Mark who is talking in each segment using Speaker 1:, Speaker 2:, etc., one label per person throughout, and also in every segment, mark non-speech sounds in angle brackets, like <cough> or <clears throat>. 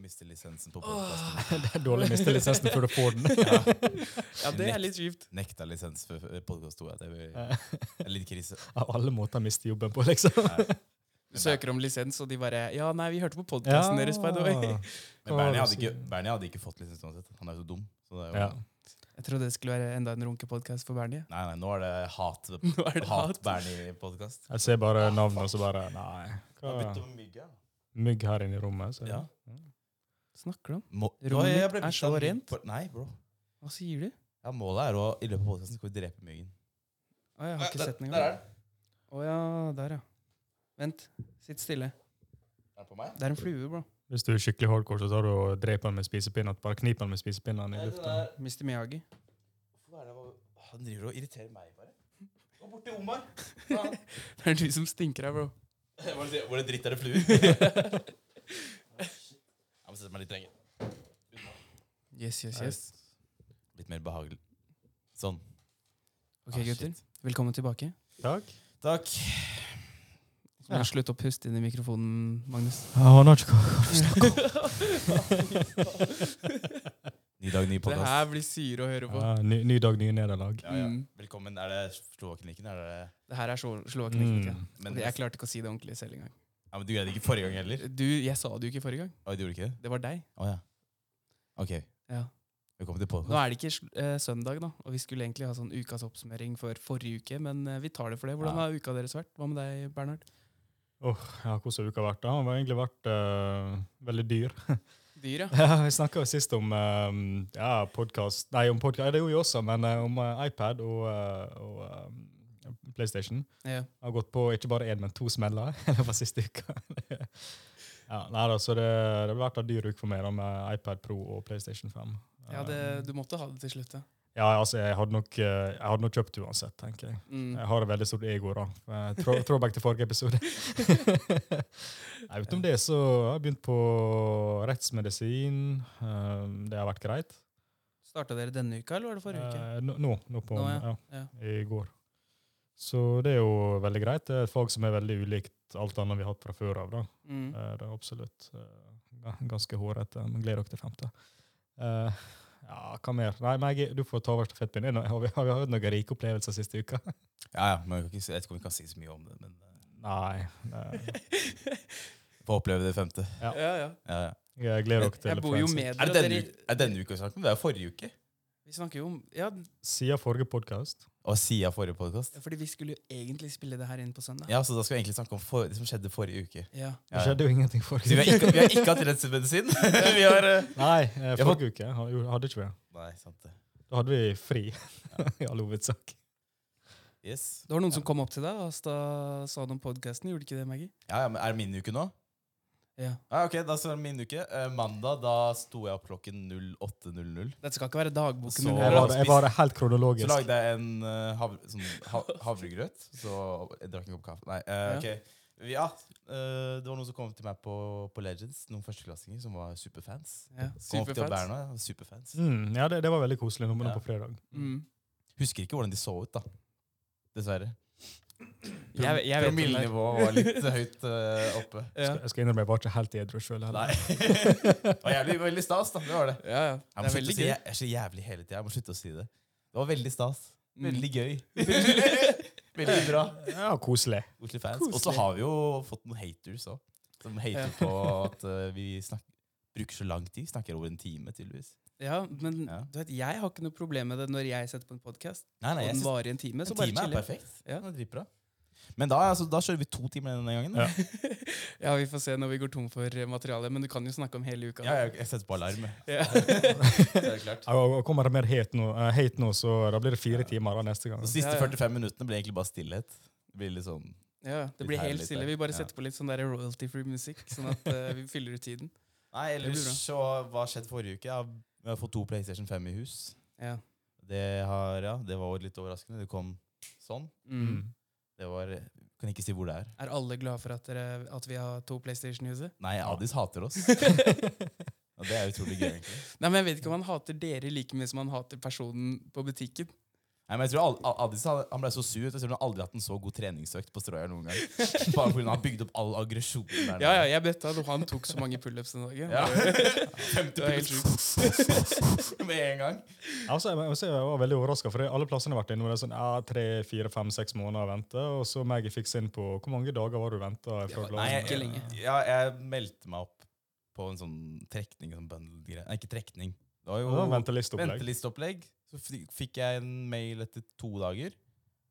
Speaker 1: miste lisensen på podkasten.
Speaker 2: Det er dårlig å miste lisensen før du får
Speaker 3: <laughs>
Speaker 2: den.
Speaker 3: Ja, det er litt kjipt.
Speaker 1: Nekta lisens for eh, podkast 2. Det
Speaker 2: Ja.
Speaker 1: er litt
Speaker 3: <laughs>
Speaker 1: krise.
Speaker 2: Av alle måter å miste jobben på, liksom.
Speaker 3: Du søker om lisens, og de bare Ja, nei, vi hørte på podkasten deres, by the way. <laughs>
Speaker 1: Men Bernie hadde, ikke, Bernie hadde ikke fått lisens uansett. Han er jo så dum. Så det er jo,
Speaker 2: Ja.
Speaker 3: Jeg trodde det skulle være enda en runkepodkast for Bernie. <laughs>
Speaker 1: Nei, nei, nå er det hat,
Speaker 3: Nå er det
Speaker 1: hat,
Speaker 3: hat.
Speaker 1: Bernie-podkast.
Speaker 2: Jeg ser bare navnet, og så bare Nei. Hva?
Speaker 1: Bytt om mygg, ja.
Speaker 2: Mygg her inne i rommet. Så.
Speaker 1: Ja.
Speaker 3: Snakker du om?
Speaker 1: Må, Oi,
Speaker 3: Rommet
Speaker 1: jeg
Speaker 3: mitt
Speaker 1: ble
Speaker 3: er
Speaker 1: bitt
Speaker 3: så
Speaker 1: av en mygg
Speaker 3: rent.
Speaker 1: på- Nei, bro.
Speaker 3: Hva sier du?
Speaker 1: Ja, målet er å i løpet av podkasten skal vi drepe myggen. Eh,
Speaker 3: Å, jeg har ikke sett den
Speaker 1: Der
Speaker 3: engang.
Speaker 1: er den.
Speaker 3: Å ja, der, ja. Vent. Sitt stille.
Speaker 1: Er den på meg?
Speaker 3: Det er en flue, bro.
Speaker 2: Hvis du er skikkelig hardcore, så tar du og dreper den med spisepinner. Bare kniper den med spisepinnene i
Speaker 1: Nei, den
Speaker 2: lufta.
Speaker 1: er-
Speaker 3: Mr. Miyagi.
Speaker 1: Hvorfor er det bare- Han driver og irriterer meg, bare. Gå bort til
Speaker 3: <laughs>
Speaker 1: Omar. Faen.
Speaker 3: <laughs> Det er du som stinker her, bro.
Speaker 1: Hva er det- Hvor er det dritt er det
Speaker 3: <laughs>
Speaker 1: fluer? Jeg må sette meg litt lenger.
Speaker 3: Yes, yes, yes.
Speaker 1: Litt mer behagelig. Sånn.
Speaker 3: Ok,
Speaker 1: Ah,
Speaker 3: gutter.
Speaker 1: shit.
Speaker 3: Velkommen tilbake.
Speaker 2: Takk.
Speaker 1: Takk.
Speaker 3: Så må du slutte å puste inn i mikrofonen, Magnus.
Speaker 2: Han har ikke
Speaker 1: Ny dag, ny
Speaker 3: Det
Speaker 1: podcast
Speaker 3: her blir syre å høre på.
Speaker 2: ja, ny, ny dag, nye nederlag.
Speaker 1: Ja, ja.
Speaker 3: Mm.
Speaker 1: Velkommen. Er det Slovaklinikken? Er det
Speaker 3: Det her er slo- Slovakia.
Speaker 2: Mm.
Speaker 1: men,
Speaker 3: Jeg klarte ikke å si det ordentlig selv engang.
Speaker 1: ja, men Du greide ikke forrige gang heller?
Speaker 3: Du, jeg sa det jo ikke forrige gang.
Speaker 1: Oi, du gjorde ikke det?
Speaker 3: Det var deg.
Speaker 1: Å ja. OK.
Speaker 3: Ja.
Speaker 1: Velkommen til
Speaker 3: Nå
Speaker 1: podcast
Speaker 3: er det ikke sl- eh, søndag, da, og vi skulle egentlig ha sånn ukas oppsummering for forrige uke, men eh, vi tar det for det. Hvordan
Speaker 1: Ja.
Speaker 3: har uka deres vært? Hva med deg, Bernhard?
Speaker 2: Åh, ja, Hvordan har uka vært? da? Han har egentlig vært eh, veldig dyr.
Speaker 3: Dyr, ja.
Speaker 2: Ja, Vi snakka sist om uh, ja, podkast Nei, om podkast, det gjorde vi også, men eh, om eh, iPad og, eh, og eh, PlayStation.
Speaker 3: ja.
Speaker 2: Jeg har gått på ikke bare én, men to smeller <laughs> i løpet av siste uka. <laughs> ja, nei da, så det, det har vært en dyr uke for meg da, med iPad Pro og PlayStation 5.
Speaker 3: ja mm. det, du måtte ha det til slutt, ja.
Speaker 2: ja, altså, jeg hadde nok, eh, jeg hadde nok kjøpt uansett, tenker jeg.
Speaker 3: Mm.
Speaker 2: Jeg har et veldig stort ego, da. Eh, trå- Throwback til forrige episode.
Speaker 3: <laughs>
Speaker 2: Nei, utenom det så har jeg begynt på rettsmedisin. Eh, Det har vært greit.
Speaker 3: Starta dere denne uka, eller var det forrige uke?
Speaker 2: Eh, Nå, nå, nå på,
Speaker 3: Nå,
Speaker 2: ja.
Speaker 3: Ja.
Speaker 2: i går. Så det er jo veldig greit. Det er et fag som er veldig ulikt alt annet vi har hatt fra før av. da.
Speaker 3: Mm.
Speaker 2: Eh, Det er absolutt eh, ga- ganske hårete, men gleder dere til femte. Eh, ja, hva mer? Nei, men jeg, du får ta over stafettpinnen. Har vi har vi hatt noen rike opplevelser siste uka?
Speaker 1: Ja, ja, men jeg, kan ikke, si- jeg vet ikke om vi kan si så mye om det, men eh,
Speaker 2: Nei. eh,
Speaker 1: få oppleve det femte.
Speaker 2: Ja.
Speaker 3: Ja, ja.
Speaker 1: Ja, ja.
Speaker 2: Jeg gleder dere til
Speaker 3: Jeg bor jo
Speaker 2: Forensic.
Speaker 3: med
Speaker 1: Er
Speaker 3: dere.
Speaker 1: det
Speaker 3: og
Speaker 1: denne,
Speaker 3: dere
Speaker 1: uka- er det denne uka vi snakker om? Det er jo forrige uke.
Speaker 3: vi snakker jo om Ja,
Speaker 2: Siden forrige podkast.
Speaker 1: Og siden forrige podcast
Speaker 3: fordi vi skulle jo egentlig spille det her inn på søndag.
Speaker 1: Ja, så da skal vi egentlig snakke om for, det som skjedde forrige uke.
Speaker 3: Ja.
Speaker 2: Det skjedde jo ingenting
Speaker 1: Så vi
Speaker 2: forrige
Speaker 1: har ikke, vi har ikke
Speaker 2: <laughs>
Speaker 1: hatt rettsmedisin. <laughs> vi har eh,
Speaker 2: Nei, eh,
Speaker 1: Jeg
Speaker 2: forrige uke ha- jo, hadde ikke vi det.
Speaker 1: Nei, sant det.
Speaker 2: Da hadde vi fri, <laughs> i all hovedsak.
Speaker 1: Yes.
Speaker 3: Det var noen som kom opp til deg og sta- sa noe om podkasten, gjorde ikke det, Maggie?
Speaker 1: Ja, ja, men Er det min uke nå?
Speaker 3: Ja.
Speaker 1: Ja, ok, da så er det min uke. Eh, mandag da sto jeg opp klokken 08.00.
Speaker 3: Dette skal ikke være dagboken
Speaker 1: Så-
Speaker 3: din.
Speaker 2: Jeg
Speaker 3: her,
Speaker 2: var,
Speaker 3: altså.
Speaker 2: jeg var helt
Speaker 1: Så
Speaker 2: kronologisk.
Speaker 1: lagde jeg en eh, hav, sånn, ha, havregrøt. Så jeg drakk en kopp kaffe. Nei, eh, ok. Ja, eh, det var noen som kom til meg på, på Legends, noen førsteklassinger som var superfans.
Speaker 3: Ja.
Speaker 1: Kom opp til
Speaker 3: Superfans.
Speaker 1: Berna, ja, superfans.
Speaker 2: Mm, ja, det, det var veldig koselig nå, men nå
Speaker 1: Ja.
Speaker 2: på fredag.
Speaker 3: Mm.
Speaker 1: Husker ikke hvordan de så ut, da. Dessverre.
Speaker 3: Jeg, jeg vet hvem det er.
Speaker 1: Promillenivået var litt høyt eh, oppe.
Speaker 3: Ja.
Speaker 2: Skal- Jeg skal innrømme jeg var ikke helt edru sjøl
Speaker 1: Nei.
Speaker 2: heller.
Speaker 1: det var jævlig, veldig stas, da. Det var det.
Speaker 3: Ja, ja.
Speaker 1: Jeg
Speaker 3: Det
Speaker 1: må
Speaker 3: er
Speaker 1: slutte å
Speaker 3: veldig
Speaker 1: si
Speaker 3: gøy.
Speaker 1: jeg, jeg er så jævlig hele tida. Jeg må slutte å si det. Det var veldig stas.
Speaker 3: Mm.
Speaker 1: Veldig
Speaker 3: <laughs>
Speaker 1: gøy. veldig bra.
Speaker 2: Ja, koselig.
Speaker 1: Oslo fans. Og så har vi jo fått noen haters òg. Som hater
Speaker 3: Ja.
Speaker 1: på at eh, vi snak bruker så lang tid. Snakker over en time, tydeligvis.
Speaker 3: Ja, men
Speaker 1: Ja.
Speaker 3: du vet, jeg har ikke noe problem med det når jeg setter på en podkast.
Speaker 1: Nei,
Speaker 3: Og
Speaker 1: nei, jeg
Speaker 3: den
Speaker 1: synes
Speaker 3: varer i en time, så
Speaker 1: en
Speaker 3: bare
Speaker 1: time er
Speaker 3: chill.
Speaker 1: perfekt.
Speaker 3: Ja.
Speaker 1: Det er dritbra. Men da, altså, da kjører vi to timer denne gangen. Da.
Speaker 2: Ja.
Speaker 3: Ja, vi får se når vi går tom for eh, materiale, men du kan jo snakke om hele uka.
Speaker 1: Ja, jeg, jeg setter på alarm. jeg.
Speaker 3: Ja.
Speaker 1: Så er <laughs> det klart.
Speaker 2: Ja, og- og Kommer det mer hate nå, eh, hate nå, så da blir det fire timer da, neste gang.
Speaker 1: De siste
Speaker 3: Ja, ja.
Speaker 1: 45 minuttene blir egentlig bare stillhet. Det blir litt sånn
Speaker 3: Ja, det
Speaker 1: Litt
Speaker 3: blir
Speaker 1: her,
Speaker 3: helt
Speaker 1: litt
Speaker 3: stille.
Speaker 1: der.
Speaker 3: Vi bare
Speaker 1: Ja.
Speaker 3: setter på litt sånn der royalty-free musikk, sånn at eh, vi fyller ut tiden.
Speaker 1: Nei,
Speaker 3: blir
Speaker 1: ellers
Speaker 3: bra.
Speaker 1: så Hva skjedde forrige uke? Jeg har, jeg har fått to PlayStation 5 i hus.
Speaker 3: Ja.
Speaker 1: Det, har, ja, det var litt overraskende. Det kom sånn.
Speaker 3: Mm.
Speaker 2: Mm.
Speaker 1: Det var Kan ikke si hvor det er.
Speaker 3: Er alle glad for at, dere, at vi har to PlayStation i huset?
Speaker 1: Nei, Adis hater
Speaker 3: <laughs>
Speaker 1: oss. Og det er utrolig gøy, egentlig.
Speaker 3: Nei, men jeg vet ikke om han hater dere like mye som han hater personen på butikken.
Speaker 1: Nei, men jeg tror Al- Al- Addis han han ble så sur. vet du. Jeg tror han aldri har hatt en så god treningsøkt på Strøya noen gang.
Speaker 3: <laughs>
Speaker 1: Bare fordi han har bygd opp all aggresjonen der.
Speaker 3: Ja, ja,
Speaker 1: nede.
Speaker 3: jeg betta at han tok så mange pullups den dagen. <laughs>
Speaker 1: Ja. <laughs>
Speaker 3: Det var helt sjukt.
Speaker 1: Med en gang.
Speaker 2: Altså, jeg, må- jeg, må si jeg var veldig overraska, for det- alle plassene jeg har vært innom, det er sånn ja, tre, fire, fem, seks måneder å vente, og så Maggie fikk inn på Hvor mange dager var sånn, du venta?
Speaker 1: Nei, jeg,
Speaker 3: ikke lenge.
Speaker 1: Ja, jeg meldte meg opp på en sånn trekning. Sånn bundle-greie. Nei, ikke trekning. Det var jo
Speaker 2: Ventelisteopplegg.
Speaker 1: ventelisteopplegg. Så f- fikk jeg en mail etter to dager.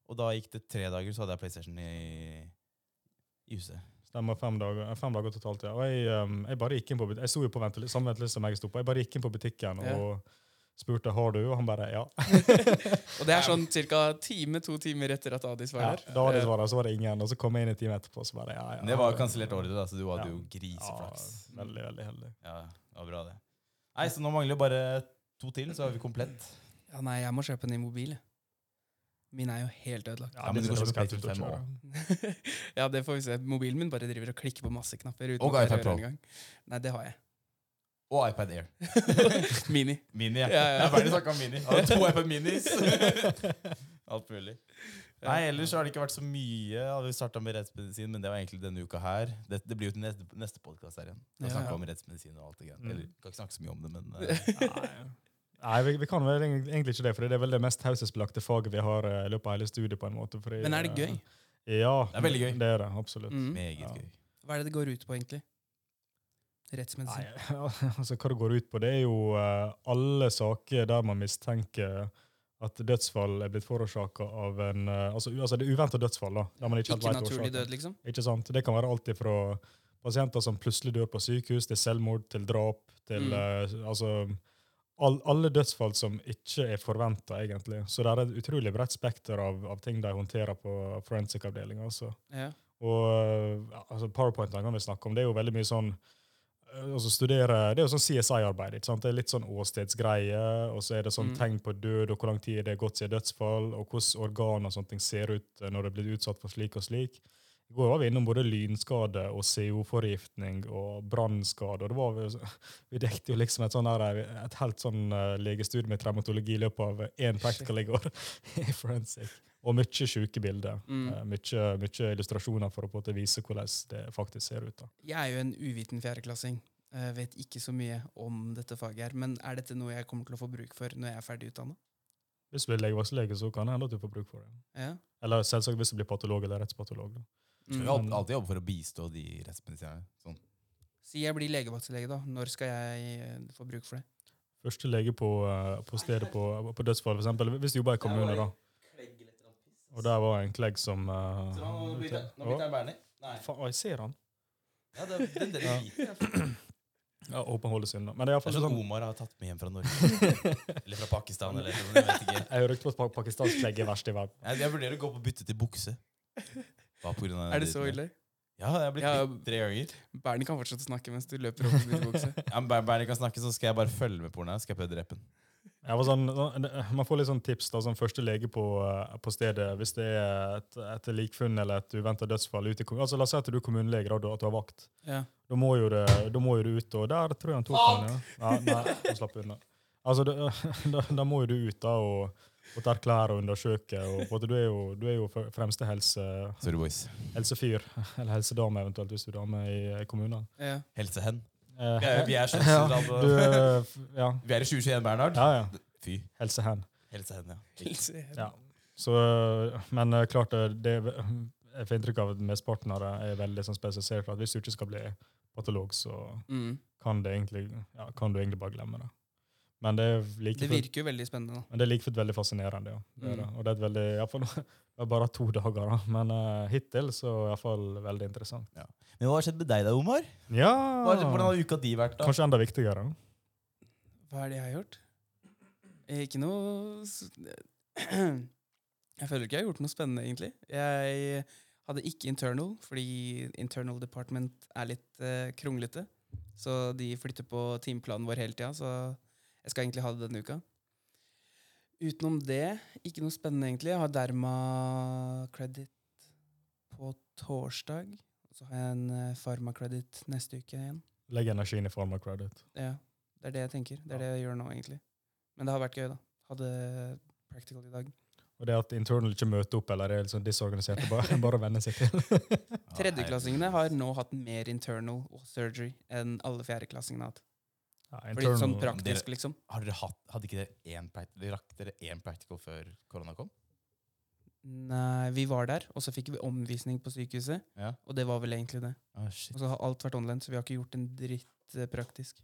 Speaker 1: Og da gikk det tre dager, så hadde jeg PlayStation i, i huset.
Speaker 2: Stemmer fem dager, eh, fem dager totalt, ja. Og jeg, ehm, jeg bare gikk inn på but- jeg sto jo på venteliste, samme venteliste som jeg sto på. Jeg bare gikk inn på butikken
Speaker 3: Ja.
Speaker 2: og spurte har du, og han bare ja.
Speaker 3: Og det er sånn ca. time-to timer etter at Adis var
Speaker 2: ja
Speaker 3: der.
Speaker 2: <laughs> da var det svaret, så var det ingen. Og så kom jeg inn en time etterpå, så bare ja, ja.
Speaker 1: Men det var kansellert ordre, da, så du hadde
Speaker 2: Ja.
Speaker 1: jo
Speaker 2: Ja,
Speaker 1: griseflaks.
Speaker 2: veldig, veldig heldig.
Speaker 1: Ja, det var bra, det. Nei, så nå mangler bare to til, så er vi komplett.
Speaker 3: Ja, nei, jeg må kjøpe en ny mobil. jeg. Min er jo helt ødelagt.
Speaker 1: Ja, men
Speaker 2: det
Speaker 1: du
Speaker 2: ser
Speaker 1: går
Speaker 2: ganske
Speaker 1: ikke på
Speaker 2: ut å
Speaker 1: PlayStation
Speaker 2: kjøre.
Speaker 3: ja, det får vi se. Mobilen min bare driver og klikker på masse knapper. uten
Speaker 1: Og
Speaker 3: at jeg
Speaker 1: iPad
Speaker 3: rører
Speaker 1: Pro.
Speaker 3: en gang. Nei, det har jeg.
Speaker 1: Og iPad Air.
Speaker 3: <laughs> Mini.
Speaker 1: Mini, ja.
Speaker 3: Ja, ja.
Speaker 1: Jeg er ferdig snakka om mini. Jeg har to iPad Minis. <laughs> Alt mulig. Nei, ellers har det ikke vært så mye. Ja, Vi starta med rettsmedisin, men det var egentlig denne uka her. Det, det blir jo til neste, neste podkast her igjen. Da
Speaker 3: Ja,
Speaker 1: snakker
Speaker 3: ja.
Speaker 1: vi om rettsmedisin og alt det greiene.
Speaker 2: Mm.
Speaker 1: Eller, kan ikke snakke så mye om det, <laughs> men eh,
Speaker 2: Nei, vi, vi kan vel egentlig- egentlig ikke det, for det er vel det mest taushetsbelagte faget vi har eh, i løpet av hele studiet. på en måte. fordi,
Speaker 3: Men er det gøy?
Speaker 2: eh, Ja,
Speaker 1: Det er veldig gøy.
Speaker 2: Det er det, absolutt.
Speaker 3: Mm.
Speaker 1: meget
Speaker 2: Ja.
Speaker 1: gøy.
Speaker 3: Hva er det det går ut på, egentlig?
Speaker 2: Nei,
Speaker 3: Rettsmedisin.
Speaker 2: <laughs> altså Hva det går ut på, det er jo eh, alle saker der man mistenker at dødsfall er blitt forårsaka av en eh, altså, u- altså det er uventa dødsfall, da. Der man ikke, helt
Speaker 3: Ikke
Speaker 2: vet
Speaker 3: naturlig
Speaker 2: årsaken.
Speaker 3: død, liksom?
Speaker 2: Ikke sant? Det kan være alt ifra pasienter som plutselig dør på sykehus, til selvmord, til drap, til
Speaker 3: Mm.
Speaker 2: eh, altså all, Alle dødsfall som ikke er forventa, egentlig. Så det er et utrolig bredt spekter av, av ting de håndterer på forensic-avdelinga. altså.
Speaker 3: Ja.
Speaker 2: Og ja, altså PowerPoint-ene kan vi snakke om. Det er jo veldig mye sånn eh, altså studere, Det er jo sånn CSI-arbeid. ikke sant? Det er litt sånn åstedsgreie, og så er det sånn
Speaker 3: Mm.
Speaker 2: tegn på død, og hvor lang tid det er gått siden dødsfall, og hvordan organ og sånne ting ser ut eh, når det er blitt utsatt for slik og slik. I går var vi innom både lynskade og CO-forgiftning og brannskade. og det var vel- <laughs> Vi dekket jo liksom et, sånn der, eh, et helt sånn eh, legestudie med traumatologi i løpet av én practical i går. <laughs> i Forensic. Og mye sjuke bilder.
Speaker 3: Mm.
Speaker 2: Eh, Mye, mye illustrasjoner for å på en måte vise hvordan det faktisk ser ut. da.
Speaker 3: Jeg er jo en uviten fjerdeklassing. Jeg vet ikke så mye om dette faget her. Men er dette noe jeg kommer til å få bruk for når jeg er ferdig utdanna?
Speaker 2: Hvis du blir legevaktslege, så kan det hende at du får bruk for det.
Speaker 3: Ja.
Speaker 2: Eller selvsagt hvis du blir patolog eller rettspatolog. da.
Speaker 1: Så
Speaker 3: Mm.
Speaker 1: vi har alltid jobber for å bistå de rettsmedisinerne. Sånn.
Speaker 3: Si jeg blir legevaktslege, da. Når skal jeg eh, få bruk for det?
Speaker 2: Første lege på, eh, på stedet på, på dødsfall, for eksempel, hvis du jobber i kommune, da. Og der var en klegg som eh, Å,
Speaker 1: jeg Bernie. Nei.
Speaker 2: faen, å, jeg ser han.
Speaker 1: Ja, det, den, den
Speaker 2: Ja.
Speaker 1: driter jeg
Speaker 2: Ja, Håper han holder sin, da. Men det er
Speaker 1: Det er
Speaker 2: iallfall
Speaker 1: sånn
Speaker 2: sånn
Speaker 1: Omar har tatt med hjem fra
Speaker 3: <laughs>
Speaker 1: Norge. eller fra Pakistan, eller jeg vet ikke.
Speaker 2: Jeg har røkt på at pa- pakistansk klegg er verst i verden.
Speaker 1: Jeg, jeg vurderer å gå på bytte til bukse. Hva på grunn av den
Speaker 3: Er det så
Speaker 1: driten der.
Speaker 3: ille?
Speaker 1: Ja, jeg har blitt
Speaker 3: Ja,
Speaker 1: bitt tre ganger.
Speaker 3: Bernie kan fortsette å snakke mens du løper over til bukse.
Speaker 1: Ja, men Bare bare jeg kan snakke, så sånn, skal jeg bare følge med på den her. Skal jeg prøve å drepe den.
Speaker 2: Jeg var sånn, sånn- det- man får litt sånn tips da, som første lege på, eh, på stedet hvis det er et, et likfunn eller et uventa dødsfall ute i kommunen. Altså, la oss si at du er kommunelege da, og at du har
Speaker 3: <laughs>
Speaker 2: vakt.
Speaker 3: Ja.
Speaker 2: Da må jo det, da må jo du ut, og der tror jeg han tok han. Ja. Nei, nei, han slapp unna. Altså, da, <laughs> da, da må jo du ut da, og, og ta klær og undersøke. Og, på en måte, du, er jo, du er jo fø- fremste helse,
Speaker 1: Sorry, boys.
Speaker 2: helsefyr, <laughs> eller helsedame eventuelt, hvis du er dame i eh, kommunen.
Speaker 3: Ja.
Speaker 1: Helsehen.
Speaker 2: Eh,
Speaker 1: Vi er, vi er sånn,
Speaker 2: <laughs> ja,
Speaker 1: skjønnsomme.
Speaker 2: du, eh, f- ja,
Speaker 1: Vi er i 2021, Bernhard.
Speaker 2: ja, ja.
Speaker 1: Fy.
Speaker 2: Helsehen.
Speaker 1: Helsehen, ja.
Speaker 3: Ja.
Speaker 2: Ja. Så, øh, men øh, klart, øh, det er ve- jeg får inntrykk av at mesteparten av det er veldig sånn spesifisert. at Hvis du ikke skal bli patolog, så
Speaker 3: Mm.
Speaker 2: kan, det egentlig, ja, kan du egentlig bare glemme det. Men det er like
Speaker 3: Det
Speaker 2: fullt,
Speaker 3: virker jo veldig spennende. da.
Speaker 2: men det er like fullt veldig fascinerende. Ja. Det er, det.
Speaker 3: Mm.
Speaker 2: Og det er et veldig, i hvert fall, <laughs> det er bare to dager, da. men øh, hittil så er det iallfall veldig interessant.
Speaker 1: Men hva har skjedd med deg da, Omar?
Speaker 2: Ja!
Speaker 1: Hva, hvordan har uka di vært, da?
Speaker 2: Ah. Kanskje enda viktigere.
Speaker 3: Hva er det jeg har gjort? Eh, Ikke noe s- Jeg føler ikke jeg har gjort noe spennende, egentlig. Jeg hadde ikke internal, fordi internal department er litt eh, kronglete. Så de flytter på timeplanen vår hele tida, så jeg skal egentlig ha det denne uka. Utenom det, ikke noe spennende, egentlig. Jeg har derma credit på torsdag. Og så har jeg en eh, pharma credit neste uke igjen.
Speaker 2: Legg energien i form av credit.
Speaker 3: Ja, det er det jeg tenker. Det er det jeg gjør nå, egentlig. Men det har vært gøy, da. Hadde practical i dag.
Speaker 2: Og det at internal ikke møter opp eller er liksom disorganiserte, bare, <laughs> bare venner seg til.
Speaker 1: Ah,
Speaker 3: Tredjeklassingene har nå hatt mer internal og surgery enn alle fjerdeklassingene har hatt.
Speaker 2: Ja,
Speaker 3: Fordi sånn
Speaker 2: internal-
Speaker 1: Dere-
Speaker 3: praktisk, liksom.
Speaker 1: Har dere hatt, hadde ikke dere én practical, dere rakk dere én practical før korona kom?
Speaker 3: Nei, vi var der, og så fikk vi omvisning på sykehuset,
Speaker 1: Ja.
Speaker 3: og det var vel egentlig det.
Speaker 1: Å, Ah, shit.
Speaker 3: Og så har alt vært online, så vi har ikke gjort en dritt eh, praktisk.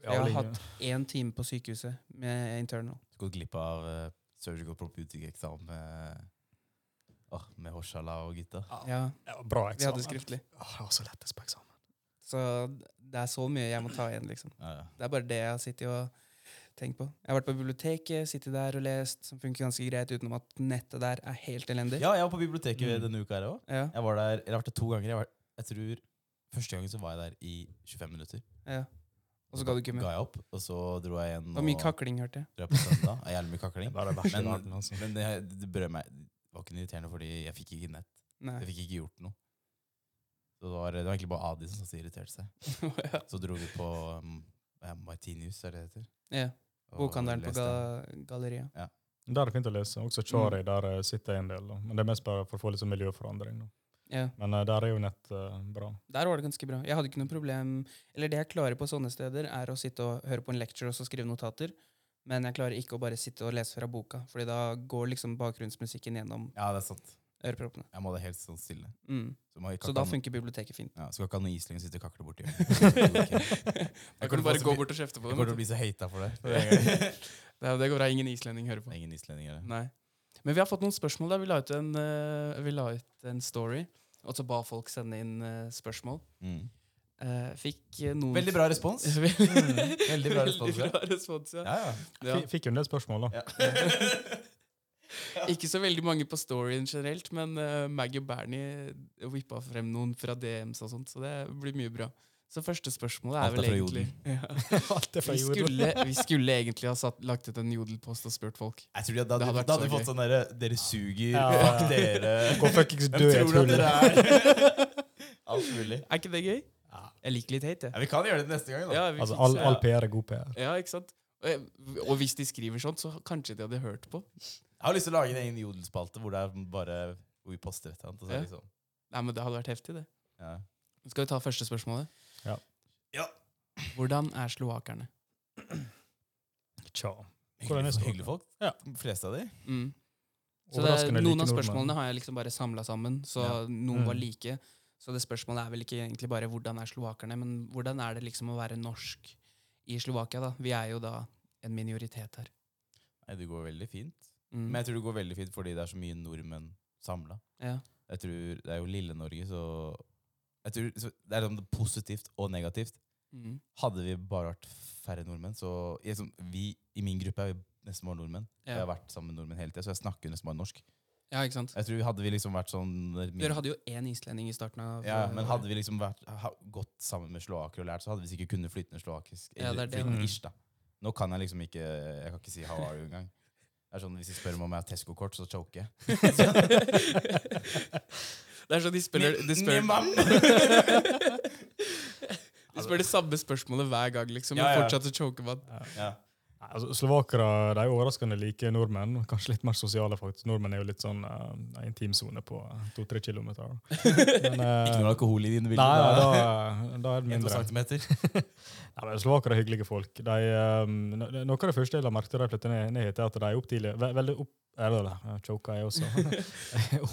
Speaker 2: Ja,
Speaker 3: Jeg har
Speaker 2: ligger-
Speaker 3: hatt én time på sykehuset med internal.
Speaker 1: Gått glipp av eh, surgical propeutic-eksamen med, åh, med Horshala og gutta.
Speaker 3: Ja,
Speaker 2: Ja, bra
Speaker 3: vi
Speaker 2: eksamen.
Speaker 3: hadde skriftlig.
Speaker 2: Åh, det var så lettest på eksamen.
Speaker 3: Så det er så mye jeg må ta igjen, liksom.
Speaker 1: Ah, Ja, ja.
Speaker 3: Det er bare det jeg har sittet og tenkt på. Jeg har vært på biblioteket, sittet der og lest, som funker ganske greit, utenom at nettet der er helt elendig.
Speaker 1: ja, jeg var på biblioteket
Speaker 2: Mm.
Speaker 1: denne uka her òg.
Speaker 3: Ja,
Speaker 1: Jeg var der, eller jeg har vært der to ganger. Jeg, var, jeg tror Første gangen så var jeg der i 25 minutter.
Speaker 3: ja. Og så ga du ikke med.
Speaker 1: Ga jeg opp, og så dro jeg igjen
Speaker 3: Det var mye
Speaker 1: og
Speaker 3: kakling, hørte jeg.
Speaker 1: dro jeg på søndag. Det er Jævlig mye
Speaker 2: <laughs>
Speaker 1: kakling.
Speaker 2: Det var det verste i
Speaker 1: Men-
Speaker 2: verden, altså.
Speaker 1: Men det, det brød meg Det var ikke noe irriterende, fordi jeg fikk ikke nett.
Speaker 3: Nei.
Speaker 1: Jeg fikk ikke gjort noe. Så det var, det var egentlig bare Adi som satt og irriterte seg.
Speaker 3: <laughs> ja.
Speaker 1: Så dro vi på um, ja, Martinius, er det det heter?
Speaker 3: ja.
Speaker 1: Og
Speaker 3: Bokhandelen på
Speaker 1: leste.
Speaker 3: ga galleriet.
Speaker 2: Der er det fint å lese. Også Chari, der eh, sitter jeg en del. Da. Men det er mest bare for å få litt sånn miljøforandring. Da.
Speaker 3: Ja.
Speaker 2: Men eh, der er jo nett eh, bra.
Speaker 3: Der var det ganske bra. Jeg hadde ikke noe problem Eller det jeg klarer på sånne steder, er å sitte og høre på en lecture og så skrive notater. Men jeg klarer ikke å bare sitte og lese fra boka, Fordi da går liksom bakgrunnsmusikken gjennom
Speaker 1: Ja, det er sant.
Speaker 3: øreproppene.
Speaker 1: Jeg må det helt sånn stille.
Speaker 3: Mm.
Speaker 1: Så, man ikke
Speaker 3: Så
Speaker 1: kan-
Speaker 3: da funker biblioteket fint.
Speaker 1: ja, Skal ikke ha noen isling sitte og kakle <laughs>
Speaker 3: <laughs>
Speaker 1: borti.
Speaker 3: Da
Speaker 1: kan du bare gå
Speaker 3: bort og kjefte
Speaker 1: Jeg kommer til å bli så hata for det.
Speaker 3: <laughs> det går bra. Ingen islending hører
Speaker 1: Det er ingen islendinger. det.
Speaker 3: Nei. Men vi har fått noen spørsmål der. Vi la ut en, eh, vi la ut en story, og så ba folk sende inn eh, spørsmål.
Speaker 1: Mm.
Speaker 3: Eh, fikk eh, noen
Speaker 1: Veldig bra respons.
Speaker 3: <laughs>
Speaker 1: Mm.
Speaker 3: Veldig,
Speaker 1: Veldig bra respons, ja.
Speaker 3: <laughs> Veldig bra respons, ja.
Speaker 1: Ja, ja.
Speaker 3: <laughs> Ja.
Speaker 2: F fikk jo en del spørsmål, da.
Speaker 1: ja.
Speaker 3: Ikke så veldig mange på storyen generelt, men eh, Maggie og Bernie whippa frem noen fra DMs og sånt, så det blir mye bra. Så første spørsmålet er
Speaker 1: Alt er
Speaker 3: vel
Speaker 1: fra
Speaker 3: egentlig <laughs> ja.
Speaker 2: Alt er fra
Speaker 3: vi,
Speaker 2: jorda.
Speaker 3: skulle, vi skulle egentlig ha satt, lagt ut en jodelpost og spurt
Speaker 2: <laughs>
Speaker 3: folk.
Speaker 1: <laughs> Jeg tror de hadde,
Speaker 3: Det hadde vært
Speaker 1: da hadde
Speaker 3: så
Speaker 1: fått sånn derre Dere suger.
Speaker 2: Ja.
Speaker 1: Fuck dere.
Speaker 2: <laughs> Gå fuckings
Speaker 1: Hvem
Speaker 2: dø i et
Speaker 1: tror
Speaker 2: hull.
Speaker 1: dere
Speaker 2: <laughs>
Speaker 1: er? Alt mulig.
Speaker 3: Er ikke det gøy? Jeg liker litt hate, jeg.
Speaker 1: Ja, vi kan gjøre det neste gang, da.
Speaker 3: Ja, vi
Speaker 2: Altså,
Speaker 3: fikser-
Speaker 2: all, all PR er god PR.
Speaker 3: ja, ikke sant? Og, jeg, og hvis de skriver sånt, så kanskje de hadde hørt på.
Speaker 1: Jeg har lyst til å lage en egen jodelspalte hvor det er bare hvor vi poster et eller annet. Og så er det liksom,
Speaker 3: Nei, men Det hadde vært heftig, det.
Speaker 1: ja.
Speaker 3: Skal vi ta første spørsmålet?
Speaker 2: Ja.
Speaker 1: Ja.
Speaker 3: Hvordan er slovakerne?
Speaker 2: Tja. Hvordan er
Speaker 1: Hyggelige,
Speaker 2: språket?
Speaker 1: hyggelige folk.
Speaker 2: Ja.
Speaker 1: De fleste av de.
Speaker 3: Mm. Så det er, noen
Speaker 2: Overraskende like
Speaker 3: av
Speaker 2: nordmenn.
Speaker 3: spørsmålene har jeg liksom bare samla sammen, så
Speaker 1: Ja.
Speaker 3: noen var
Speaker 2: Mm.
Speaker 3: like. Så det spørsmålet er vel ikke egentlig bare hvordan er slovakerne, men hvordan er det liksom å være norsk i Slovakia, da? Vi er jo da en minoritet her.
Speaker 1: Nei, det går veldig fint.
Speaker 3: Mm.
Speaker 1: Men jeg tror det går veldig fint fordi det er så mye nordmenn samla.
Speaker 3: ja.
Speaker 1: Jeg tror Det er jo lille Norge, så jeg tror så Det er sånn positivt og negativt.
Speaker 3: Mm.
Speaker 1: Hadde vi bare vært færre nordmenn, så jeg, som, vi, I min gruppe er vi nesten bare nordmenn. Jeg
Speaker 3: Ja.
Speaker 1: har vært sammen med nordmenn hele tida, så jeg snakker nesten bare norsk.
Speaker 3: ja, ikke sant?
Speaker 1: Jeg tror Hadde vi liksom vært sånn
Speaker 3: Dere hadde jo én islending i starten av eh,
Speaker 1: ja, Men
Speaker 3: <laughs>
Speaker 1: hadde vi liksom vært, ha, gått sammen med slovaker og lært, så hadde vi sikkert kunnet flytende slovakisk.
Speaker 3: Ja,
Speaker 1: Eller
Speaker 3: det er det.
Speaker 2: Mm.
Speaker 1: flytende ish, da. Nå kan jeg liksom ikke Jeg kan ikke si Hawaii engang. Det er sånn, Hvis de spør meg om jeg har Tesco-kort, så choker jeg.
Speaker 3: Det er sånn de spiller de spør,
Speaker 1: Nye mann!
Speaker 3: <laughs> de spør det samme spørsmålet hver gang, liksom. Men
Speaker 1: Ja, ja.
Speaker 3: fortsatt å choke med at
Speaker 1: Ja.
Speaker 2: Nei, Altså, Slovakere de er jo overraskende like nordmenn. Kanskje litt mer sosiale, faktisk. Nordmenn er jo litt sånn eh, en intimsone på to-tre
Speaker 3: <laughs>
Speaker 2: kilometer. da. Men, eh,
Speaker 1: Ikke noe alkohol i dine
Speaker 2: nei,
Speaker 1: bilder.
Speaker 2: nei,
Speaker 1: da.
Speaker 2: da, eh, da er det
Speaker 1: En, to
Speaker 2: mindre.
Speaker 1: centimeter.
Speaker 2: Nei, men Slovakere er hyggelige folk. De, ehm, no- no- noe av det første jeg la merke til da jeg flyttet ned, ned hit, er at de er opp tidlig. Ve veldig opp, er det det? Jeg choker jeg
Speaker 3: <laughs>
Speaker 2: også.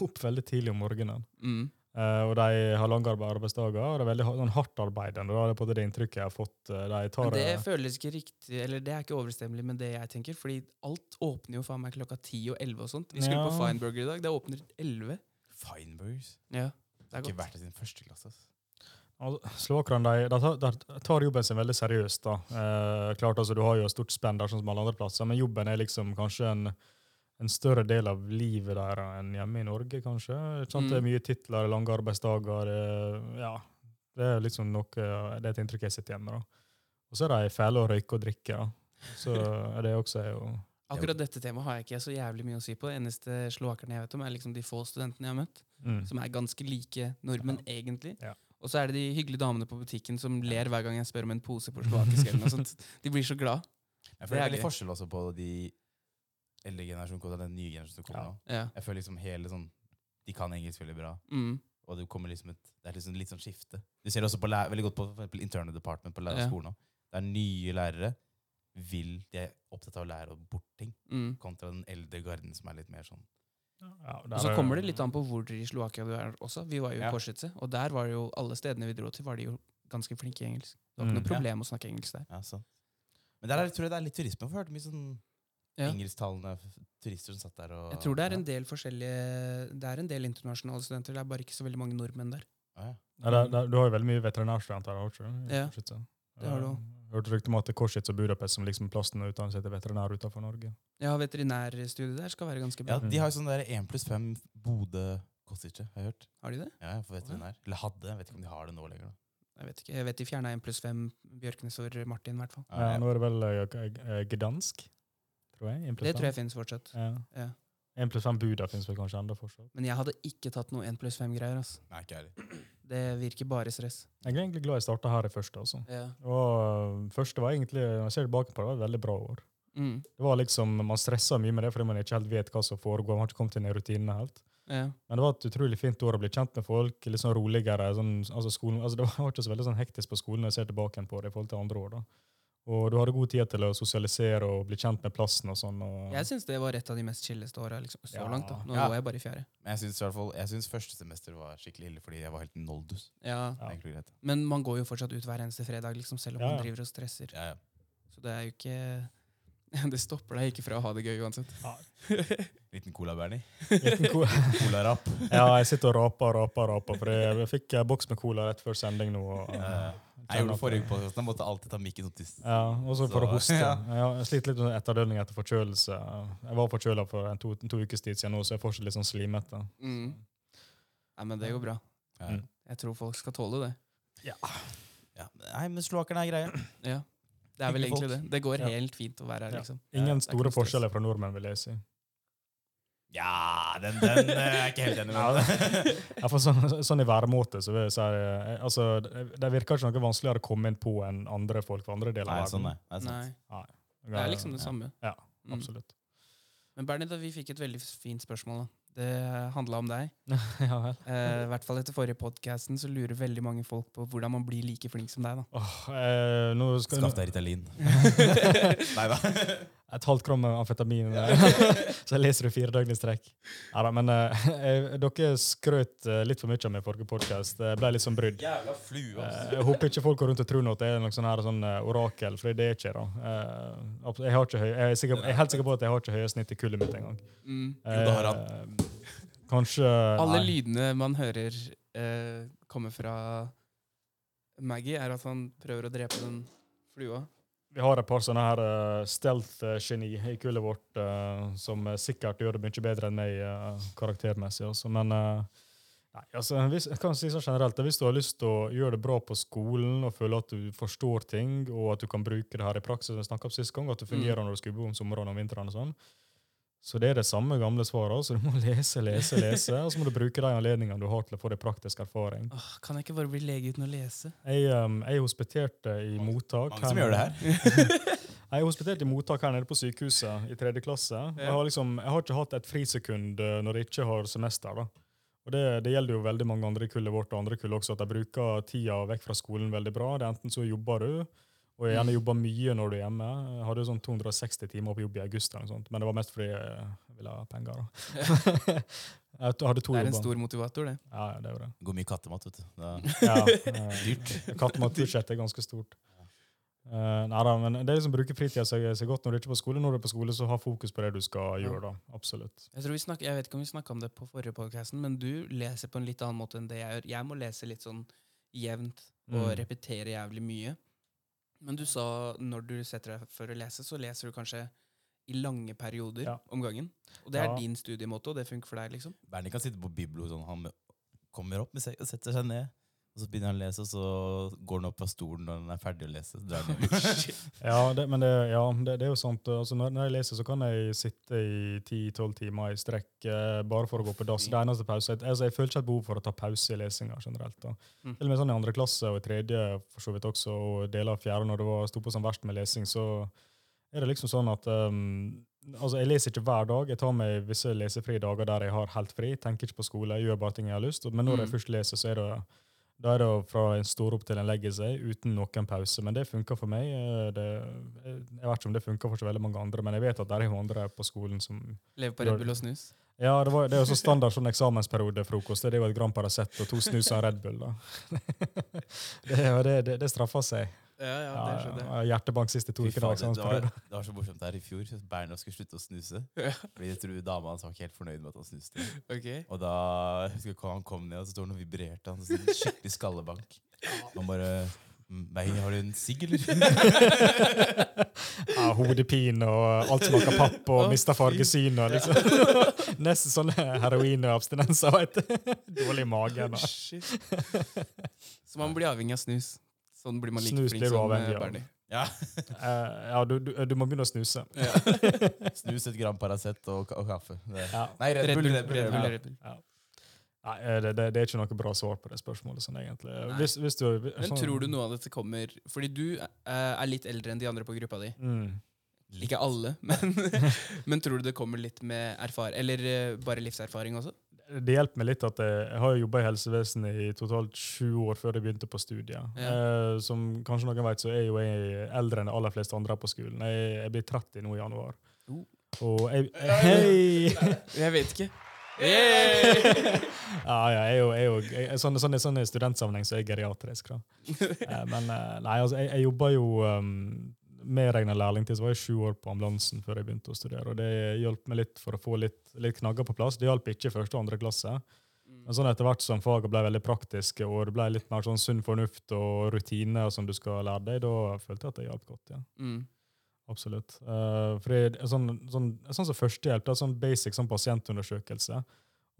Speaker 2: opp veldig tidlig om morgenen.
Speaker 3: mm.
Speaker 2: Eh, og de har lange arbe- arbeidsdager, og det er veldig ha- sånn hardt arbeidende. Da er det på en måte det inntrykket jeg har fått. Eh, De tar
Speaker 3: Men det
Speaker 2: eh,
Speaker 3: føles ikke riktig, eller det er ikke overstemmelig med det jeg tenker, fordi alt åpner jo faen meg klokka 10 og 11 og sånt. Vi skulle på
Speaker 2: Ja.
Speaker 3: Fineburger i dag, det åpner 11.
Speaker 1: Fineburgers.
Speaker 3: Ja, det er
Speaker 1: Ikke
Speaker 3: godt.
Speaker 1: vært i sin første klasse. ass.
Speaker 2: altså, Slovakerne de, de, tar- de tar jobben sin veldig seriøst. da. Eh, klart altså, Du har jo et stort spenn der, sånn som alle andre plasser, men jobben er liksom kanskje en en større del av livet der enn hjemme i Norge, kanskje. Ikke sant? Det er
Speaker 3: Mm.
Speaker 2: mye titler, lange arbeidsdager. det- ja, Det er liksom noe, det er et inntrykk jeg sitter hjemme. da. Og så er de fæle å røyke og drikke. da.
Speaker 3: <laughs>
Speaker 2: Så er det også er jo
Speaker 3: Akkurat dette temaet har jeg ikke så jævlig mye å si på. Det eneste slovakerne jeg vet om, er liksom de få studentene jeg har møtt,
Speaker 2: mm.
Speaker 3: som er ganske like nordmenn, egentlig.
Speaker 2: Ja.
Speaker 3: Og så er det de hyggelige damene på butikken som ler hver gang jeg spør om en pose på slovakisk eller noe sånt. De blir så glad.
Speaker 1: Ja,
Speaker 3: Det
Speaker 1: for det
Speaker 3: er
Speaker 1: er veldig
Speaker 3: gøy.
Speaker 1: forskjell også på de eldre generasjon kontra den nye generasjonen som kommer
Speaker 2: Ja.
Speaker 1: nå.
Speaker 3: Ja.
Speaker 1: Jeg føler liksom hele sånn De kan engelsk veldig bra.
Speaker 3: Mm.
Speaker 1: Og det kommer liksom et Det er liksom litt sånn skifte. Du ser også på læ- veldig godt på for eksempel interne department på lærerskolen òg. Det er nye lærere. Vil de er opptatt av å lære bort ting,
Speaker 3: Mm.
Speaker 1: kontra den eldre garden som er litt mer sånn
Speaker 2: Ja,
Speaker 3: Og så kommer det litt an på hvor i Slovakia du er også. Vi var jo i
Speaker 1: Ja.
Speaker 3: Košice, og der var det jo alle stedene vi dro til, var de jo ganske flinke i engelsk. Det var ikke
Speaker 2: Mm.
Speaker 3: noe problem å snakke engelsk der.
Speaker 1: Ja, sant. Men der er, tror jeg det er litt turisme. For jeg hørte mye sånn
Speaker 3: Ja.
Speaker 1: engelsktalende f- turister som satt der og
Speaker 3: Jeg tror det er en
Speaker 1: ja.
Speaker 3: del forskjellige Det er en del internasjonale studenter, det er bare ikke så veldig mange nordmenn der.
Speaker 1: Ja, ja.
Speaker 2: Ja, der, der, du har jo veldig mye veterinærstudenter der, har du ikke?
Speaker 3: Ja,
Speaker 2: Korsitsa.
Speaker 3: det har du også.
Speaker 2: Jeg Eh, Hørte rykte om at det er Korsitz og Budapest som liksom plassen å utdanne seg til veterinær utenfor Norge.
Speaker 3: Ja, veterinærstudiet der skal være ganske
Speaker 1: ja,
Speaker 3: bra.
Speaker 1: de har jo sånn der 1 pluss 5 Bodø-Kostica, har jeg hørt.
Speaker 3: Har de det?
Speaker 1: Ja, ja, for veterinær. Eller hadde. Jeg vet ikke om de har det nå lenger. Da.
Speaker 3: Jeg vet ikke. Jeg vet de fjerna 1 pluss 5 Bjørknes og Martin, i hvert fall.
Speaker 2: Ja, nå er det vel eh, g- eh, Gdansk, tror jeg.
Speaker 3: Det tror jeg finnes fortsatt.
Speaker 2: Ja.
Speaker 3: Ja.
Speaker 2: En pluss fem Buda finnes vel kanskje enda fortsatt.
Speaker 3: Men jeg hadde ikke tatt noe 1 pluss 5-greier. Altså.
Speaker 1: Nei, ikke heller.
Speaker 3: Det virker bare stress.
Speaker 2: Jeg er egentlig glad jeg startet her i første, altså.
Speaker 3: Ja.
Speaker 2: Og eh, første var egentlig, når jeg ser tilbake på det, var et veldig bra år.
Speaker 3: Mm.
Speaker 2: Det var liksom, Man stressa mye med det fordi man ikke helt vet hva som foregår. Man har ikke kommet inn i rutinene helt.
Speaker 3: Ja.
Speaker 2: Men det var et utrolig fint år å bli kjent med folk, litt sånn roligere. Sånn, altså skolen, altså det var <laughs> ikke så veldig sånn hektisk på skolen når jeg ser tilbake på det i forhold til andre år. da. Og du hadde god tid til å sosialisere og bli kjent med plassen og sånn. Og,
Speaker 3: Jeg syns det var et av de mest chilleste åra liksom, så
Speaker 2: Ja.
Speaker 3: langt. da. Nå
Speaker 1: Ja.
Speaker 3: går jeg bare i fjerde.
Speaker 1: Men jeg syns i hvert fall- jeg syns første semester var skikkelig ille, fordi jeg var helt noldus.
Speaker 3: Ja.
Speaker 2: Ja. <laughs>
Speaker 1: Det er egentlig greit.
Speaker 3: Men man går jo fortsatt ut hver eneste fredag, liksom, selv om
Speaker 2: Ja,
Speaker 3: man
Speaker 2: ja.
Speaker 3: driver og stresser.
Speaker 1: Ja, ja.
Speaker 3: Så det er jo ikke <laughs> Det stopper deg ikke fra å ha det gøy uansett.
Speaker 1: Liten cola, Bernie.
Speaker 2: Liten ko-
Speaker 1: Colarapp.
Speaker 2: <laughs> ja, jeg sitter og raper raper, raper. For jeg, jeg fikk en boks med cola rett før sending nå. Og,
Speaker 1: Ja. Jeg gjorde det forrige podcast, da måtte jeg alltid ta mikken opp til s-
Speaker 2: Ja, også for å
Speaker 1: Så,
Speaker 2: hoste.
Speaker 1: ja.
Speaker 2: Ja, jeg sliter litt med etterdønning etter forkjølelse. Jeg var forkjøla for en to, to ukes tid siden, nå, så jeg er fortsatt litt sånn slimete.
Speaker 3: Mm. Nei, men det går bra.
Speaker 1: Ja.
Speaker 2: Mm.
Speaker 3: Jeg tror folk skal tåle det.
Speaker 1: Ja. Nei, men slovakerne er greie.
Speaker 3: Ja. Det er vel
Speaker 1: Hyggelige
Speaker 3: egentlig det. Det går
Speaker 2: Ja.
Speaker 3: helt fint å være her,
Speaker 2: Ja.
Speaker 3: liksom.
Speaker 1: Ja,
Speaker 2: Ingen
Speaker 3: det er ikke noe
Speaker 2: store
Speaker 3: stress.
Speaker 2: forskjeller fra nordmenn, vil jeg si.
Speaker 1: Ja, den, den eh, er jeg ikke helt
Speaker 3: <laughs>
Speaker 1: enig med.
Speaker 2: Ja, for sånn, sånn i væremåte så vil jeg si eh, altså, det, det virker ikke noe vanskeligere å komme inn på enn andre folk fra andre deler
Speaker 1: Nei,
Speaker 2: av
Speaker 1: sånn, nei. Det er
Speaker 2: verden.
Speaker 1: sant. <laughs>
Speaker 3: Nei, det er liksom det
Speaker 1: Ja.
Speaker 3: samme.
Speaker 2: Ja,
Speaker 3: Mm. <laughs>
Speaker 2: absolutt.
Speaker 3: Men Bernie, da, vi fikk et veldig fint spørsmål. da. Det handla om deg.
Speaker 2: ja vel.
Speaker 3: Eh, I hvert fall etter forrige podcasten så lurer veldig mange folk på hvordan man blir like flink som deg. da.
Speaker 2: Åh, eh, nå skal
Speaker 1: Skaff deg
Speaker 2: <laughs>
Speaker 1: Ritalin. Nei da.
Speaker 2: Et halvt kram med amfetamin, eh, <laughs> så jeg leser du fire døgn i strekk. Ja, da, men eh, <laughs> eh, dere skrøt eh, litt for mye av meg i forrige podkast. Jeg ble litt sånn brydd.
Speaker 1: Jævla flue,
Speaker 2: Eh, Jeg håper ikke folk går rundt og tror nå at det er noe sånn her sånn eh, orakel, for det er ikke det. Eh, abs- Jeg, har ikke høy, jeg, er sikker, jeg er helt sikker på at jeg har ikke høye snitt i kullet mitt engang.
Speaker 3: Mm.
Speaker 1: Jo, det har han.
Speaker 2: Eh, Kanskje
Speaker 3: Alle
Speaker 2: nei.
Speaker 3: lydene man hører eh, komme fra Maggie, er at han prøver å drepe den flua.
Speaker 2: Vi har et par sånne her eh, stealth-geni i kullet vårt, eh, som sikkert gjør det mye bedre enn meg eh, karaktermessig. Også. Men eh, nei, altså, hvis, jeg kan si sånn generelt, at hvis du har lyst til å gjøre det bra på skolen og føle at du forstår ting, og at du kan bruke det her i praksis, som jeg snakket om sist gang, at det fungerer når du skubber om sommeren og vinteren og sånn, så det er det samme gamle svaret. Så du må <laughs> lese, lese, lese, og så må du bruke de anledningene du har til å få deg praktisk erfaring.
Speaker 3: Åh, kan jeg ikke bare bli lege uten å lese?
Speaker 2: Jeg, um, jeg hospiterte i
Speaker 1: Mange-
Speaker 2: mottak.
Speaker 1: Mange som gjør det her.
Speaker 2: Jeg hospiterte i mottak her nede på sykehuset i tredje klasse. Jeg har, liksom, jeg har ikke hatt et frisekund eh, når jeg ikke har semester. da. Og det, det gjelder jo veldig mange andre i kullet vårt og andre kull også, at de bruker tida vekk fra skolen veldig bra. Det er Enten så jobber du, og jeg gjerne jobber mye når du er hjemme. Jeg hadde jo sånn 260 timer på jobb i august, eller noe sånt, men det var mest fordi jeg ville ha penger. da. <laughs> jeg t- hadde to
Speaker 3: Det er en
Speaker 2: jobber.
Speaker 3: stor motivator, det.
Speaker 2: Ja, ja, det er jo det.
Speaker 1: Det går mye kattemat, vet du. Da,
Speaker 3: <laughs>
Speaker 2: Ja, eh,
Speaker 1: dyrt.
Speaker 2: Kattematbudsjettet er ganske stort. Eh, nei da, men det er liksom å bruke fritida seg, seg godt når du ikke er på skole. Når du er på skole, så ha fokus på det du skal
Speaker 3: Ja.
Speaker 2: gjøre, da. Absolutt.
Speaker 3: Jeg, tror vi snak- jeg vet ikke om vi snakka om det på forrige podkast, men du leser på en litt annen måte enn det jeg gjør. Jeg må lese litt sånn jevnt og
Speaker 2: Mm.
Speaker 3: repetere jævlig mye. Men du sa når du setter deg for å lese, så leser du kanskje i lange perioder
Speaker 2: Ja.
Speaker 3: om gangen. Og det er
Speaker 2: Ja.
Speaker 3: din studiemåte, og det funker for deg,
Speaker 2: <laughs>
Speaker 3: liksom.
Speaker 1: Bernie kan sitte på biblo sånn. Han kommer opp med seg, og setter seg ned. Og så begynner han å lese, og så går han opp av stolen når han er ferdig å lese. så Drar han
Speaker 3: <laughs>
Speaker 1: hjem.
Speaker 2: Ja, det, men det, ja, det, det er jo sant. Altså, når, når jeg leser, så kan jeg sitte i 10-12 timer i strekk eh, bare for å gå på dass. Det er eneste pause. Jeg, altså, jeg føler ikke et behov for å ta pause i lesinga generelt. da.
Speaker 3: Mm.
Speaker 2: Til og med sånn i andre klasse og i tredje for så vidt også, og deler av fjerde, når det var, sto på som verst med lesing, så er det liksom sånn at um, Altså, Jeg leser ikke hver dag. Jeg tar meg visse lesefrie dager der jeg har helt fri. Tenker ikke på skole, jeg gjør bare ting jeg har lyst. Men når jeg
Speaker 3: Mm.
Speaker 2: først leser, så er det, da er det fra en står opp til en legger seg uten noen pause. Men det funker for meg. Eh, Det, jeg jeg vet ikke om det funker for så veldig mange andre, men jeg vet at det er jo andre på skolen som
Speaker 3: Lever på
Speaker 2: Gjør
Speaker 3: Red
Speaker 2: det.
Speaker 3: Bull og snus.
Speaker 2: Ja, det, var, det er jo så standard sånn eksamensperiodefrokost. Det er jo et gram Paracet og to snus og en Red Bull, da. <laughs> det, er jo- det, det, det straffer seg.
Speaker 3: Ja, ja,
Speaker 2: Ja,
Speaker 3: det skjønner jeg.
Speaker 2: ja, hjertebank siste to
Speaker 1: Fy
Speaker 2: ukene
Speaker 1: faen,
Speaker 2: av
Speaker 1: det, var,
Speaker 2: eksamensperioden.
Speaker 1: det var så morsomt der i fjor. Berna skulle slutte å snuse.
Speaker 3: Ja.
Speaker 1: Fordi jeg tror dama hans var ikke helt fornøyd med at han snuste.
Speaker 3: Ok.
Speaker 1: Og da jeg husker jeg han kom ned, og så står han og vibrerte. Han sånn skikkelig skallebank. Han bare «Mm, Nei, har du en sigg, eller?
Speaker 2: <laughs> Ja, hodepine og alt smaker papp og
Speaker 3: Å,
Speaker 2: mister
Speaker 3: fy.
Speaker 2: fargesynet. og Liksom. <laughs> Nesten sånne heroinabstinenser, veit du. <laughs> Dårlig i magen. og-
Speaker 3: Shit. Så man blir avhengig av snus. Sånn blir man like
Speaker 2: Snus
Speaker 3: flink
Speaker 2: blir du
Speaker 3: som
Speaker 2: avhengig
Speaker 3: eh,
Speaker 2: av.
Speaker 3: Bernie.
Speaker 1: Ja.
Speaker 2: Eh, ja, du, du, du må begynne å snuse.
Speaker 1: Snus et gram Paracet og, ka- og kaffe. Det.
Speaker 2: Ja.
Speaker 1: Nei, Red Bull. Red Bull, Red
Speaker 3: Red Bull,
Speaker 1: Bull.
Speaker 3: Red Bull.
Speaker 2: Nei, eh, det, det, det er ikke noe bra svar på det spørsmålet, sånn egentlig.
Speaker 3: Nei.
Speaker 2: Hvis, hvis du, sånn-
Speaker 3: Men tror du noe av dette kommer Fordi du eh, er litt eldre enn de andre på gruppa di.
Speaker 2: Mm.
Speaker 3: Ikke alle, <laughs> men, men tror du det kommer litt med erfaring? Eller eh, bare livserfaring også?
Speaker 2: Det hjelper meg litt at jeg, jeg har jobba i helsevesenet i totalt sju år før jeg begynte på studiet. Eh, som kanskje noen vet, så er jo jeg eldre enn de aller fleste andre her på skolen. Jeg, jeg blir 30 nå i januar.
Speaker 3: Oh.
Speaker 2: Og jeg, hei!
Speaker 3: Jeg vet ikke. <laughs> Hey!
Speaker 2: <laughs> ja, ja, jeg er jo, jeg er jo jeg, jeg- sånn, sånn, sånn I studentsammenheng så er jeg geriatrisk, da. Eh, men eh, nei, altså, jeg, jeg jobba jo um, Medregna lærlingtid så var jeg sju år på ambulansen før jeg begynte å studere. og Det hjalp meg litt for å få litt, litt knagger på plass. Det hjalp ikke i første og andre klasse.
Speaker 3: Mm.
Speaker 2: Men sånn etter hvert som faget ble veldig praktiske, og det ble litt mer sånn sunn fornuft og rutiner som du skal lære deg, da følte jeg at det hjalp godt. ja.
Speaker 3: Mm.
Speaker 2: Absolutt. Uh, for det er sånn, sånn, sånn som førstehjelp, det er sånn basic sånn pasientundersøkelse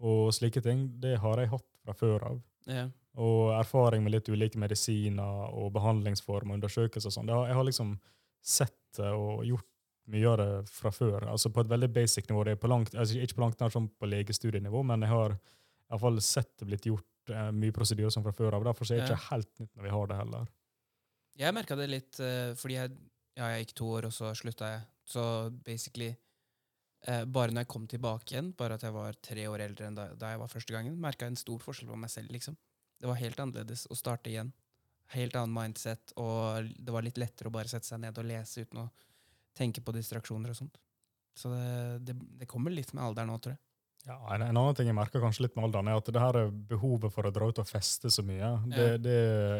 Speaker 2: og slike ting, det har jeg hatt fra før av.
Speaker 3: Ja.
Speaker 2: Og erfaring med litt ulike medisiner og behandlingsform og undersøkelser og sånn. Det har- Jeg har liksom sett det og gjort mye av det fra før. Altså på et veldig basic nivå. Det er på langt, altså ikke på langt nær som på legestudienivå, men jeg har i hvert fall sett det blitt gjort eh, mye prosedyrer som fra før av. Derfor så er det ikke helt nytt når vi har det heller.
Speaker 3: Jeg merka det litt eh, fordi jeg, ja, jeg gikk to år, og så slutta jeg. Så basically eh, Bare når jeg kom tilbake igjen, bare at jeg var tre år eldre enn da, da jeg var første gangen, merka jeg en stor forskjell på meg selv. liksom. Det var helt annerledes å starte igjen. Helt annen mindset, og det var litt lettere å bare sette seg ned og lese uten å tenke på distraksjoner og sånt. Så det, det, det kommer litt med alderen nå, tror jeg.
Speaker 2: Ja, en, en annen ting jeg merker kanskje litt med alderen, er at det her behovet for å dra ut og feste så mye, det,
Speaker 3: Ja.
Speaker 2: det,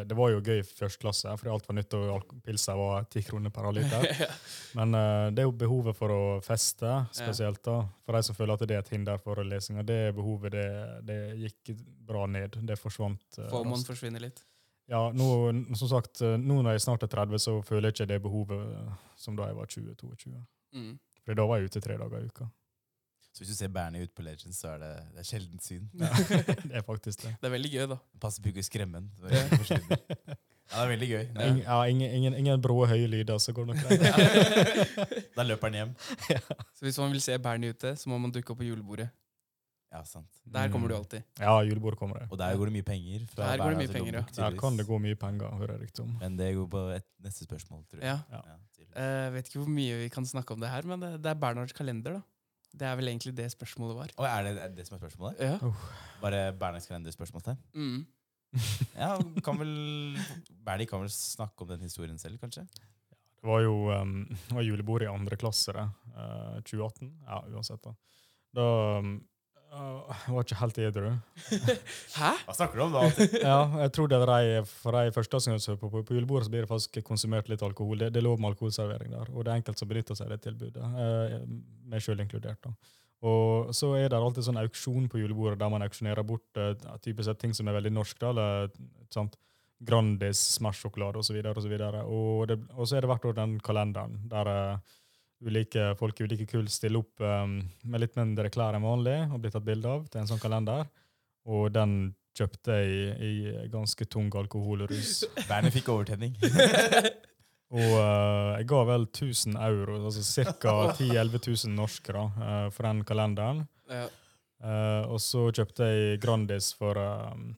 Speaker 2: det var jo gøy i første klasse, fordi alt var nytt, og alk- pilser var ti kroner per liter.
Speaker 3: <laughs>
Speaker 2: Men eh, det er jo behovet for å feste, spesielt da, for de som føler at det er et hinder for lesinga. Det behovet det, det gikk bra ned. Det forsvant. eh,
Speaker 3: FOMOen
Speaker 2: raskt.
Speaker 3: forsvinner litt.
Speaker 2: Ja, nå, som sagt, eh, nå når jeg snart er 30, så føler jeg ikke det behovet eh, som da jeg var 20-22.
Speaker 3: Mm.
Speaker 2: For da var jeg ute tre dager i uka.
Speaker 1: Så hvis du ser Bernie ute på Legends, så er det, det er sjeldent syn.
Speaker 2: det er faktisk det.
Speaker 3: Det er veldig gøy, da.
Speaker 1: Passer på ikke å skremme ham. Ja, det er veldig gøy.
Speaker 2: Ing, ja, <laughs> ingen, ingen, ingen brå, høye lyder, så går det nok
Speaker 1: <laughs>
Speaker 2: greit.
Speaker 3: <laughs>
Speaker 1: Da løper han hjem.
Speaker 3: Så hvis man vil se Bernie ute, så må man dukke opp på julebordet.
Speaker 1: Ja, sant.
Speaker 3: Der kommer du
Speaker 2: Mm.
Speaker 3: alltid.
Speaker 2: Ja, julebordet kommer det.
Speaker 1: Og der går det mye penger. Fra
Speaker 3: Der går det
Speaker 1: Berna
Speaker 3: mye
Speaker 1: til
Speaker 3: penger, ja.
Speaker 1: Lommebok,
Speaker 2: Der kan det
Speaker 1: tydeligvis.
Speaker 2: gå mye penger, hører jeg rykte om.
Speaker 1: Men det går på et neste spørsmål, tror jeg.
Speaker 3: Ja.
Speaker 2: Ja.
Speaker 1: tydeligvis.
Speaker 3: Eh, vet ikke hvor mye vi kan snakke om det her, men eh, det, det er Bernhards kalender, da. Det er vel egentlig det spørsmålet var.
Speaker 1: Å, er, det, er det det som er spørsmålet?
Speaker 3: Ja.
Speaker 1: Bare Berners kalender-spørsmålstegn?
Speaker 3: Mm.
Speaker 1: Ja, kan vel <laughs> Bernie kan vel snakke om den historien selv, kanskje?
Speaker 2: Det var jo um, <laughs> det var julebord i andre klasse, det. Eh, 2018. Ja, uansett, da. Da um, eh, <laughs> jeg var ikke helt edru.
Speaker 3: Hæ?
Speaker 1: Hva snakker du om da?
Speaker 2: <laughs> Ja, jeg tror det er de, for de første som er på, på, på julebordet, så blir det faktisk konsumert litt alkohol. Det, det er lov med alkoholservering der, og det er enkelte som benytter seg av det tilbudet. eh, meg sjøl inkludert. da. Og så er det alltid sånn auksjon på julebordet, der man auksjonerer bort eh, typisk sett ting som er veldig norsk. da, eller sant? Grandis, Smash-sjokolade osv. Og, så videre, og, det- og så er det hvert år den kalenderen der eh, ulike folk i ulike kull stiller opp eh, med litt mindre klær enn vanlig og blir tatt bilde av til en sånn kalender. Og den kjøpte jeg i, i ganske tung alkohol og rus.
Speaker 1: <laughs> Bernie fikk overtenning.
Speaker 2: Og eh, jeg ga vel 1000 euro, altså ca. 10 000-11 000 norske, da, eh, for den kalenderen.
Speaker 3: Ja.
Speaker 2: Eh, og så kjøpte jeg Grandis for eh,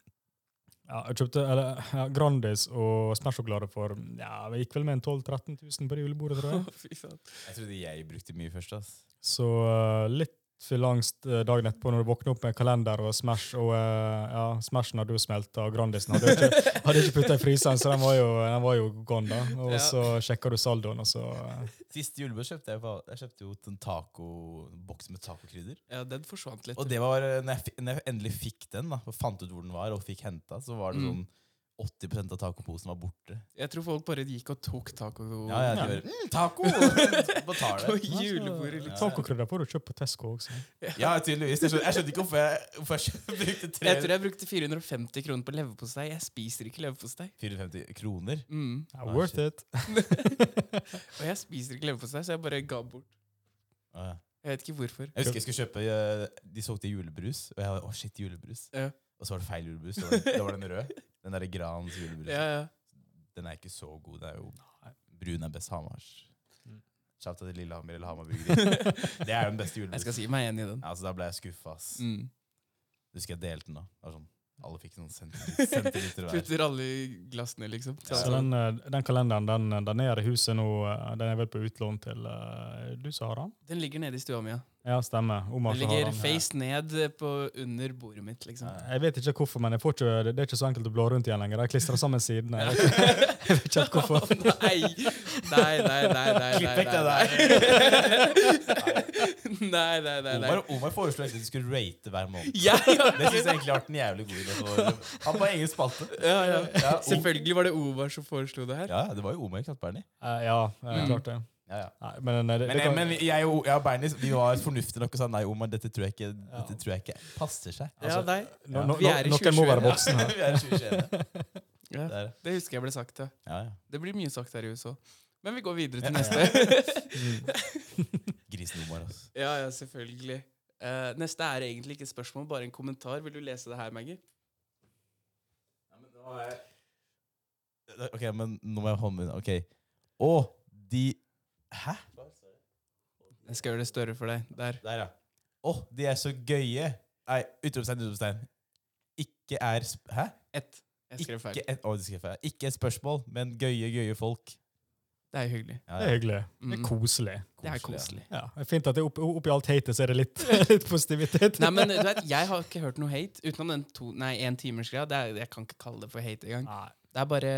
Speaker 2: Ja, jeg kjøpte eller, ja, Grandis og Smash-sjokolade for ja, Jeg gikk vel med en 12 000-13 000 på det julebordet, tror jeg.
Speaker 3: Å, <laughs> Fy faen.
Speaker 1: Jeg trodde jeg brukte mye først. ass.
Speaker 2: Så eh, litt fylleangst eh, dagen etterpå når du våkner opp med kalender og Smash, og eh, ja, Smashen hadde jo smelta, og Grandisen hadde
Speaker 3: <laughs>
Speaker 2: jo ikke, hadde ikke putta i fryseren, så den var jo, den var jo gone, da. Og
Speaker 3: Ja.
Speaker 2: så sjekka du saldoen, og så eh,
Speaker 1: Siste julebord kjøpte jeg, på- jeg kjøpte jo en taco, en boks med tacokrydder.
Speaker 3: Ja, den forsvant litt.
Speaker 1: Og det var, eh, når jeg, fi- når jeg endelig fikk den, da, og fant ut hvor den var, og fikk henta, så var det
Speaker 3: Mm.
Speaker 1: sånn 80 av tacoposen var borte.
Speaker 3: Jeg tror folk bare gikk og tok taco
Speaker 1: Ja, jeg
Speaker 2: Ja.
Speaker 1: bare, mm, <laughs> taco! Betaler.
Speaker 3: <laughs> på <laughs> julebordet.
Speaker 1: Ja.
Speaker 3: liksom.
Speaker 2: Tacokrydder får du kjøpt på Tesco også.
Speaker 1: Ja, tydeligvis. Jeg skjønte, jeg skjønte ikke hvorfor jeg, hvorfor jeg kjøpte- <laughs> brukte
Speaker 3: Jeg tror
Speaker 1: tre-
Speaker 3: jeg brukte 450 kroner på leverpostei. Jeg spiser ikke leverpostei.
Speaker 1: 450 kroner.
Speaker 3: Mm.
Speaker 2: Ja,
Speaker 1: Ah,
Speaker 2: worth
Speaker 1: shit.
Speaker 2: it.
Speaker 3: Og jeg spiser ikke leverpostei, så jeg bare ga bort.
Speaker 1: Ah, ja.
Speaker 3: Jeg vet ikke hvorfor.
Speaker 1: Jeg husker jeg skulle kjøpe eh, De solgte julebrus, og jeg var, å shit, julebrus.
Speaker 3: Ja.
Speaker 1: Og så var det feil julebrus. Da var, det- da var den rød. Den derre Grans julebrus.
Speaker 3: Ja, ja. <laughs>
Speaker 1: Den er ikke så god. Det er jo Brun er best Hamars.
Speaker 2: Mm.
Speaker 1: Shout out til Lillehammer eller Hamar
Speaker 3: <laughs>
Speaker 1: Bryggeri. det er jo den beste
Speaker 3: Jeg skal
Speaker 1: julebrusen.
Speaker 3: si meg enig i den.
Speaker 1: Ja, altså, da ble jeg skuffa. ass.
Speaker 3: Mm.
Speaker 1: Husker jeg delte den da. Det var sånn, alle fikk sånn
Speaker 3: <laughs>
Speaker 1: centiliter, centiliter hver.
Speaker 3: Putter alle i glassene, liksom.
Speaker 1: Ja.
Speaker 2: Så den, eh, den kalenderen den, den er i huset nå. eh, Den er vel på utlån til eh, du som har den?
Speaker 3: Den ligger nede i stua mi, ja.
Speaker 2: Ja, stemmer. Omar
Speaker 3: Den
Speaker 2: som har
Speaker 3: ligger
Speaker 2: den.
Speaker 3: face ned på under bordet mitt, liksom.
Speaker 1: Ja.
Speaker 2: Eh, Jeg vet ikke hvorfor, men jeg får ikke, det er ikke så enkelt å bla rundt igjen lenger. Jeg klistrer sammen sidene. Jeg vet
Speaker 3: <laughs>
Speaker 2: ikke, <laughs> jeg vet ikke helt hvorfor.
Speaker 3: nei. Nei, nei, nei, nei.
Speaker 1: Klipp vekk det
Speaker 3: der. Nei, <laughs> nei, nei. nei.
Speaker 1: Omar, Omar foreslo egentlig at du skulle rate hver måned.
Speaker 3: Jeg har
Speaker 1: <laughs> Det syns jeg egentlig har vært en jævlig god idé. for- Han på egen spalte.
Speaker 3: ja, ja.
Speaker 1: Ja, Om-
Speaker 3: Selvfølgelig var det Omar som foreslo det her.
Speaker 1: Ja, det var jo Omar, ikke sant, Bernie?
Speaker 2: <laughs> Eh, Ja, eh,
Speaker 3: Mm.
Speaker 2: klart det.
Speaker 1: Ja, ja.
Speaker 2: Nei, men, eh, det,
Speaker 1: Men,
Speaker 2: det kan,
Speaker 1: men jeg og jeg og Bernie vi var fornuftige nok og sa nei, Omar, dette tror jeg ikke, dette tror jeg ikke passer seg.
Speaker 3: Ja,
Speaker 1: Altså,
Speaker 3: nei.
Speaker 2: no, no,
Speaker 3: vi er i
Speaker 2: noen
Speaker 3: 2021,
Speaker 2: må være voksen her.
Speaker 1: <laughs> vi er 2021.
Speaker 3: <laughs> Ja,
Speaker 1: Det er det.
Speaker 3: det husker jeg ble sagt, ja.
Speaker 1: Ja,
Speaker 3: <laughs>
Speaker 1: ja.
Speaker 3: Det blir mye sagt her i USA. Men vi går videre til neste.
Speaker 1: <laughs>
Speaker 3: <laughs>
Speaker 1: Grisen Omar, altså.
Speaker 3: Ja, ja, selvfølgelig. Eh, neste er egentlig ikke et spørsmål, bare en kommentar. Vil du lese det her, Maggie?
Speaker 1: Eh, Ok, men nå må jeg holde munnen. Ok. Å, de Hæ?
Speaker 3: Jeg skal gjøre det større for deg. Der.
Speaker 1: Der, ja. Å, de er så gøye. Nei, utropstegn, utropstegn. Ikke er sp Hæ?
Speaker 3: Ett. Jeg skrev feil.
Speaker 1: Ikke et, å, det skrev jeg feil. ikke et spørsmål, men gøye, gøye folk.
Speaker 3: Det er hyggelig.
Speaker 1: Ja,
Speaker 2: <laughs> Det er hyggelig. Det er
Speaker 3: Mm.
Speaker 2: koselig.
Speaker 3: Det er
Speaker 1: Koselig, ja.
Speaker 3: koselig.
Speaker 2: Ja, det er Fint at det opp, oppi alt hatet så er det litt, <laughs> litt positivitet.
Speaker 3: <laughs> Nei, men eh, du vet, Jeg har ikke hørt noe hate utenom den to, nei, en timers greia. Det er, jeg kan ikke kalle det for hate engang.
Speaker 2: <laughs> Nei,
Speaker 3: Det er bare,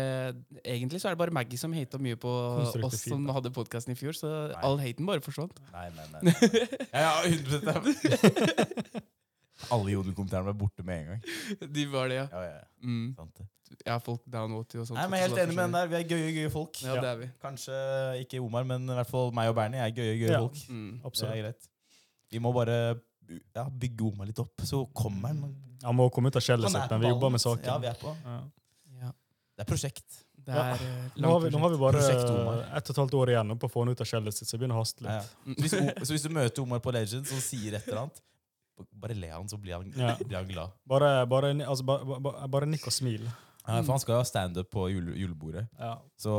Speaker 3: egentlig så er det bare Maggie som hata mye på
Speaker 2: Konstruktiv
Speaker 3: oss som hadde podkasten i fjor, så
Speaker 1: Nei.
Speaker 3: all haten bare
Speaker 1: <laughs>
Speaker 3: forsvant.
Speaker 1: Nei, nei,
Speaker 3: <laughs>
Speaker 1: nei. nei. Ja, ja, 100 av- Alle jodelkommentarene var borte med en gang.
Speaker 3: De var det, ja.
Speaker 1: Ja, ja, ja.
Speaker 3: Mm.
Speaker 1: Sant det.
Speaker 3: Ja, folk downvote og sånt.
Speaker 1: Nei, men jeg er helt enig med den der. Vi er gøye, gøye folk.
Speaker 3: Ja, det er vi.
Speaker 1: Kanskje ikke Omar, men i hvert fall meg og Bernie er gøye, gøye
Speaker 2: Ja.
Speaker 1: folk.
Speaker 3: Mm.
Speaker 1: Det
Speaker 2: absolutt.
Speaker 1: er greit. Vi må bare ja, bygge Omar litt opp, så kommer han.
Speaker 2: Han må komme ut av skjellet
Speaker 1: Han er
Speaker 2: sitt,
Speaker 1: på
Speaker 2: men vi jobber
Speaker 1: ballen.
Speaker 2: med saken.
Speaker 1: Ja, vi er på.
Speaker 2: Ja.
Speaker 3: Ja,
Speaker 1: Det er prosjekt.
Speaker 3: det
Speaker 2: Ja.
Speaker 3: er eh,
Speaker 2: Nå har, vi, nå har vi bare
Speaker 1: Prosjekt Omar.
Speaker 2: eh, ett og et halvt år igjen nå på å få han ut av skjellet sitt, så jeg begynner å haste
Speaker 1: Ja, ja.
Speaker 2: litt.
Speaker 1: Så, hvis, O- så hvis du møter Omar på Legends og sier et eller annet, bare le han, så blir han,
Speaker 2: Ja.
Speaker 1: blir han glad.
Speaker 2: Bare, bare, ni- altså, ba, ba, ba- bare nikk og smil.
Speaker 1: Ja, for han skal jo ha standup på jule, julebordet,
Speaker 2: Ja.
Speaker 1: så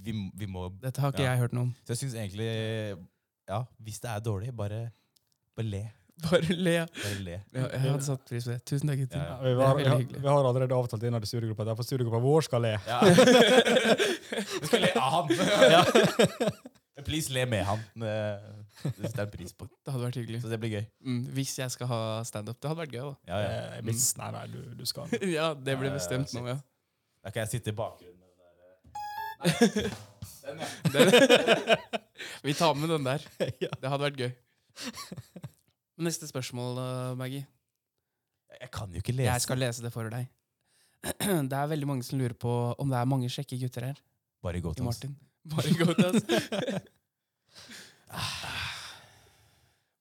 Speaker 1: vi, m- vi må
Speaker 3: Dette har ikke
Speaker 1: Ja.
Speaker 3: jeg hørt noe om. <laughs>
Speaker 1: Så jeg syns egentlig Ja, hvis det er dårlig, bare, bare le.
Speaker 3: Bare le.
Speaker 1: Bare le.
Speaker 3: Ja, jeg hadde satt pris på det. Tusen takk, gutter.
Speaker 1: Ja, ja.
Speaker 2: Vi,
Speaker 3: Det er
Speaker 2: har,
Speaker 3: veldig
Speaker 2: vi, har,
Speaker 3: hyggelig.
Speaker 2: vi har allerede avtalt innad i studiegruppa at derfor studiegruppa vår skal le.
Speaker 1: Ja. <laughs> Du skal le av han. Men <laughs> Please, le med han. Det setter jeg pris på.
Speaker 3: Det hadde vært hyggelig.
Speaker 1: Så det blir gøy.
Speaker 3: Mm, hvis jeg skal ha standup. Det hadde vært gøy, da.
Speaker 1: Ja, Mm. ja.
Speaker 2: Eh, Hvis, nei, nei, du, du
Speaker 1: <laughs>
Speaker 2: skal.
Speaker 3: Ja, det ble
Speaker 1: Ja, ja,
Speaker 3: bestemt nå, ja.
Speaker 1: Da kan jeg sitte i bakgrunnen. eh,
Speaker 3: <laughs> Vi tar med den
Speaker 4: <laughs>
Speaker 3: der.
Speaker 2: Ja.
Speaker 3: Det hadde vært gøy. Neste spørsmål, eh, Maggie.
Speaker 1: Jeg kan jo ikke lese.
Speaker 3: Jeg skal lese det for deg. <clears throat> Det er veldig mange som lurer på om det er mange kjekke gutter her.
Speaker 1: Bare gå
Speaker 3: I
Speaker 1: til oss.
Speaker 3: Martin. Bare gå til oss. <laughs>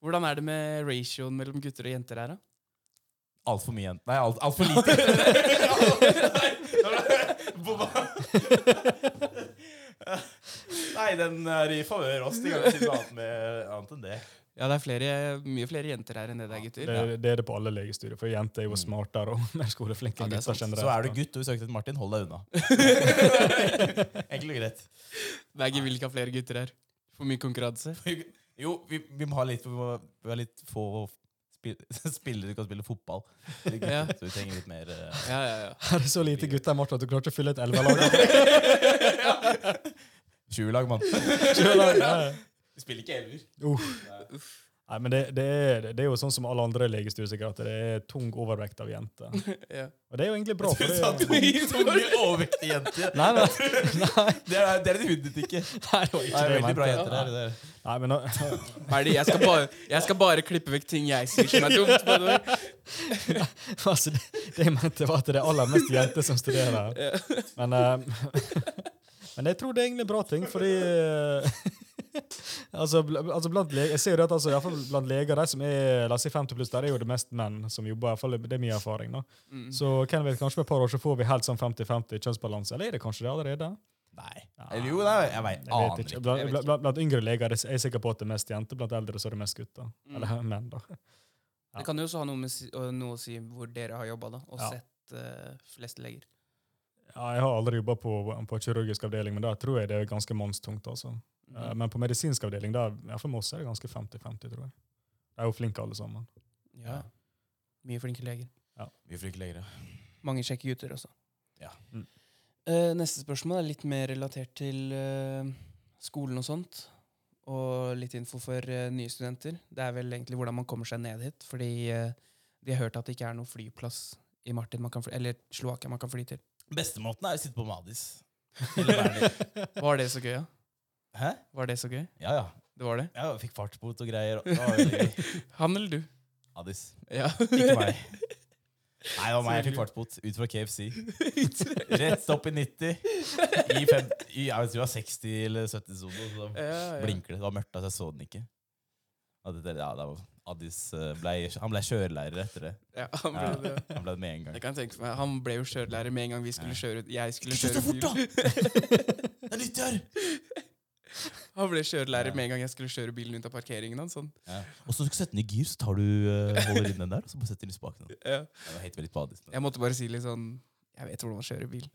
Speaker 3: Hvordan er det med ratioen mellom gutter og jenter her, da?
Speaker 1: Altfor mye igjen. Nei, altfor alt for
Speaker 3: <laughs>
Speaker 1: lite. Bomma. Nei, den er i favør oss. De kan ikke si noe annet, med, annet enn det.
Speaker 3: Ja, det er flere, mye flere jenter her enn det det er gutter.
Speaker 2: Det, det er det på alle legestudier, for jenter er jo smartere og <laughs> mer skoleflinke
Speaker 3: Ja,
Speaker 2: enn
Speaker 3: det er
Speaker 2: gutter
Speaker 3: sant.
Speaker 1: Så Mm. er du
Speaker 2: generelt.
Speaker 1: gutt og du søker til Martin, hold
Speaker 3: <laughs>
Speaker 1: deg unna. Enkelt og greit.
Speaker 3: Maggie vil ikke ha flere gutter her. For mye konkurranse.
Speaker 1: Jo, vi, vi må ha litt, vi må, vi har litt få spi- <laughs> spillere du kan spille fotball.
Speaker 4: Ja.
Speaker 1: Så vi trenger litt mer eh,
Speaker 4: Ja, ja, ja.
Speaker 2: Her er så lite gutter Martin, at du klarer ikke å fylle et
Speaker 1: <laughs>
Speaker 2: elverlag.
Speaker 1: 20-lag,
Speaker 3: <laughs>
Speaker 1: mann.
Speaker 2: Selv, ja.
Speaker 1: Vi spiller ikke elver.
Speaker 2: Nei, men det, det, er, det er jo sånn som alle andre legestuer, sikkert, at det er tung overvekt av jenter.
Speaker 4: <laughs> ja.
Speaker 2: Og det er jo egentlig bra.
Speaker 1: <laughs> Du
Speaker 2: for
Speaker 1: sa
Speaker 2: det,
Speaker 1: tunge, tunge overvektige jenter.
Speaker 2: nei, nei,
Speaker 1: Det er det er en hundetykke.
Speaker 2: <laughs> nei, det var
Speaker 1: Det
Speaker 2: ikke
Speaker 1: er
Speaker 2: det jeg
Speaker 1: veldig bra
Speaker 2: mente.
Speaker 1: jenter der. det er-
Speaker 2: Nei, men nå-
Speaker 4: Hva er det? Jeg skal, bare, jeg skal bare klippe vekk ting jeg sier som er dumt. by the way.
Speaker 2: <laughs> altså, det, det jeg mente, var at det er aller mest jenter som studerer.
Speaker 1: <laughs>
Speaker 2: Men, eh, <laughs> men jeg tror det er egentlig en bra ting, fordi eh, <laughs> altså, bl altså blant le- Jeg ser jo det at altså, i hvert fall blant leger, de som er la oss si 50 pluss, der er jo det mest menn som jobber. i hvert fall Det er min erfaring. da.
Speaker 1: Mhm.
Speaker 4: Mm.
Speaker 2: Så hvem vet, kanskje med et par år så får vi helt sånn 50-50 kjønnsbalanse. Eller er det kanskje det allerede?
Speaker 1: Nei. Eller Eh, jo, nei, jeg vet,
Speaker 2: Jeg
Speaker 1: aner
Speaker 2: vet ikke.
Speaker 1: ikke.
Speaker 2: Blant,
Speaker 4: jeg vet
Speaker 2: blant, blant, yngre leger er jeg sikker på at det er mest jenter, blant eldre så er det mest gutter.
Speaker 4: Mm.
Speaker 2: Eller menn, da. Ja.
Speaker 3: Det kan jo også ha noe, med, si- å- noe å si hvor dere har jobba, da, og
Speaker 2: Ja.
Speaker 3: sett eh, flest leger.
Speaker 2: Ja, jeg har aldri jobba på, på kirurgisk avdeling, men der tror jeg det er ganske mannstungt. altså.
Speaker 1: Mm.
Speaker 2: Eh, Men på medisinsk avdeling der, i hvert fall med oss, er det ganske 50-50, tror jeg. De er jo flinke alle sammen.
Speaker 3: Mm. Ja. Mye flinke leger.
Speaker 1: Vi fryker lenger, ja.
Speaker 3: Mange kjekke gutter også.
Speaker 1: Ja.
Speaker 2: Mm.
Speaker 3: Eh, neste spørsmål er litt mer relatert til eh, skolen og sånt. Og litt info for eh, nye studenter. Det er vel egentlig hvordan man kommer seg ned hit. Fordi eh, de har hørt at det ikke er noen flyplass i Martin man kan fly, eller Slovakia man kan fly til.
Speaker 1: Bestemåten er å sitte på Madis. Eller
Speaker 2: <laughs>
Speaker 1: Berner.
Speaker 3: Var det så gøy, ja?
Speaker 1: Hæ?
Speaker 3: Var det så gøy?
Speaker 1: Ja, ja.
Speaker 3: Det var det?
Speaker 1: Jeg fikk fartsbot og greier. og- Det var veldig gøy.
Speaker 3: <laughs> Han eller du?
Speaker 1: Addis.
Speaker 4: Ja.
Speaker 1: <laughs> Ikke meg. Nei, det var meg jeg fikk fartsbot ut fra KFC. Rett opp i 90. I, fem, i jeg vet ikke, det var 60 eller 70 solo, så da
Speaker 4: Ja, ja.
Speaker 1: blinker det. Det var mørkt, altså jeg så den ikke. Ja, det, det- ja, det var, Addis eh, ble, han ble kjørelærer etter det.
Speaker 4: Ja, han ble
Speaker 1: Ja.
Speaker 4: det.
Speaker 1: Han ble det med en gang.
Speaker 4: Jeg kan tenke meg, Han ble jo kjørelærer med en gang vi skulle kjøre ut. Jeg skulle
Speaker 1: Ikke
Speaker 4: kjøre
Speaker 1: så fort,
Speaker 3: <laughs>
Speaker 1: da!
Speaker 4: bil.
Speaker 1: Det er nytt her!
Speaker 4: Han ble
Speaker 1: Ja.
Speaker 4: kjørelærer med en gang jeg skulle kjøre bilen ut av parkeringen hans. Sånn.
Speaker 1: Ja. Og så setter den i gir, så tar du eh, holder inn den der, og så bare setter du i spaken. Jeg
Speaker 4: Ja.
Speaker 1: var helt veldig på Addis. nå.
Speaker 4: Jeg måtte bare si litt sånn Jeg vet hvordan man kjører bil.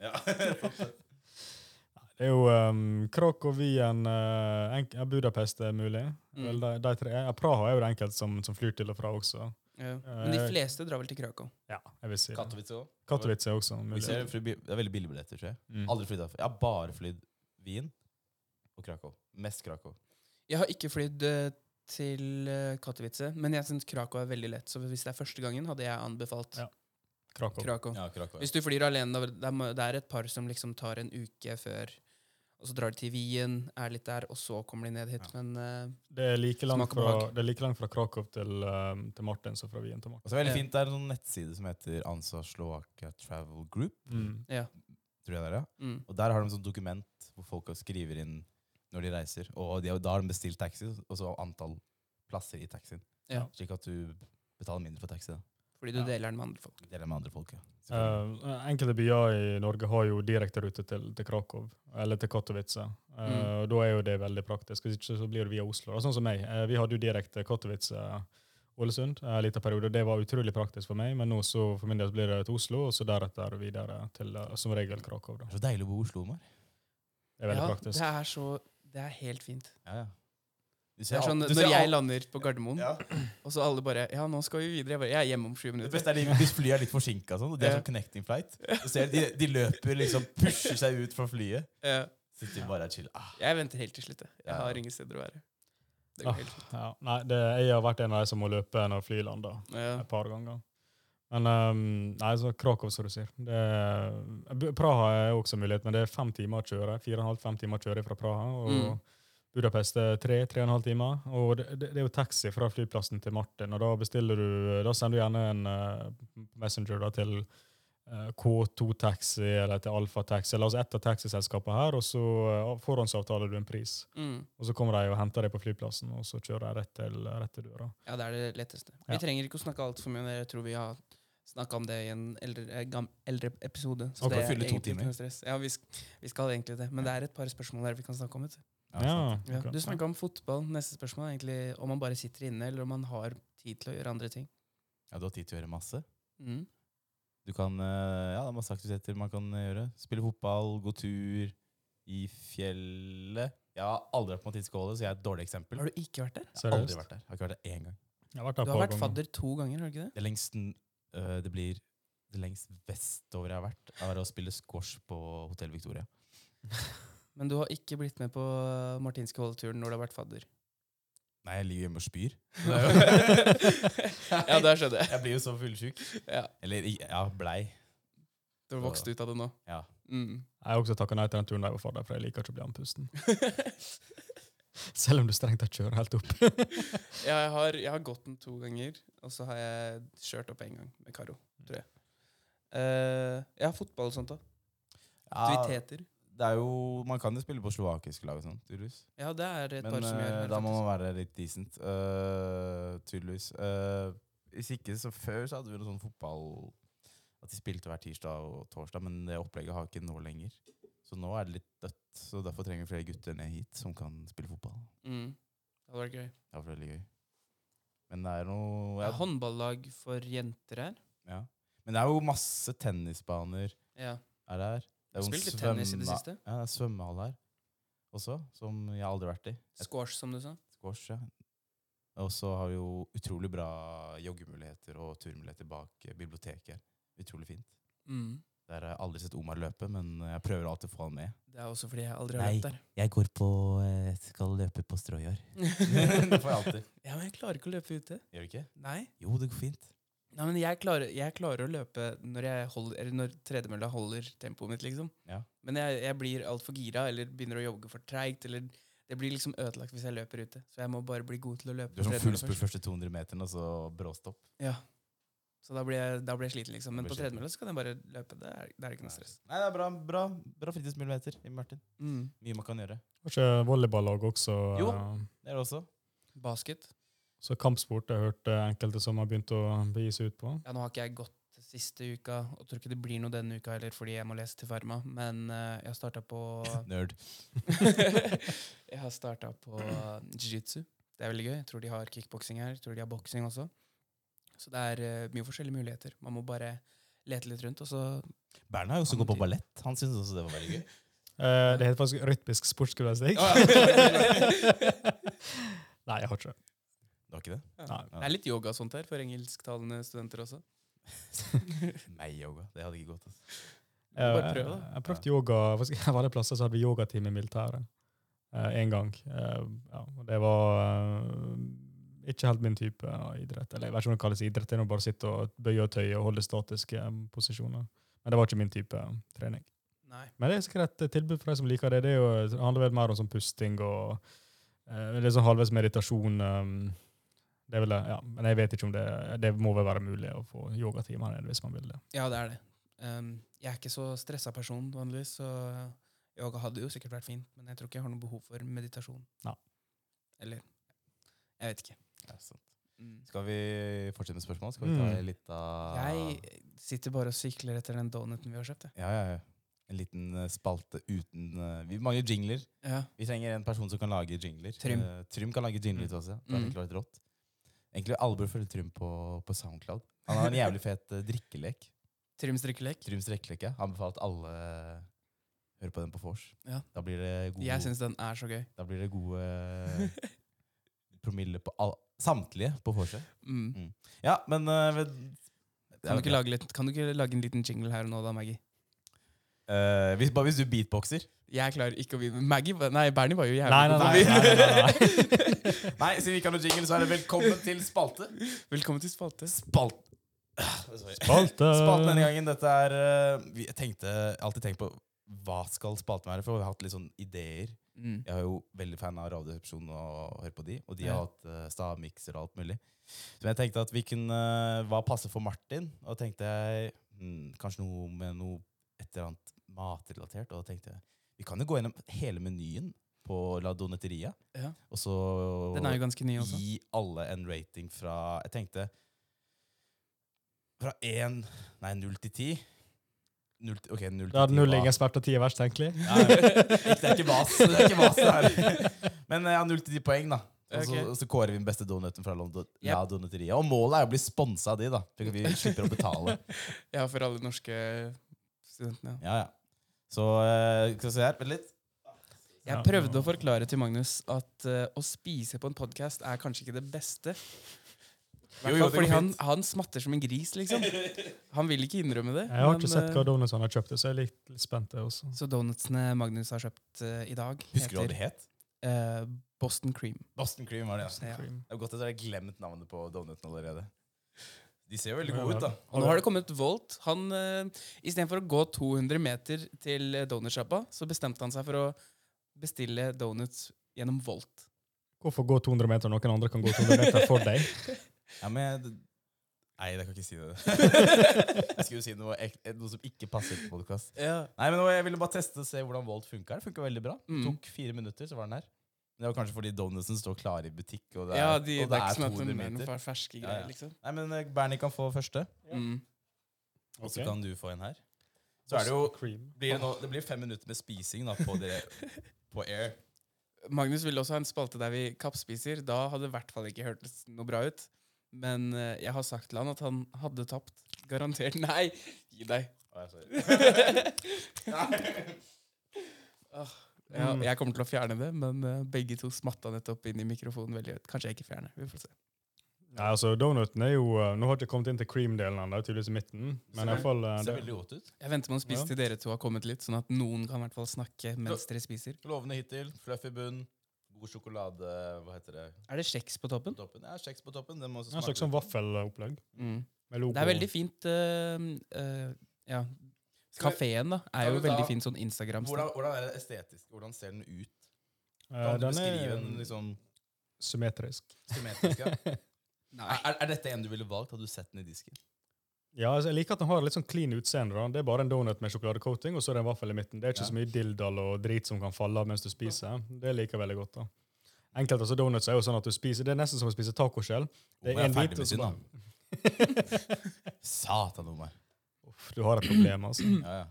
Speaker 2: Det er jo um, Krakow, Wien, eh, enk- ja, Budapest er mulig.
Speaker 4: Mm.
Speaker 2: Vel, de, de tre. Ja, Praha er jo det enkelte som, som flyr til og fra også.
Speaker 3: Ja. Men de fleste drar vel til Krakow.
Speaker 2: Ja, jeg vil si det.
Speaker 1: Katowice også.
Speaker 2: Katowice er også
Speaker 1: Vi
Speaker 2: mulig.
Speaker 1: ser fly- Det er veldig billige billetter, tror jeg.
Speaker 2: Mm.
Speaker 1: Aldri flydd derfra. Jeg har bare flydd Wien og Krakow. Mest Krakow.
Speaker 3: Jeg har ikke flydd eh, til eh, Katowice, men jeg syns Krakow er veldig lett. Så hvis det er første gangen, hadde jeg anbefalt
Speaker 2: Ja. Krakow.
Speaker 3: Krakow.
Speaker 1: Ja, Krakow.
Speaker 3: Hvis du flyr alene, da, det er ma- det er et par som liksom tar en uke før, og så drar de til Wien, er litt der, og så kommer de ned hit. Men eh,
Speaker 2: Det er, like langt
Speaker 3: Smaker
Speaker 2: fra,
Speaker 3: behag.
Speaker 2: det er like langt fra Krakow til, um, til Martin som fra Wien til Martin.
Speaker 1: Og så er det veldig
Speaker 3: Ja.
Speaker 1: fint, det er en sånn nettside som heter Ansa Slovakia Travel Group.
Speaker 2: Mm.
Speaker 1: tror jeg det er, ja.
Speaker 3: mm,
Speaker 1: Og der har de et sånt dokument hvor folk skriver inn når de reiser. Og de, da har de bestilt taxi, og så antall plasser i taxien.
Speaker 3: Ja.
Speaker 1: Slik at du betaler mindre for taxi. da.
Speaker 3: fordi du
Speaker 2: Ja.
Speaker 3: deler den med andre folk.
Speaker 1: Deler med andre folk, ja. Selvfølgelig.
Speaker 2: Eh, enkelte byer i Norge har jo direkterute til, til Krakow, eller til Katowice. Eh,
Speaker 3: Mm.
Speaker 2: og Da er jo det veldig praktisk. Hvis ikke så blir det via Oslo. Og sånn som meg. eh, vi hadde jo direkte eh, Katowice-Ålesund en liten eh, periode, og det var utrolig praktisk for meg. Men nå så for min del blir det til Oslo, og så deretter videre til eh, som regel Krakow. Da.
Speaker 1: Det er så deilig å bo i Oslo, Omar.
Speaker 2: Det er veldig
Speaker 3: det
Speaker 2: praktisk.
Speaker 3: er så Det er helt fint.
Speaker 1: Ja, ja. Du
Speaker 3: Det er sånn,
Speaker 1: al- du
Speaker 3: Når jeg
Speaker 1: al-
Speaker 3: lander på Gardermoen,
Speaker 1: ja.
Speaker 3: og så alle bare Ja, nå skal vi videre. Jeg, bare, jeg er hjemme om sju
Speaker 1: Det
Speaker 3: minutter.
Speaker 1: beste er de, hvis flyet er litt forsinka, sånn, og de er
Speaker 3: Ja.
Speaker 1: sånn connecting flight. Du ser, de, de løper liksom, pusher seg ut fra flyet.
Speaker 3: Eh,
Speaker 1: Sitter bare og chiller. Ah,
Speaker 3: jeg venter helt til slutt. jeg. Jeg
Speaker 1: Ja.
Speaker 3: har ingen steder å være. Det
Speaker 2: Ah.
Speaker 3: går helt fint.
Speaker 2: Ja, nei, det, jeg har vært en av de som må løpe når flyet lander.
Speaker 4: Ja.
Speaker 2: et par ganger. Men ehm, nei, så Krakow, som du sier. Det er, B- Praha er også en mulighet, men det er fem timer å kjøre. Fire og en halv, fem timer å kjøre fra Praha. Og
Speaker 4: Mm.
Speaker 2: Budapest er tre, tre og en halv timer. Og det, det, det er jo taxi fra flyplassen til Martin, og da bestiller du Da sender du gjerne en eh, Messenger da, til eh, K2 Taxi eller til Alfa Taxi, eller altså ett av taxiselskapene her, og så eh, forhåndsavtaler du en pris.
Speaker 3: Mm.
Speaker 2: Og så kommer de og henter deg på flyplassen, og så kjører de rett til, rett til døra.
Speaker 3: Ja, det er det letteste.
Speaker 2: Ja.
Speaker 3: Vi trenger ikke å snakke altfor mye om det. Jeg tror vi har snakka om det i en eldre, eh, gam, eldre episode. Så
Speaker 1: Og
Speaker 3: det
Speaker 1: kan
Speaker 3: er
Speaker 1: fylle to
Speaker 3: egentlig ikke
Speaker 1: timer.
Speaker 3: noe stress. Ja, vi, sk vi skal egentlig det. Men det er et par spørsmål der vi kan snakke om. Vet du
Speaker 1: sant.
Speaker 2: Ja,
Speaker 3: ja.
Speaker 2: akkurat.
Speaker 3: du snakka om fotball. Neste spørsmål er egentlig om man bare sitter inne, eller om man har tid til å gjøre andre ting.
Speaker 1: ja, du har tid til å gjøre masse.
Speaker 3: Mm.
Speaker 1: Du kan, eh, ja, det er masse aktiviteter man kan eh, gjøre. Spille fotball, gå tur i fjellet. Jeg har aldri vært på Mathis Kåle, så jeg er et dårlig eksempel.
Speaker 3: Har du ikke vært der?
Speaker 1: Jeg har aldri
Speaker 2: Seriøst?
Speaker 1: vært der. Jeg har ikke vært der én gang.
Speaker 2: Jeg har vært
Speaker 3: Du
Speaker 2: der et
Speaker 3: har
Speaker 2: par
Speaker 3: vært
Speaker 2: ganger.
Speaker 3: fadder to ganger, har du ikke det?
Speaker 1: Det lengst, n- øh, det blir det lengst vestover jeg har vært, er å spille squash på Hotell Victoria.
Speaker 3: Men du har ikke blitt med på Martinske holdeturen når du har vært fadder.
Speaker 1: Nei, jeg ligger hjemme og spyr. <laughs>
Speaker 4: ja, der skjønner jeg.
Speaker 1: Jeg blir jo så fullsjuk.
Speaker 4: Ja,
Speaker 1: Eller i- ja, blei.
Speaker 4: du har vokst ut av det nå.
Speaker 1: Ja.
Speaker 4: Mm.
Speaker 3: <laughs>
Speaker 2: Jeg har også takka nei til den turen der jeg var fadder, for jeg liker ikke å bli andpusten. <laughs> Selv om du strengt tatt kjører helt opp.
Speaker 4: Jeg
Speaker 3: Jeg har, jeg har gått den to ganger, og så har jeg kjørt opp én gang med Karo, tror jeg. Eh, jeg har fotball og sånt òg.
Speaker 1: Ja,
Speaker 3: Aktiviteter.
Speaker 1: det er jo, man kan jo spille på slovakisk lag og sånn, tydeligvis.
Speaker 3: Ja, det er et
Speaker 1: Men
Speaker 3: par som gjør
Speaker 1: øh,
Speaker 3: her,
Speaker 1: da må man
Speaker 3: faktisk.
Speaker 1: være litt decent, øh, tydeligvis. Øh, hvis ikke, så før så hadde vi noe sånn fotball At de spilte hver tirsdag og torsdag, men det opplegget har ikke nå lenger. Så nå er det litt dødt. Så derfor trenger vi flere gutter ned hit som kan spille fotball.
Speaker 3: mm. Det hadde vært gøy.
Speaker 1: Det er veldig gøy. Men det er noe
Speaker 3: Det
Speaker 1: ja,
Speaker 3: er håndballag for jenter her.
Speaker 1: ja. Men det er jo masse tennisbaner
Speaker 3: Ja.
Speaker 1: er det her. Det er jo en
Speaker 3: Spilt litt tennis i det
Speaker 1: svømme-
Speaker 3: siste.
Speaker 1: Ja, det er svømmehall her også, som jeg aldri har vært i.
Speaker 3: Squash, som du sa.
Speaker 1: Squash, ja. Og så har vi jo utrolig bra joggemuligheter og turmuligheter bak eh, biblioteket. her. Utrolig fint.
Speaker 3: Mm.
Speaker 1: Der har jeg aldri sett Omar løpe, men jeg prøver alltid å få han med.
Speaker 3: Det er også fordi jeg aldri har
Speaker 1: Nei.
Speaker 3: vært der.
Speaker 1: Jeg går på Jeg skal løpe på strå i år. <laughs> det får jeg alltid.
Speaker 3: Ja, men jeg klarer ikke å løpe ute.
Speaker 1: Gjør du ikke?
Speaker 3: Nei.
Speaker 1: Jo, det går fint.
Speaker 3: Nei, men jeg klarer, jeg klarer å løpe når, jeg holder, eller når tredemølla holder tempoet mitt, liksom.
Speaker 1: Ja.
Speaker 3: Men jeg, jeg blir altfor gira, eller begynner å jogge for treigt, eller det blir liksom ødelagt hvis jeg løper ute. Så jeg må bare bli god til å løpe.
Speaker 1: Du er sånn
Speaker 3: på
Speaker 1: full
Speaker 3: tredemølla
Speaker 1: spurt
Speaker 3: først.
Speaker 1: første 200 meteren, og så bråstopp.
Speaker 3: Ja. Så da blir, jeg, da blir jeg sliten, liksom. Men
Speaker 1: blir
Speaker 3: på
Speaker 1: sliten.
Speaker 3: tredemølla så kan jeg bare løpe. Det er, det er ikke noe stress.
Speaker 1: Nei, det er bra, bra, bra fritidsmuligheter i Martin.
Speaker 3: Mm.
Speaker 1: Mye man kan gjøre.
Speaker 2: Var ikke volleyballag også
Speaker 1: Jo.
Speaker 2: eh,
Speaker 1: Det er det <laughs> også.
Speaker 3: Basket.
Speaker 2: Så kampsport jeg hørte enkelte som har begynt å begi seg ut på.
Speaker 3: Ja, nå har ikke jeg gått siste uka, og tror ikke det blir noe denne uka heller, fordi jeg må lese til Farma. Men eh, jeg har starta på
Speaker 1: Nerd.
Speaker 3: Jeg har starta på jiu-jitsu. Det er veldig gøy. Jeg tror de har kickboksing her. Jeg tror de har boksing også. Så det er eh, mye forskjellige muligheter. Man må bare lete litt rundt, og så
Speaker 1: Bernt har jo også
Speaker 3: Han
Speaker 1: gått på
Speaker 3: tid.
Speaker 1: ballett. Han syntes også det var veldig gøy.
Speaker 2: Eh, det heter faktisk rytmisk
Speaker 3: <laughs>
Speaker 2: sportsgymnastikk.
Speaker 3: Å, ja.
Speaker 2: <laughs> Nei, jeg har ikke det.
Speaker 1: Det var ikke det?
Speaker 2: Nei.
Speaker 3: Det er litt yoga og sånt her for engelsktalende studenter også.
Speaker 1: Meg-yoga. Det hadde ikke gått. Altså.
Speaker 3: Bare
Speaker 2: Eh,
Speaker 3: prøv, da.
Speaker 2: Jeg har prøvd yoga. faktisk, <laughs> Av alle plasser så hadde vi yogatime i militæret. Én gang. Eh, ja, og det var eh, ikke helt min type av idrett. Eller jeg vet ikke om det kalles idrett. Det er nå bare å sitte og bøye og tøye og holde statiske eh, posisjoner. Men det var ikke min type eh, trening.
Speaker 3: Nei.
Speaker 2: Men det er sikkert et eh, tilbud for de som liker det. Det er jo, det handler vel mer om sånn pusting og eh, litt sånn halvveis meditasjon. eh, det er vel, det, ja, Men jeg vet ikke om det Det må vel være mulig å få yogatimer ned hvis man
Speaker 3: <laughs>
Speaker 2: vil det.
Speaker 3: Ja, det er det. Um, jeg er ikke så stressa person vanligvis, så yoga hadde jo sikkert vært fint, men jeg tror ikke jeg har noe behov for meditasjon.
Speaker 2: Nei.
Speaker 3: Eller Jeg vet ikke.
Speaker 1: Ja, sant.
Speaker 3: Mm.
Speaker 1: Skal vi fortsette med spørsmål? Skal vi ta
Speaker 2: Mm.
Speaker 1: litt av
Speaker 3: Jeg sitter bare og sykler etter den donuten vi har kjøpt. jeg.
Speaker 1: Ja, ja, ja. En liten eh, spalte uten eh, Vi mangler jingler.
Speaker 3: Ja.
Speaker 1: Vi trenger en person som kan lage jingler.
Speaker 3: Trym.
Speaker 1: Eh, Trym kan lage jingler til oss. ja. Det hadde
Speaker 3: Mm.
Speaker 1: egentlig vært rått. Egentlig alle burde følge Trym på, på Soundcloud. Han har en
Speaker 3: <laughs>
Speaker 1: jævlig fet eh, drikkelek.
Speaker 3: Trims drikkelek.
Speaker 1: Tryms drikkelek, ja. Han befaler at alle eh, hører på den på vors.
Speaker 3: Ja.
Speaker 1: Da blir det gode,
Speaker 3: Jeg syns den er så gøy.
Speaker 1: da blir det gode eh, promille på all, samtlige på vorset.
Speaker 3: Mm.
Speaker 1: Ja, men eh, ved,
Speaker 3: Kan, du ikke lage litt, kan du ikke lage en liten jingle her og nå, da, Maggie?
Speaker 1: Eh, hvis, bare hvis du beatboxer.
Speaker 3: Jeg klarer ikke å vinne. Maggie var- Nei, Bernie var jo jævlig
Speaker 2: Nei, nei,
Speaker 3: god på å
Speaker 2: nei, nei, nei, nei, nei.
Speaker 1: Nei, siden vi ikke har noe jingle, så er det velkommen til spalte.
Speaker 3: vinne. <laughs> Velkommen til spalte.
Speaker 1: Spalt. Sorry.
Speaker 2: Spalte.
Speaker 1: Spalten denne gangen, dette er eh, vi- Jeg tenkte, alltid tenkt på hva skal spalten være, for vi har hatt litt sånn ideer.
Speaker 3: Mm.
Speaker 1: Jeg er jo veldig fan av Radioresepsjonen og hører på de, og de
Speaker 3: Ja.
Speaker 1: har hatt uh, stavmikser og alt mulig. Så jeg tenkte at vi kunne eh, Hva passer for Martin? Og da tenkte jeg mm, kanskje noe med noe et eller annet matrelatert. Og da tenkte jeg vi kan jo gå gjennom hele menyen på La Doneteria,
Speaker 3: Ja.
Speaker 1: og så
Speaker 3: Den er jo ganske ny også.
Speaker 1: gi alle en rating fra Jeg tenkte fra 1 Nei, 0 til 10. 0, til- ok, 0 til 10
Speaker 2: Da hadde null
Speaker 1: var-
Speaker 2: ingen svært og ti er verst, egentlig.
Speaker 1: <laughs> ja, ja. Ikke- Det er ikke vas, det er ikke vas det her. Men eh, ja, 0 til 10 poeng, da. Og så,
Speaker 3: Ok.
Speaker 1: og så kårer vi den beste donuten fra London,
Speaker 3: Yep.
Speaker 1: La Doneteria. Og målet er å bli sponsa av de, da. Slik at vi slipper å betale.
Speaker 3: <laughs> Ja, for alle norske studentene.
Speaker 1: Ja, ja. Så eh, skal vi se her. Vent litt.
Speaker 3: Jeg prøvde å forklare til Magnus at eh, å spise på en podkast er kanskje ikke det beste.
Speaker 1: Jo, jo, det går
Speaker 3: fordi han,
Speaker 1: fint.
Speaker 3: han smatter som en gris, liksom. Han vil ikke innrømme det.
Speaker 2: Jeg har
Speaker 3: men,
Speaker 2: ikke sett
Speaker 3: eh,
Speaker 2: hva donutsene har kjøpt, så jeg er litt, litt spent. jeg også.
Speaker 3: Så donutsene Magnus har kjøpt eh, i dag,
Speaker 1: Husker du hva det het?
Speaker 3: eh, Boston Cream.
Speaker 1: Boston Cream var det, ja.
Speaker 3: Ja.
Speaker 2: Cream.
Speaker 1: Det er godt at dere har glemt navnet på donuten allerede. De ser jo veldig
Speaker 2: Ja,
Speaker 1: gode ut,
Speaker 2: ja.
Speaker 1: da.
Speaker 3: Og nå har det kommet Volt. Han, eh, Istedenfor å gå 200 meter til eh, donutsjappa, så bestemte han seg for å bestille donuts gjennom Volt.
Speaker 2: Hvorfor gå 200 meter når noen andre kan gå 200 meter for deg?
Speaker 1: Ja, men jeg, d- Nei, jeg kan ikke si
Speaker 3: <laughs>
Speaker 1: det. jeg skulle si noe, ek, noe som ikke passer til podkast.
Speaker 3: Ja.
Speaker 1: Nei, men nå- jeg ville bare teste og se hvordan Volt funka. Det funka veldig bra.
Speaker 3: Mm.
Speaker 1: Tok fire minutter, så var den her. Men det var kanskje fordi donutsene står klare i butikk, og det er,
Speaker 3: Ja, de,
Speaker 1: og
Speaker 3: det
Speaker 1: det
Speaker 3: er ikke
Speaker 1: er
Speaker 3: sånn at
Speaker 1: 200
Speaker 3: de er noen
Speaker 1: meter.
Speaker 3: fer- ferske
Speaker 1: Ja,
Speaker 3: greier,
Speaker 1: ja.
Speaker 3: liksom.
Speaker 1: Nei, men eh, Bernie kan få første,
Speaker 3: Mm.
Speaker 1: og så
Speaker 2: Ok.
Speaker 1: kan du få en her. <laughs> Så er det jo
Speaker 2: Cream.
Speaker 1: blir det, nå, det blir fem minutter med spising da, på,
Speaker 3: <laughs>
Speaker 1: det, på air.
Speaker 3: Magnus ville også ha en spalte der vi kappspiser. Da hadde det i hvert fall ikke hørtes noe bra ut. Men eh, jeg har sagt til han at han hadde tapt. Garantert. <laughs> Nei! Gi deg.
Speaker 1: Å, altså, jeg er sorry.
Speaker 3: Åh, ja, jeg kommer til å fjerne det, men eh, begge to smatta nettopp inn i mikrofonen veldig høyt. Kanskje jeg ikke fjerner. Vi får se.
Speaker 2: Nei, altså, Donuten er jo eh, Nå har jeg ikke kommet inn til cream-delen ennå, det er tydeligvis i midten.
Speaker 1: Ser
Speaker 2: Men i hvert fall eh,
Speaker 1: Det ser
Speaker 2: det-
Speaker 1: veldig godt ut.
Speaker 3: Jeg venter med å spise
Speaker 2: Ja.
Speaker 3: til dere to har kommet litt, sånn at noen kan i hvert fall snakke mens dere spiser.
Speaker 1: Lovende hittil. Fluffy bunn. God sjokolade Hva heter det?
Speaker 3: Er det kjeks på toppen?
Speaker 1: På toppen. Ja, kjeks på toppen. Den må også
Speaker 2: det er en
Speaker 1: smake
Speaker 2: slags sånn
Speaker 1: litt.
Speaker 2: vaffelopplegg.
Speaker 3: Mm.
Speaker 2: med logo.
Speaker 3: Det er veldig fint eh, eh, Ja. Kafeen da,
Speaker 1: Skal
Speaker 3: er jo
Speaker 1: vi ta-
Speaker 3: veldig fin sånn instagram
Speaker 1: Hvordan, hvordan er det estetisk? Hvordan ser den ut?
Speaker 2: Eh,
Speaker 1: Kan du
Speaker 2: Den
Speaker 1: beskrive
Speaker 2: er
Speaker 1: den liksom
Speaker 2: symmetrisk. <laughs>
Speaker 1: symmetrisk? ja?
Speaker 3: Nei.
Speaker 1: Er, er dette en du ville valgt? Hadde du sett den i disken?
Speaker 2: Ja, altså, Jeg liker at den har litt sånn clean utseende. da. Det er bare en donut med sjokoladecoating, og så er det en vaffel i midten. Det er ikke
Speaker 1: Ja.
Speaker 2: så mye dilldall og drit som kan falle av mens du spiser. Det liker jeg veldig godt. da. Enkelte altså, donuts er jo sånn at du spiser, Det er nesten som å spise tacoskjell. Det
Speaker 1: Omar
Speaker 2: er en
Speaker 1: ferdig
Speaker 2: bit,
Speaker 1: med
Speaker 2: og så
Speaker 1: sin,
Speaker 2: bare-
Speaker 1: da. Satan, Omar.
Speaker 2: Uff, du har et problem, altså.
Speaker 1: Ja, ja.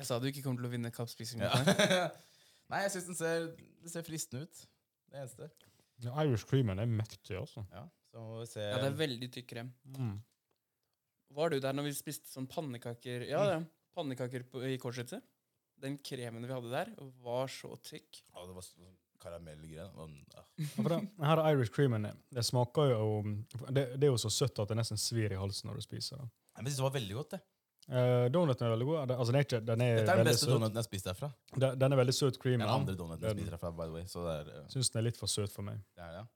Speaker 3: Jeg sa du ikke kom til å vinne
Speaker 2: Mm.
Speaker 3: kappspising. mot meg.
Speaker 1: ja. <laughs> Nei, jeg syns den ser, det ser fristende ut. Det eneste.
Speaker 2: Ja, Irish creamen er mektig, altså.
Speaker 1: Ja, så må vi se
Speaker 3: Ja, det er veldig tykk krem.
Speaker 2: Mm.
Speaker 3: Var du der når vi spiste sånn pannekaker Ja, ja. Pannekaker på, i kortsluttet? Den kremen vi hadde der, var så tykk.
Speaker 1: Å, det var sånn karamellgreier. Mm, ja.
Speaker 2: Ja, for det- Her er Irish creamen. Det smaker jo um, det, det er jo så søtt at det nesten svir i halsen når du spiser det.
Speaker 1: Nei, Men jeg synes det var veldig godt, det.
Speaker 2: Eh, donuten er veldig god. Det- Altså, den er ikke, den er
Speaker 1: Dette er den
Speaker 2: veldig
Speaker 1: beste
Speaker 2: søt.
Speaker 1: donuten jeg har spist derfra.
Speaker 2: Den, den er veldig søt creamen.
Speaker 1: Den andre donuten jeg
Speaker 2: Den-
Speaker 1: spiser derfra, by the way. Så det er, eh,
Speaker 2: Syns den er litt for søt for meg.
Speaker 1: det er det. ja.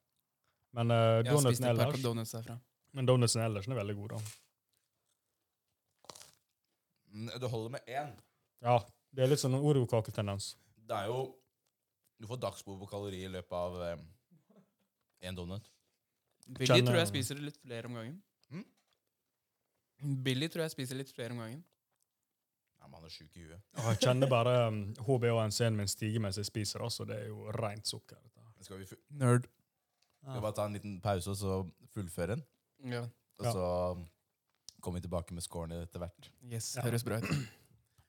Speaker 2: Men eh,
Speaker 3: Jeg har
Speaker 2: donuten
Speaker 3: spist et par
Speaker 2: ellers
Speaker 3: donuts derfra.
Speaker 2: Men donutsen ellers den er veldig god, da.
Speaker 1: Mm, Det holder med én.
Speaker 2: Ja, det er litt sånn Oreo-kaketendens.
Speaker 1: Det er jo Du får dagsbord på kalorier i løpet av én donut.
Speaker 3: Billy
Speaker 2: Kjenner-
Speaker 3: tror jeg spiser litt flere om gangen.
Speaker 1: Mm?
Speaker 3: Billy tror jeg spiser litt flere om gangen.
Speaker 1: Nei, men han er sjuk i huet.
Speaker 2: Jeg kjenner bare um, HbA1c-en min stige mens jeg spiser, altså. Det er jo rent sukker. dette her.
Speaker 1: Skal vi, fu- skal
Speaker 3: Nerd.
Speaker 1: vi bare ta en liten pause og så fullføre den?
Speaker 3: Ja.
Speaker 1: Og
Speaker 2: Ja.
Speaker 1: så kommer vi tilbake med scorene etter hvert.
Speaker 3: Yes,
Speaker 2: Ja.
Speaker 3: høres bra ut.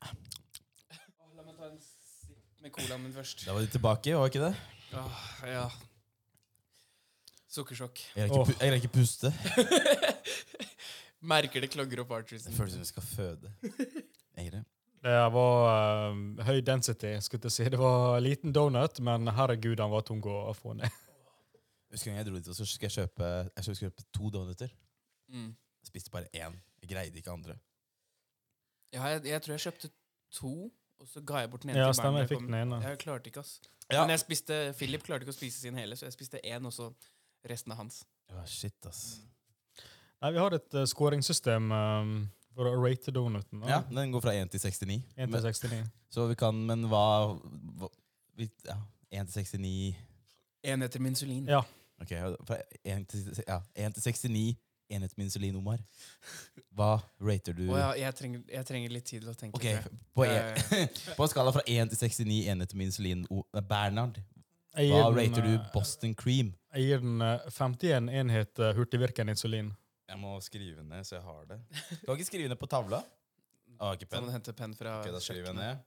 Speaker 3: La meg ta en sipp med colaen min først.
Speaker 1: Da var de tilbake, var ikke det?
Speaker 3: Åh, ja. <laughs> Sukkersjokk.
Speaker 1: Jeg greier ikke,
Speaker 2: Åh.
Speaker 1: pu- jeg greier ikke puste.
Speaker 3: Merker det klogger opp
Speaker 1: Det
Speaker 3: arteriesen.
Speaker 1: føles som jeg skal føde. Jeg greier.
Speaker 2: Det her var um, høy density, skulle jeg si. Det var en liten donut, men herregud, den var tung å få ned.
Speaker 1: Husker du en gang jeg dro dit, og så skal jeg kjøpe, jeg skulle kjøpe to donuter.
Speaker 3: Mm.
Speaker 1: Jeg spiste bare én. Jeg greide ikke andre.
Speaker 3: Ja, jeg, jeg tror jeg kjøpte to, og så ga jeg bort den ene
Speaker 2: Ja,
Speaker 3: til barna.
Speaker 2: stemmer. Jeg fikk den ene.
Speaker 3: Jeg klarte ikke, ass.
Speaker 1: Ja.
Speaker 3: Men jeg spiste, Philip klarte ikke å spise sin hele, så jeg spiste én, og så resten av hans.
Speaker 1: Ja, shit, ass.
Speaker 2: Nei, vi har et uh, scoringssystem um, for å rate donuten.
Speaker 1: Ja,
Speaker 2: da.
Speaker 1: Den går fra 1 til 69.
Speaker 2: 1
Speaker 1: Men,
Speaker 2: til 69.
Speaker 1: så vi kan Men hva, hva vi, ja, 1 til 69
Speaker 3: Én etter minsulin.
Speaker 2: Ja.
Speaker 1: Ok, fra 1 til, ja, 1 til 69 enhet med insulin, Omar. Hva rater du
Speaker 3: Å ja, jeg trenger, jeg trenger litt tid til å tenke.
Speaker 1: Ok,
Speaker 3: tror jeg.
Speaker 1: på,
Speaker 3: Ja,
Speaker 1: en, <laughs> på en skala fra 1 til 69 enhet med insulin, O- eh, Bernhard,
Speaker 2: Jeg
Speaker 1: hva
Speaker 2: gir den,
Speaker 1: rater du
Speaker 3: eh,
Speaker 2: uh,
Speaker 1: Boston Cream?
Speaker 2: Jeg gir den uh, 51 enhet uh, hurtigvirkende insulin.
Speaker 1: Jeg må skrive ned, så jeg har <laughs> det. Du kan ikke skrive ned på tavla? Jeg har ikke
Speaker 3: Så må
Speaker 1: penn.
Speaker 3: du hente penn fra
Speaker 1: Ok, da skriver jeg ned.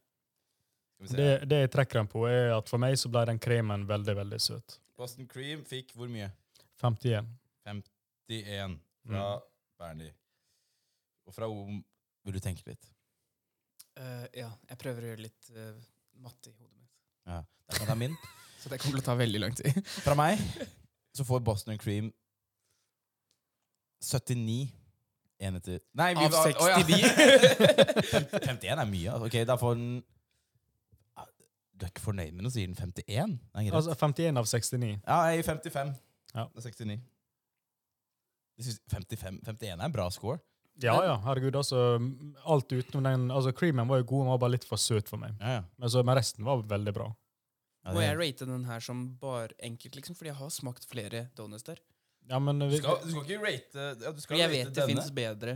Speaker 1: Skal vi se.
Speaker 2: Det, det jeg trekker den på, er at for meg så ble den kremen veldig, veldig søt.
Speaker 1: Boston Cream fikk hvor mye?
Speaker 2: 51.
Speaker 1: 51 fra
Speaker 3: Mm.
Speaker 1: Bernie. Og fra Om Vil du tenke litt?
Speaker 3: Eh, ja, jeg prøver å gjøre litt eh, matte i hodet mitt.
Speaker 1: Ja. Det er fra min.
Speaker 3: Så det kommer til å ta veldig lang tid.
Speaker 1: Fra meg så får Boston Cream 79 enheter Nei, vi
Speaker 4: Av
Speaker 1: var
Speaker 4: 60. Å, ja.
Speaker 1: 69. <laughs> 51 er mye. altså. Ok, da får den Ja, Du er ikke fornøyd med noe, sier den 51? Nei, greit.
Speaker 2: Altså 51 av 69.
Speaker 1: Ja, jeg er 55.
Speaker 2: Ja.
Speaker 1: Det er 69. Jeg synes 55, 51 er en bra score.
Speaker 2: Ja, ja, herregud, altså. m- Alt utenom den altså Creamen var jo god, den var bare litt for søt for meg.
Speaker 1: Ja, ja.
Speaker 2: Men, så, men resten var veldig bra.
Speaker 1: Ja,
Speaker 3: Må
Speaker 1: det-
Speaker 3: jeg rate den her som bare enkelt, liksom? Fordi jeg har smakt flere donuts der.
Speaker 2: Ja, men
Speaker 1: du,
Speaker 2: vi,
Speaker 1: skal, du skal ikke rate ja, du skal
Speaker 3: Fordi jeg
Speaker 1: rate
Speaker 3: vet det
Speaker 1: denne.
Speaker 3: finnes bedre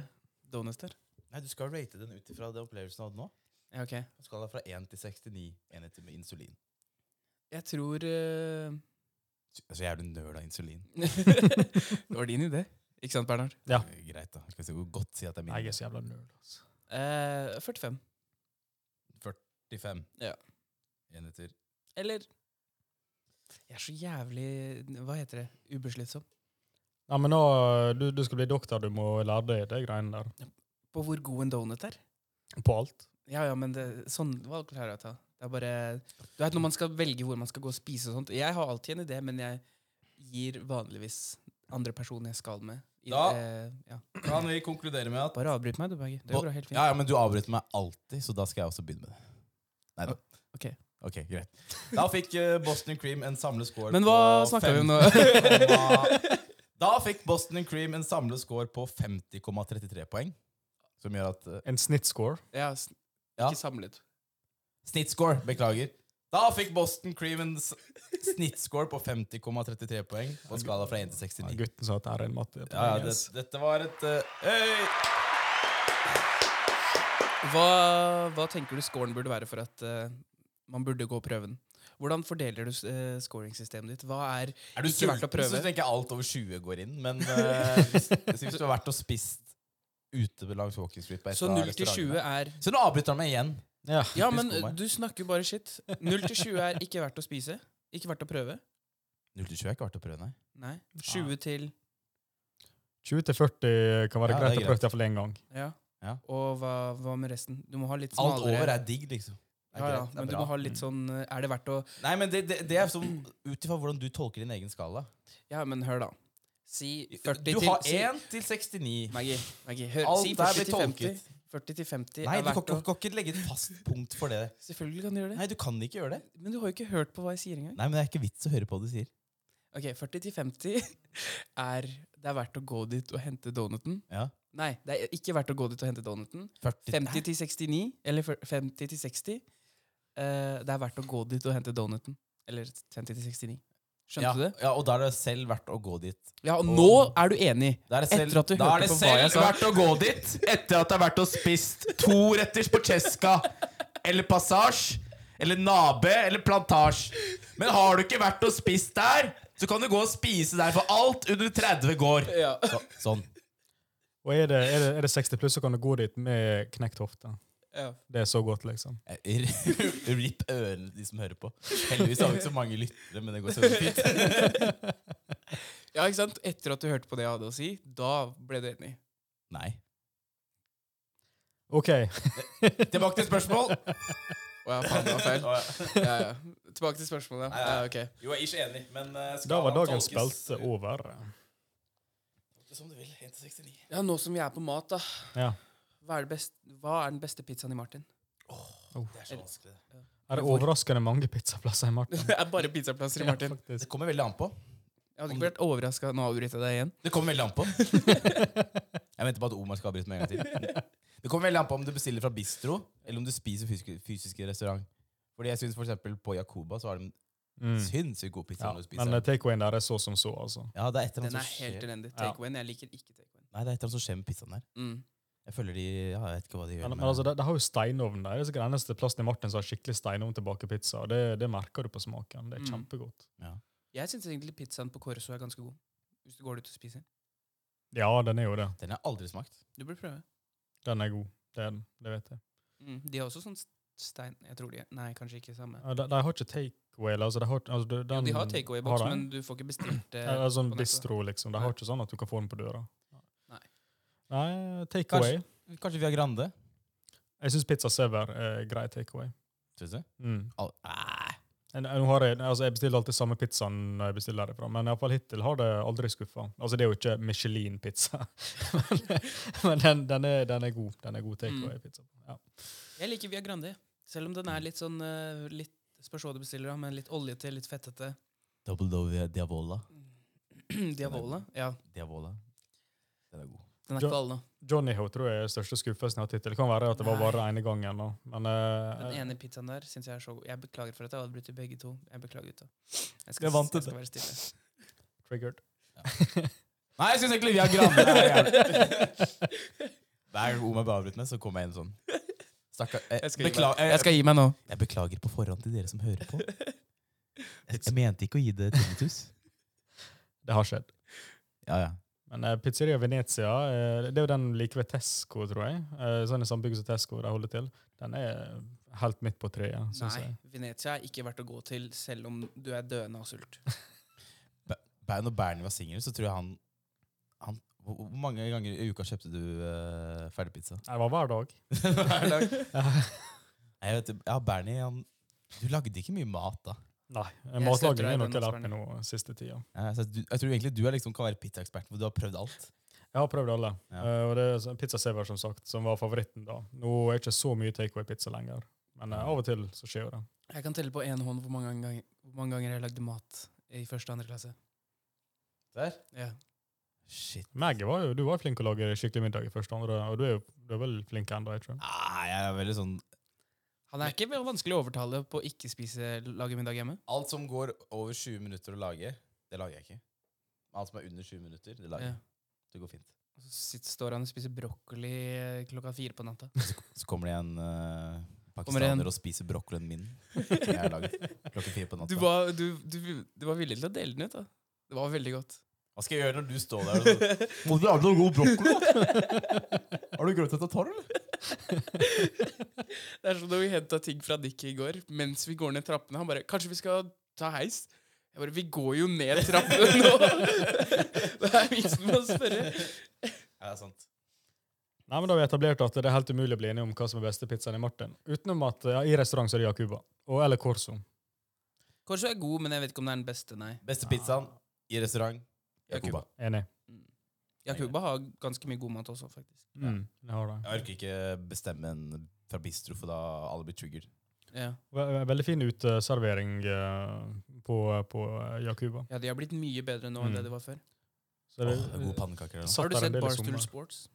Speaker 3: donuts der.
Speaker 1: Nei, du skal rate den ut ifra det opplevelsen du hadde nå.
Speaker 3: Ja, ok.
Speaker 1: Du skal da fra 1 til 69 enheter med insulin.
Speaker 3: Jeg tror
Speaker 1: <laughs>
Speaker 3: eh, <laughs>
Speaker 1: Så jævlig nøl av insulin.
Speaker 3: Det var din idé. Ikke sant, Bernhard?
Speaker 2: Ja.
Speaker 1: Eh, Greit, da. Skal vi se hvor godt si at det er min.
Speaker 2: Nei, jeg er så jævla nerd, altså.
Speaker 3: Eh, 45.
Speaker 1: 45
Speaker 3: Ja.
Speaker 1: enheter.
Speaker 3: Eller Jeg er så jævlig Hva heter det? Ubesluttsom.
Speaker 2: Ja, men nå, du, du skal bli doktor, du må lære deg de greiene der.
Speaker 3: På hvor god en donut er.
Speaker 2: På alt.
Speaker 3: Ja, ja, men det, sånn valg klarer jeg å ta. Det er bare, du vet Når man skal velge hvor man skal gå og spise og sånt Jeg har alltid en idé, men jeg gir vanligvis andre personer jeg skal med. i-
Speaker 1: Da-
Speaker 3: eh, ja.
Speaker 1: Kan vi konkludere med at
Speaker 3: Bare avbryt meg, du, Berge. Det
Speaker 1: Bo-
Speaker 3: går helt fint.
Speaker 1: Ja, ja, men du avbryter meg alltid, så da skal jeg også begynne med det. Nei da.
Speaker 3: ok.
Speaker 1: Ok, greit. Da fikk eh, Boston Cream en samlet score
Speaker 3: Men hva
Speaker 1: på
Speaker 3: snakker vi om
Speaker 1: <laughs> 50,- Da fikk Boston Cream en samlet score på 50,33 poeng. Som gjør at eh,
Speaker 2: En snittscore.
Speaker 3: Ja, s-
Speaker 1: Ja.
Speaker 3: Ikke samlet.
Speaker 1: Snittscore, beklager. Da fikk Boston Cream en s- snittscore på 50,33 poeng på skala fra 1 til
Speaker 2: Ja,
Speaker 1: 69.
Speaker 2: gutten sa at det er en matte.
Speaker 1: Ja, ja, det, dette var et eh, Øy!
Speaker 3: Hva, hva tenker du scoren burde være for at eh, man burde gå prøven? Hvordan fordeler du uh, scoringssystemet ditt? Hva er
Speaker 1: Er du
Speaker 3: Ikke verdt å
Speaker 1: sulten,
Speaker 3: prøve.
Speaker 1: så tenker jeg alt over 20 går inn. Men
Speaker 3: <laughs>
Speaker 1: eh, hvis, hvis du har vært og spist ute langs Walking Street på et
Speaker 3: Så
Speaker 1: av
Speaker 3: 0 til 20
Speaker 1: restaurantene.
Speaker 3: er
Speaker 1: <laughs> Så nå avbryter han meg igjen.
Speaker 2: Ja.
Speaker 3: Ja,
Speaker 1: Typisk
Speaker 3: men
Speaker 1: for meg.
Speaker 3: du snakker jo bare shit. 0 til 20 er ikke verdt å spise. Ikke verdt å prøve. eh,
Speaker 1: 0 til 20 er ikke verdt å prøve, nei.
Speaker 3: Nei.
Speaker 1: Ah.
Speaker 3: 20 til
Speaker 2: 20 til 40 kan være
Speaker 1: Ja, det er
Speaker 2: greit å prøve iallfall én gang.
Speaker 3: Ja.
Speaker 1: Ja.
Speaker 3: Og hva, hva med resten? Du må ha litt
Speaker 1: Alt
Speaker 3: smalere
Speaker 1: over er digg, liksom. Det er
Speaker 3: ja, ja,
Speaker 1: greit, det er
Speaker 3: men du
Speaker 1: bra. Mm.
Speaker 3: må ha litt sånn eh, Er det verdt å
Speaker 1: Nei, men det, det, det er sånn ut ifra hvordan du tolker din egen skala.
Speaker 3: Ja, men hør, da. Si 40
Speaker 1: Du
Speaker 3: til
Speaker 1: har
Speaker 3: si-
Speaker 1: 1 til 69.
Speaker 3: Maggie, Maggie, hør.
Speaker 1: Alt
Speaker 3: si
Speaker 1: der
Speaker 3: 40
Speaker 1: blir
Speaker 3: til 50.
Speaker 1: tolket.
Speaker 3: 40 til 50
Speaker 1: Nei,
Speaker 3: er
Speaker 1: du kan,
Speaker 3: verdt å
Speaker 1: kan, kan ikke legge et fast punkt for det.
Speaker 3: Selvfølgelig kan du gjøre det.
Speaker 1: Nei, du kan ikke gjøre det.
Speaker 3: Men du har jo ikke hørt på hva jeg sier engang.
Speaker 1: Nei, men det er ikke vits å høre på hva du sier.
Speaker 3: Ok, 40 til 50 <laughs> er Det er verdt å gå dit og hente donuten.
Speaker 1: Ja.
Speaker 3: Nei, det er ikke verdt å gå dit og hente donuten.
Speaker 1: 40
Speaker 3: 50 til 69, eller fyr- 50 til 60. eh, det er verdt å gå dit og hente donuten. Eller 50 til 69. Skjønte
Speaker 1: ja,
Speaker 3: du det?
Speaker 1: Ja, og da er det selv verdt å gå dit.
Speaker 3: Ja, og
Speaker 1: Og-
Speaker 3: nå er du enig!
Speaker 1: Da er det
Speaker 3: Etter
Speaker 1: selv,
Speaker 3: at du
Speaker 1: da
Speaker 3: hørte
Speaker 1: er det
Speaker 3: på hva
Speaker 1: selv
Speaker 3: jeg sa.
Speaker 1: verdt å gå dit etter at det har vært og spist to retters på Cheska eller Passage eller Nabe eller Plantasje. Men har du ikke vært og spist der, så kan du gå og spise der, for alt under 30 går.
Speaker 3: Ja.
Speaker 1: Så, sånn.
Speaker 2: Og er det, er, det, er det 60 pluss, så kan du gå dit med knekt hofte. Det er så godt, liksom.
Speaker 1: Ripp ørene, de som hører på. Heldigvis har vi ikke så mange lyttere, men det går så fint.
Speaker 3: ja, ikke sant? Etter at du hørte på det jeg hadde å si, da ble du enig.
Speaker 1: Nei.
Speaker 2: OK.
Speaker 1: Tilbake til spørsmål.
Speaker 3: Å <laughs> ja, faen, det var feil. Ja, ja. Tilbake til spørsmålet.
Speaker 1: Nei,
Speaker 3: Ja,
Speaker 1: nei.
Speaker 3: ja, ok.
Speaker 1: Jo, jeg er ikke enig, men eh,
Speaker 2: Da var dagens belte over.
Speaker 1: Som du vil. 169.
Speaker 3: ja, nå som vi er på mat, da.
Speaker 2: Ja.
Speaker 3: Hva er, det best, hva er den beste pizzaen i Martin?
Speaker 1: Det er så vanskelig.
Speaker 2: Er det overraskende mange pizzaplasser i
Speaker 3: <laughs>
Speaker 2: Martin?
Speaker 3: <laughs> det er bare pizzaplasser i Martin.
Speaker 1: Det
Speaker 2: faktisk.
Speaker 1: kommer veldig an på.
Speaker 3: Jeg hadde ikke vært overraska Nå avbryter jeg deg igjen.
Speaker 1: Det kommer veldig an
Speaker 2: <laughs>
Speaker 1: på. Jeg venter på at Omar skal avbryte med en gang til. Det kommer veldig an på om du bestiller fra bistro, eller om du spiser fysisk, fysisk i restaurant. Fordi jeg synes for eksempel På Jakoba så har de
Speaker 2: Mm.
Speaker 1: sinnssykt god pizza.
Speaker 2: Ja,
Speaker 1: når du spiser
Speaker 2: men eh,
Speaker 1: den.
Speaker 2: takeawayen der er så som så, altså.
Speaker 1: ja, det er et eller annet
Speaker 3: Den er
Speaker 1: som
Speaker 3: helt
Speaker 1: skjer
Speaker 3: elendig.
Speaker 2: Ja.
Speaker 3: Take away. Jeg liker ikke take away.
Speaker 1: Nei, det er et eller annet som skjer med pizzaen der.
Speaker 3: Mm.
Speaker 1: Jeg føler de ja, Jeg vet ikke hva de gjør.
Speaker 2: Men,
Speaker 1: med
Speaker 2: men altså, det, det har jo steinovn der. Det er sikkert den eneste plassen i Martin som har skikkelig steinovn til å bake pizza. og Det, det merker du på smaken. Det er
Speaker 3: Mm.
Speaker 2: kjempegodt.
Speaker 3: Jeg syns egentlig pizzaen på Corso er ganske god. Hvis du går ut og spiser.
Speaker 2: Ja, den er jo det.
Speaker 1: Den har jeg aldri smakt.
Speaker 3: Du burde prøve.
Speaker 2: Den er god. Det er den. Det vet jeg.
Speaker 3: Mm. De har også sånn st- stein Jeg tror de Nei, kanskje ikke samme.
Speaker 2: Ja, De, de har ikke takeaway. eller, Altså, de har, altså, de,
Speaker 3: Jo, de har
Speaker 2: har
Speaker 3: takeaway-boks,
Speaker 2: de?
Speaker 3: men du får ikke bestilt det.
Speaker 2: Ja, det er sånn
Speaker 3: på nettet.
Speaker 2: bistro, liksom. De
Speaker 3: Nei.
Speaker 2: har ikke sånn at du kan få den på døra.
Speaker 3: Nei.
Speaker 2: Nei, takeaway.
Speaker 1: Kanskje Via Grande?
Speaker 2: Jeg syns pizza sever er grei takeaway.
Speaker 1: Synes du?
Speaker 2: Mm.
Speaker 1: Al- Ah, Nei.
Speaker 2: Nei, Nå har jeg, altså jeg bestiller alltid samme pizzaen når jeg bestiller derifra, men i hvert fall hittil har det aldri skuffa. Altså, det er jo ikke Michelin-pizza, <laughs> men, men den, den, er, den er god. Den er god
Speaker 3: Mm.
Speaker 2: takeaway-pizza. Ja.
Speaker 3: Jeg liker Via Grande, selv om den er litt sånn eh, litt, Spørs hva du bestiller, da, men litt oljete, litt fettete.
Speaker 1: Double Dove Diavola.
Speaker 3: Mm. <clears throat> Diavola. Ja,
Speaker 1: Diavola. Den er god.
Speaker 3: den er
Speaker 2: Jo-
Speaker 3: ikke for alle.
Speaker 2: Johnny Ho tror jeg er største skuffelsen jeg har hatt hittil. Det kan være at det var
Speaker 3: Nei.
Speaker 2: bare ene gangen. da. Men eh,
Speaker 3: Den ene pizzaen der syns jeg er så god. Jeg beklager for at jeg avbryter begge to. Jeg beklager, gutta. Jeg
Speaker 2: Jeg vant
Speaker 3: jeg
Speaker 2: dette.
Speaker 3: skal være stille.
Speaker 2: triggered.
Speaker 1: Nei, jeg syns egentlig vi har Grande er jævlig. Hver gang Oma blir avbrutt med, så kommer jeg inn sånn. Stakkar. Jeg,
Speaker 3: Jeg skal gi meg.
Speaker 1: beklager, jeg,
Speaker 3: Jeg skal gi meg nå.
Speaker 1: jeg beklager på forhånd til dere som hører på. Jeg, jeg mente ikke å gi det tinnitus.
Speaker 2: Det har skjedd.
Speaker 1: Ja, ja.
Speaker 2: Men eh, Pizzeria Venezia eh, det er jo den like ved Tesco, tror jeg. Eh, sånn i samme bygg som Tesco de holder til. Den er helt midt på treet, syns
Speaker 3: Nei,
Speaker 2: jeg.
Speaker 3: Venezia er ikke verdt å gå til selv om du er døende av sult.
Speaker 1: Ba- Når Bernie var singel, så tror jeg han, han Hvor hvor mange ganger i uka kjøpte du eh, ferdigpizza? <laughs>
Speaker 2: Det var hver dag.
Speaker 1: Hver dag. Jeg vet, ja, Bernie, han Du lagde ikke mye mat da.
Speaker 2: Nei.
Speaker 3: Jeg støtter
Speaker 2: Matlaging
Speaker 3: deg i
Speaker 2: er noe
Speaker 3: den,
Speaker 2: jeg har
Speaker 3: Asbjørn.
Speaker 2: lært meg nå siste tida.
Speaker 1: Ja, så du, jeg tror egentlig du er liksom, kan være pizzaeksperten, for du har prøvd alt.
Speaker 2: Jeg har prøvd alle.
Speaker 1: Ja.
Speaker 2: Eh, og det er så- Pizza Sever, som sagt, som var favoritten da. Nå er ikke så mye takeaway-pizza lenger, men eh, av og til så skjer jo det.
Speaker 3: Jeg kan telle på én hånd hvor mange, ganger, hvor mange ganger jeg lagde mat i første og andre klasse.
Speaker 1: Der?
Speaker 3: Ja.
Speaker 1: Shit.
Speaker 2: Maggie, var jo, du var jo flink å lage skikkelig middag i første og andre, og du er jo du er vel flink ennå, jeg tror.
Speaker 1: Nei, jeg er veldig sånn
Speaker 3: Han er ikke vanskelig å overtale på å ikke spise lage middag hjemme.
Speaker 1: Alt som går over 20 minutter å lage, det lager jeg ikke. Alt som er under 20 minutter, det lager
Speaker 3: Ja.
Speaker 1: jeg. Det går fint.
Speaker 3: Og Så sitter, står han og spiser brokkoli eh, klokka fire på natta.
Speaker 1: Så kommer det en eh,
Speaker 3: Kommer det en-
Speaker 1: pakistaner og spiser brokkolien min. Som jeg har laget klokken fire på
Speaker 3: Du
Speaker 1: natta.
Speaker 3: var, du, du, du var villig til å dele den ut, da. Det var veldig godt.
Speaker 1: Hva skal jeg gjøre når du står der og sånn <laughs> Må du lage noe god brokkoli? <laughs> Har du glemt at jeg tar, eller?
Speaker 3: Det er som da vi henta ting fra Nikki i går mens vi går ned trappene. Han bare 'Kanskje vi skal ta heis?' Jeg bare 'Vi går jo ned trappene
Speaker 2: <laughs>
Speaker 3: nå!' det er vitsen med å spørre.
Speaker 1: Ja, det er sant.
Speaker 2: Nei, men Da har vi etablert at det er helt umulig å bli enige om hva som er beste pizzaen i Martin. Utenom at ja, i restaurant så er det Jacuba. Og eller Corso.
Speaker 3: Kanskje er god, men jeg vet ikke om det er den beste, nei.
Speaker 1: Beste pizzaen i restaurant Jakoba.
Speaker 2: Enig.
Speaker 3: Jakuba har ganske mye god mat også, faktisk.
Speaker 2: Mm, jeg har det.
Speaker 1: Jeg orker ikke bestemme en fra bistro, for da alle blir triggered.
Speaker 3: Ja.
Speaker 2: Ve- Veldig fin uteservering eh, på, på eh, Jacuba.
Speaker 3: ja, de har blitt mye bedre nå
Speaker 2: Mm.
Speaker 3: enn det de var før.
Speaker 2: Så det-
Speaker 1: Åh, gode pannekaker. da.
Speaker 2: Satt
Speaker 3: Har du
Speaker 2: der en
Speaker 3: sett
Speaker 2: del i
Speaker 3: Barstool
Speaker 2: sommer.
Speaker 3: Sports?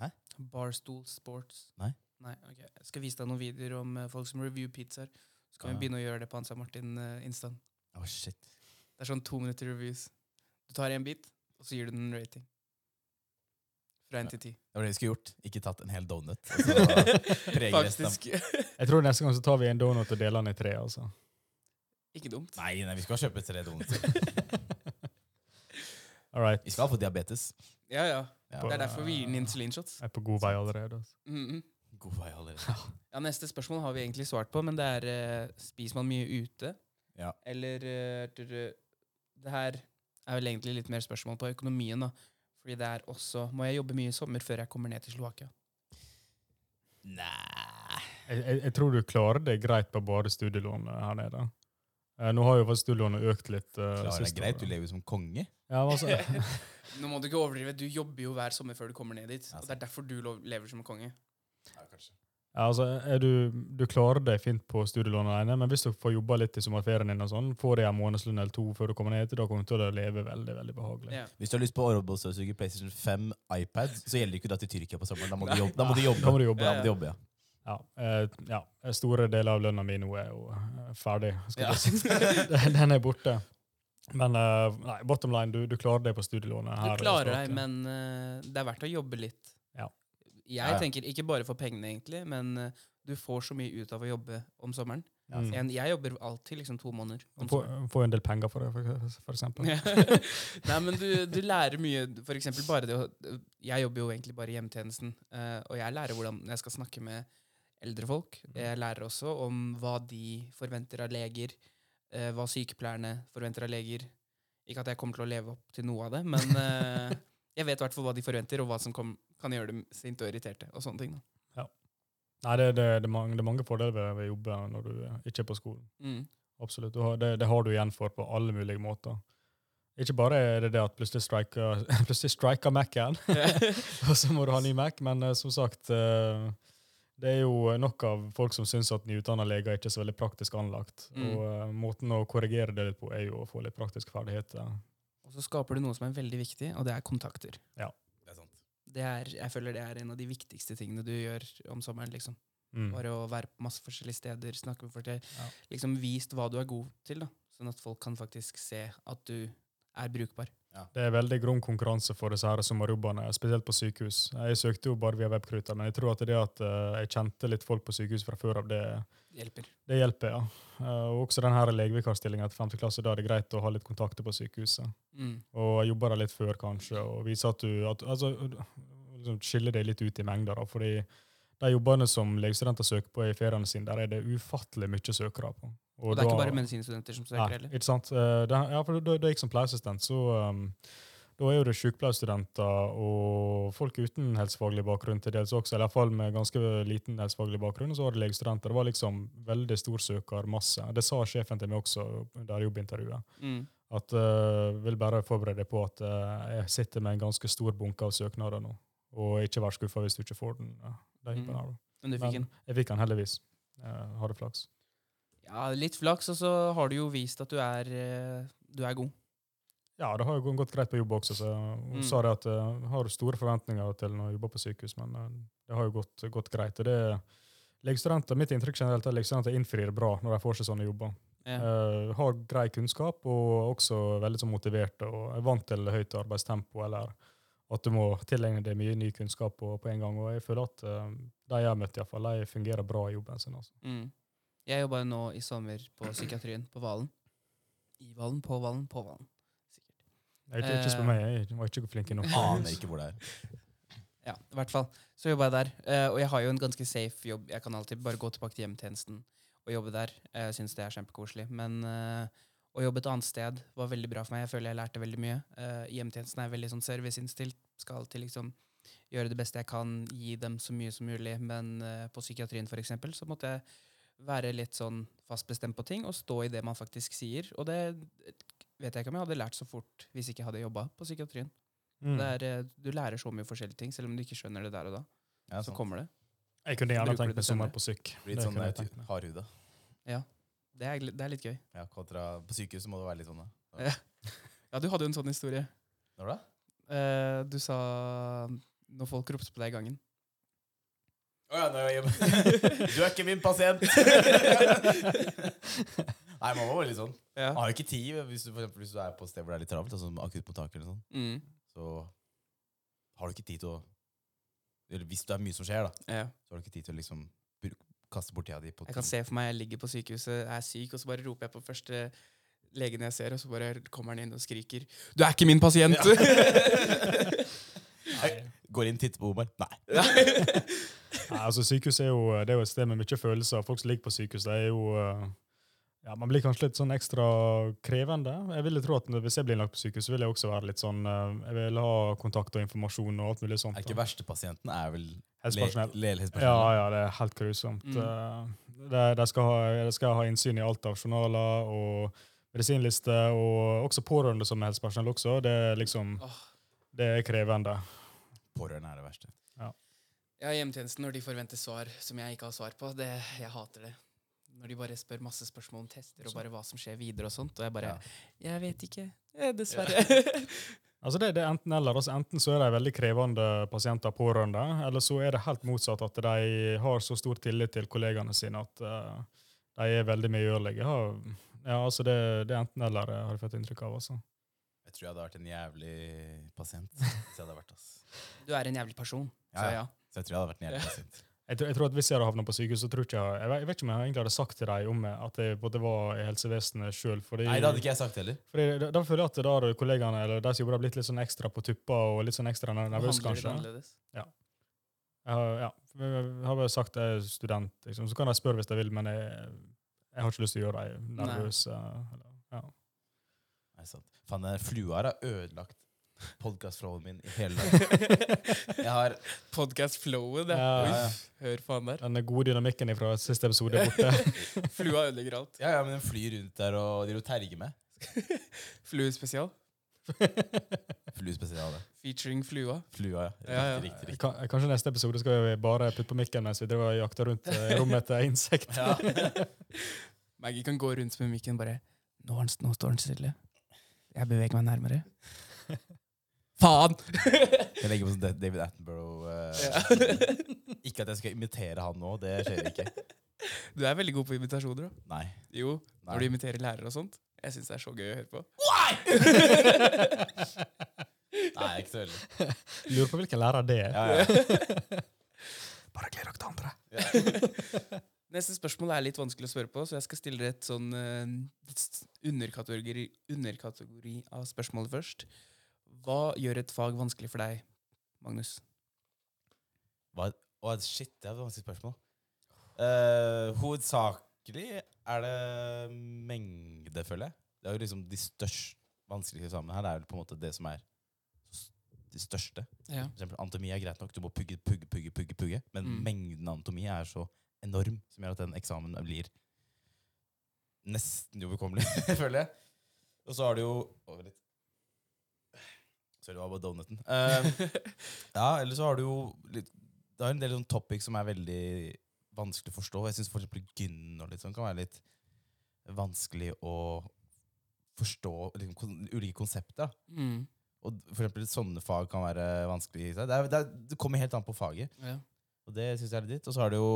Speaker 1: Hæ?
Speaker 3: Barstool Sports.
Speaker 1: Nei.
Speaker 3: Nei, ok. Jeg skal vise deg noen videoer om eh, folk som review pizzaer. Så kan
Speaker 1: Ah.
Speaker 3: vi begynne å gjøre det på Hansa Martin eh, Instant.
Speaker 1: Åh, shit.
Speaker 3: Det er sånn to minutter reviews. Du tar en bit, og så gir du den en rating. Fra
Speaker 1: Ja.
Speaker 3: én til ti.
Speaker 1: <laughs> Det var det vi skulle gjort. Ikke tatt en hel donut. og så prege resten av-
Speaker 3: Faktisk. <laughs>
Speaker 2: Jeg tror neste gang så tar vi en donut og deler den i tre, altså.
Speaker 3: Ikke dumt.
Speaker 1: Nei, nei, vi skal kjøpe tre donuter.
Speaker 2: All right.
Speaker 1: Vi skal få diabetes.
Speaker 3: <laughs> Ja, ja.
Speaker 1: Ja.
Speaker 3: Det er derfor vi gir den insulinshots.
Speaker 2: Jeg er på god vei allerede. altså.
Speaker 3: Mm -mm.
Speaker 1: God vei allerede.
Speaker 3: Ja, Neste spørsmål har vi egentlig svart på, men det er eh, Spiser man mye ute?
Speaker 1: Ja.
Speaker 3: Eller eh, du- du- Det her er vel egentlig litt mer spørsmål på økonomien, da. Fordi det er også Må jeg jobbe mye i sommer før jeg kommer ned til Slovakia?
Speaker 1: Nei
Speaker 2: Jeg, jeg, jeg tror du klarer det greit på bare studielånet her nede. Eh, nå har jo faktisk studielånet økt litt. eh,
Speaker 1: Klarer det
Speaker 2: siste
Speaker 1: greit,
Speaker 2: året.
Speaker 1: du lever som konge.
Speaker 2: Ja,
Speaker 3: <laughs>
Speaker 2: men altså,
Speaker 3: Nå må du ikke overdrive. Du jobber jo hver sommer før du kommer ned dit.
Speaker 1: Ja,
Speaker 3: Og det er derfor du lo- lever som en konge.
Speaker 2: ja, altså er du, du klarer det fint på studielånet alene, men hvis du får jobba litt i sommerferien din, og sånn, får deg en månedslønn eller to før du kommer ned, da kommer du til å leve veldig veldig behagelig.
Speaker 3: Ja.
Speaker 1: Hvis du har lyst på Orbo-støvsuger, PlayStation 5, iPad, så gjelder det ikke å dra til Tyrkia på sommeren. Da må du
Speaker 3: Nei.
Speaker 1: jobbe. Da må du jobbe.
Speaker 2: Da må du jobbe.
Speaker 1: Ja, da må du jobbe, ja.
Speaker 2: Ja, eh, ja. Store deler av lønna mi nå er jo eh, ferdig. Skal
Speaker 3: Ja.
Speaker 2: jeg si. <laughs> Den- Den er borte. Men eh, nei, bottom line, du, du klarer det på studielånet.
Speaker 3: Du
Speaker 2: her i
Speaker 3: klarer
Speaker 2: Slovakia.
Speaker 3: deg, men eh, det er verdt å jobbe litt.
Speaker 2: Ja.
Speaker 3: Jeg
Speaker 1: Ja.
Speaker 3: tenker ikke bare for pengene, egentlig, men eh, du får så mye ut av å jobbe om sommeren.
Speaker 2: Mm.
Speaker 3: Jeg, jeg jobber alltid liksom to måneder. om
Speaker 2: Få, få en del penger for det, for, for <laughs> eksempel.
Speaker 3: Ja. <laughs> Nei, men du, du lærer mye. For eksempel bare det å Jeg jobber jo egentlig bare i hjemmetjenesten, eh, og jeg lærer hvordan jeg skal snakke med eldre folk. Jeg lærer også om hva de forventer av leger, eh, hva sykepleierne forventer av leger. Ikke at jeg kommer til å leve opp til noe av det, men eh, jeg vet i hvert fall hva de forventer, og hva som kom, kan gjøre dem sinte og irriterte. og sånne ting. Da.
Speaker 2: Nei, det, det, det, er mange, det er mange fordeler ved ved å jobbe når du eh, ikke er på skolen.
Speaker 3: Mm.
Speaker 2: Absolutt. Du har, det, det har du igjen for på alle mulige måter. Ikke bare er det det at plutselig striker, <laughs> plutselig striker Mac-en, <laughs>
Speaker 3: Mm. <laughs>
Speaker 2: og så må du ha ny Mac, men eh, som sagt eh, Det er jo nok av folk som syns at nyutdanna leger ikke er så veldig praktisk anlagt.
Speaker 3: Mm.
Speaker 2: Og eh, måten å korrigere det litt på er jo å få litt praktiske ferdigheter.
Speaker 3: Og så skaper du noe som er veldig viktig, og det er kontakter.
Speaker 1: Det er sant.
Speaker 3: Det er, jeg føler det er en av de viktigste tingene du gjør om sommeren. liksom.
Speaker 2: Mm.
Speaker 3: Bare å være på masse forskjellige steder, snakke med folk.
Speaker 2: Ja.
Speaker 3: Liksom vist hva du er god til, da. Sånn at folk kan faktisk se at du er brukbar.
Speaker 2: Det er veldig grom konkurranse for disse her sommerjobbene, spesielt på sykehus. Jeg søkte jo bare via Webkruta, men jeg tror at det at eh, jeg kjente litt folk på sykehus fra før av, det,
Speaker 3: Det hjelper.
Speaker 2: det hjelper, ja. Eh, Og også denne legevikarstillinga etter 5. klasse, da er det greit å ha litt kontakter på sykehuset.
Speaker 3: Mm.
Speaker 2: Og jobbe der litt før, kanskje, og vise at du at, altså, liksom Skille deg litt ut i mengder, da, fordi de jobbene som legestudenter søker på i feriene sine, der er det ufattelig mye søkere på.
Speaker 3: Og, det er ikke
Speaker 2: da-
Speaker 3: bare medisinstudenter som
Speaker 2: Nei,
Speaker 3: søker heller.
Speaker 2: ikke sant? Eh, Det, ja, for da, da jeg som pleieassistent, så um, da er jo det sykepleierstudenter og folk uten helsefaglig bakgrunn til dels også, eller iallfall med ganske liten helsefaglig bakgrunn, og så var det legestudenter. Det var liksom veldig stor søkermasse. Det sa sjefen til meg også under jobbintervjuet.
Speaker 3: Mm.
Speaker 2: At eh, vil bare forberede deg på at eh, jeg sitter med en ganske stor bunke av søknader nå, og ikke vær skuffa hvis du ikke får den. eh, de
Speaker 3: Mm.
Speaker 2: jobben her, da.
Speaker 3: Men du fikk
Speaker 2: Men
Speaker 3: en
Speaker 2: jeg fikk den heldigvis. Eh, Hadde flaks.
Speaker 3: ja, litt flaks, og så har du jo vist at du er, eh, du er god.
Speaker 2: Ja, det har jo gå- gått greit på jobb også. så Hun
Speaker 3: Mm.
Speaker 2: sa det at eh, hun har store forventninger til når hun jobber på sykehus, men eh, det har jo gått, gått greit. og det Legestudenter, Mitt inntrykk generelt er at legestudenter innfrir bra når de får seg sånne jobber.
Speaker 3: Ja.
Speaker 2: Eh, har grei kunnskap og også veldig så motiverte og er vant til høyt arbeidstempo eller at du må tilegne deg mye ny kunnskap på, på en gang. og Jeg føler at eh, de jeg har møtt, i hvert fall, de fungerer bra i jobben sin. altså.
Speaker 3: Mm. Jeg jobba jo nå i sommer på psykiatrien på Valen. I Valen, på Valen, på Valen.
Speaker 2: Jeg, ikke, ikke spør
Speaker 3: Eh.
Speaker 2: meg, jeg var ikke flink nok.
Speaker 1: Aner ikke hvor det er.
Speaker 3: Ja, i hvert fall. Så jobba jeg der. eh, og jeg har jo en ganske safe jobb. Jeg kan alltid bare gå tilbake til hjemmetjenesten og jobbe der. Eh, Jeg syns det er kjempekoselig. Men eh, å jobbe et annet sted var veldig bra for meg. Jeg føler jeg lærte veldig mye. Eh, hjemmetjenesten er veldig sånn serviceinnstilt. Skal alltid liksom gjøre det beste jeg kan, gi dem så mye som mulig. Men eh, på psykiatrien for eksempel, så måtte jeg være litt sånn fast bestemt på ting og stå i det man faktisk sier. Og det vet jeg ikke om jeg hadde lært så fort hvis ikke jeg hadde jobba på psykiatrien.
Speaker 2: Mm.
Speaker 3: Det er, eh, du lærer så mye forskjellige ting, selv om du ikke skjønner det der og da.
Speaker 1: Ja,
Speaker 3: Så
Speaker 1: sant.
Speaker 3: kommer det.
Speaker 2: Jeg kunne
Speaker 3: Bruker
Speaker 2: gjerne
Speaker 3: du
Speaker 2: tenkt
Speaker 3: det
Speaker 2: meg sommer
Speaker 3: senere?
Speaker 2: på syk.
Speaker 1: Litt
Speaker 2: Det
Speaker 1: sånn
Speaker 2: kunne jeg
Speaker 1: eh,
Speaker 2: tenkt meg.
Speaker 1: hardhuda.
Speaker 3: Det er, gl- det er litt gøy.
Speaker 1: Ja, kontra på sykehus må det være litt sånn, da.
Speaker 3: Ja, du hadde jo en sånn historie.
Speaker 1: Når da?
Speaker 3: Eh, du sa når folk ropte på deg i gangen.
Speaker 1: Å ja, nå er jeg hjemme. <laughs> Du er ikke min pasient! Nei, man var litt sånn. Man
Speaker 3: Ja.
Speaker 1: har jo ikke tid hvis du, for eksempel, hvis du er på et sted hvor det er litt travelt, altså akuttmottak eller sånn,
Speaker 3: Mm.
Speaker 1: så har du ikke tid til å Eller hvis det er mye som skjer, da,
Speaker 3: ja.
Speaker 1: så har du ikke tid til å liksom bruk, kaste bort tida di på
Speaker 3: Jeg kan se for meg jeg ligger på sykehuset, er syk, og så bare roper jeg på første legen jeg ser, og så bare kommer han inn og skriker 'Du er ikke min <laughs> pasient!'
Speaker 1: Går inn, titter på Omar. Nei.
Speaker 2: Nei, altså Sykehus er jo, det er jo et sted med mye følelser. Folk som ligger på sykehus, det er jo eh, ja, Man blir kanskje litt sånn ekstra krevende. Jeg ville tro at Hvis jeg blir innlagt på sykehus, så vil jeg også være litt sånn eh, Jeg vil ha kontakt og informasjon og alt mulig sånt.
Speaker 1: Er ikke verste pasienten er vel
Speaker 2: Helsepersonell. Ja,
Speaker 1: legehelsepersonell?
Speaker 2: ja, det er helt grusomt.
Speaker 3: Mm.
Speaker 2: Eh, De, de, skal ha, de skal ha innsyn i alt av journaler og medisinlister, og også pårørende som er helsepersonell også. Det er liksom
Speaker 3: Åh.
Speaker 2: Det er krevende.
Speaker 1: Pårørende er det verste.
Speaker 3: Ja, hjemmetjenesten når de forventer svar som jeg ikke har svar på. Det, jeg hater det. Når de bare spør masse spørsmål om tester og bare hva som skjer videre og sånt. Og jeg bare
Speaker 1: Ja.
Speaker 3: 'Jeg vet ikke. Eh, Dessverre'.
Speaker 2: Altså det, det er enten eller. Altså enten så er de veldig krevende pasienter og pårørende, eller så er det helt motsatt at de har så stor tillit til kollegaene sine at eh, de er veldig medgjørlige. Ja, ja, altså det, det er enten eller, eh, har jeg fått inntrykk av. altså.
Speaker 1: Jeg tror jeg hadde vært en jævlig
Speaker 3: <laughs>
Speaker 1: pasient. Hvis jeg hadde vært, ass.
Speaker 3: Du er en jævlig person,
Speaker 1: Ja,
Speaker 3: sa
Speaker 1: ja.
Speaker 3: ja.
Speaker 1: Så jeg tror jeg hadde vært en jævlig pasient.
Speaker 2: Jeg, tror- jeg tror at Hvis jeg hadde havnet på sykehus, så tror ikke jeg, jeg, vet, jeg vet ikke om jeg egentlig hadde sagt til dem om at jeg både var i helsevesenet sjøl.
Speaker 1: Nei, det hadde ikke jeg sagt heller.
Speaker 2: Da, da føler jeg at da har kollegaene eller de som jobber der, blitt litt sånn ekstra på tuppa og litt sånn ekstra
Speaker 3: Nå
Speaker 2: nervøse,
Speaker 3: handler det
Speaker 2: kanskje.
Speaker 3: annerledes.
Speaker 2: Jeg har, ja, jeg har bare sagt jeg er student, liksom. så kan de spørre hvis de vil, men jeg, jeg har ikke lyst til å gjøre dem nervøse. eller- Ja.
Speaker 1: Nei, sant. Faen, den flua her har ødelagt Podkast-flowen min i
Speaker 3: <laughs>
Speaker 1: hele dag. Jeg har
Speaker 3: Podcast-flowet, det.
Speaker 2: Ja, <laughs> ja.
Speaker 3: Uff, hør faen der.
Speaker 2: Den gode dynamikken fra siste episode er
Speaker 3: <laughs>
Speaker 2: borte.
Speaker 3: Flua ødelegger alt.
Speaker 1: Ja, ja, men den flyr rundt der og driver og terger med.
Speaker 3: Flue spesial.
Speaker 1: Flu spesial, det.
Speaker 3: Featuring flua.
Speaker 1: Flua, ja.
Speaker 3: Ja, ja.
Speaker 1: Riktig, riktig. riktig.
Speaker 2: Kan- Kanskje neste episode skal vi bare putte på mikken mens vi driver og jakter rundt eh, i rommet etter insekter.
Speaker 3: <laughs> Maggie kan gå rundt med mikken bare Nå, er den- nå står den stille. Jeg beveger meg
Speaker 2: <laughs>
Speaker 3: nærmere. Faen!
Speaker 1: Jeg legger på sånn Da- David Attenborough. eh, <laughs> Ikke at jeg skal imitere han nå, det skjer ikke.
Speaker 3: Du er veldig god på invitasjoner, da.
Speaker 1: Nei.
Speaker 3: Jo,
Speaker 1: Nei.
Speaker 3: når du imiterer lærere og sånt. Jeg syns det er så gøy å høre på. <laughs>
Speaker 2: <laughs>
Speaker 1: Nei, ikke så veldig.
Speaker 2: Lurer på hvilken lærer det er.
Speaker 1: Ja, ja.
Speaker 2: Bare gled dere til andre.
Speaker 3: Neste spørsmål er litt vanskelig å svare på, så jeg skal stille dere et sånn eh, s- underkategori, underkategori av spørsmålet først. Hva gjør et fag vanskelig for deg, Magnus?
Speaker 1: Hva? Å, shit, det er et vanskelig spørsmål. Eh, hovedsakelig er det mengde, føler jeg. Det er jo liksom de største vanskeligste sammen her. Det er vel på en måte det som er s- de største.
Speaker 3: Ja.
Speaker 1: For eksempel, anatomi er greit nok, du må pugge, pugge, pugge, pugge, pugge. men
Speaker 3: Mm.
Speaker 1: mengden anatomi er så enorm som gjør at den eksamen blir nesten uoverkommelig, <laughs> føler jeg. Og så har du jo Over litt. Sorry, det var bare donuten.
Speaker 3: Um,
Speaker 1: Eh, ja, eller så har du jo litt Det er en del sånn topics som er veldig vanskelig å forstå. Jeg syns f.eks. gyn og litt sånn kan være litt vanskelig å forstå liksom, kon ulike konsepter. da.
Speaker 3: <laughs> Mm.
Speaker 1: Og for eksempel sånne fag kan være vanskelig i seg. Det, er, det, er, det kommer helt an på faget.
Speaker 3: ja.
Speaker 1: Og det syns jeg er litt dritt. Og så har du jo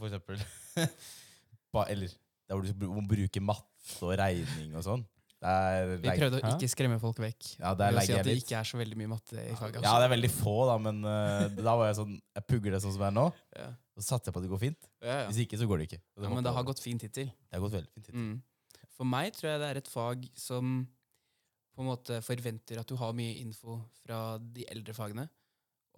Speaker 1: for eksempel <laughs> ba, Eller der hvor du br- må bruke matte og regning og sånn. Det er
Speaker 3: Vi
Speaker 1: legg-
Speaker 3: prøvde å
Speaker 2: Hæ?
Speaker 3: ikke skremme folk vekk.
Speaker 1: Ja, der
Speaker 3: ved å si
Speaker 1: legger
Speaker 3: at
Speaker 1: jeg
Speaker 3: det
Speaker 1: litt.
Speaker 3: ikke er så veldig mye matte i faget. altså.
Speaker 1: Ja, det er veldig få, da, men eh, da var jeg sånn Jeg pugger det sånn som det er nå,
Speaker 3: Ja.
Speaker 1: og så satser jeg på at det går fint.
Speaker 3: Ja, ja.
Speaker 1: Hvis ikke, så går det ikke. Og så
Speaker 3: ja,
Speaker 1: hopper
Speaker 3: men det
Speaker 1: jeg
Speaker 3: har
Speaker 1: over.
Speaker 3: gått fint hittil.
Speaker 1: det har gått veldig fint. hittil.
Speaker 3: Mm. For meg tror jeg det er et fag som på en måte forventer at du har mye info fra de eldre fagene.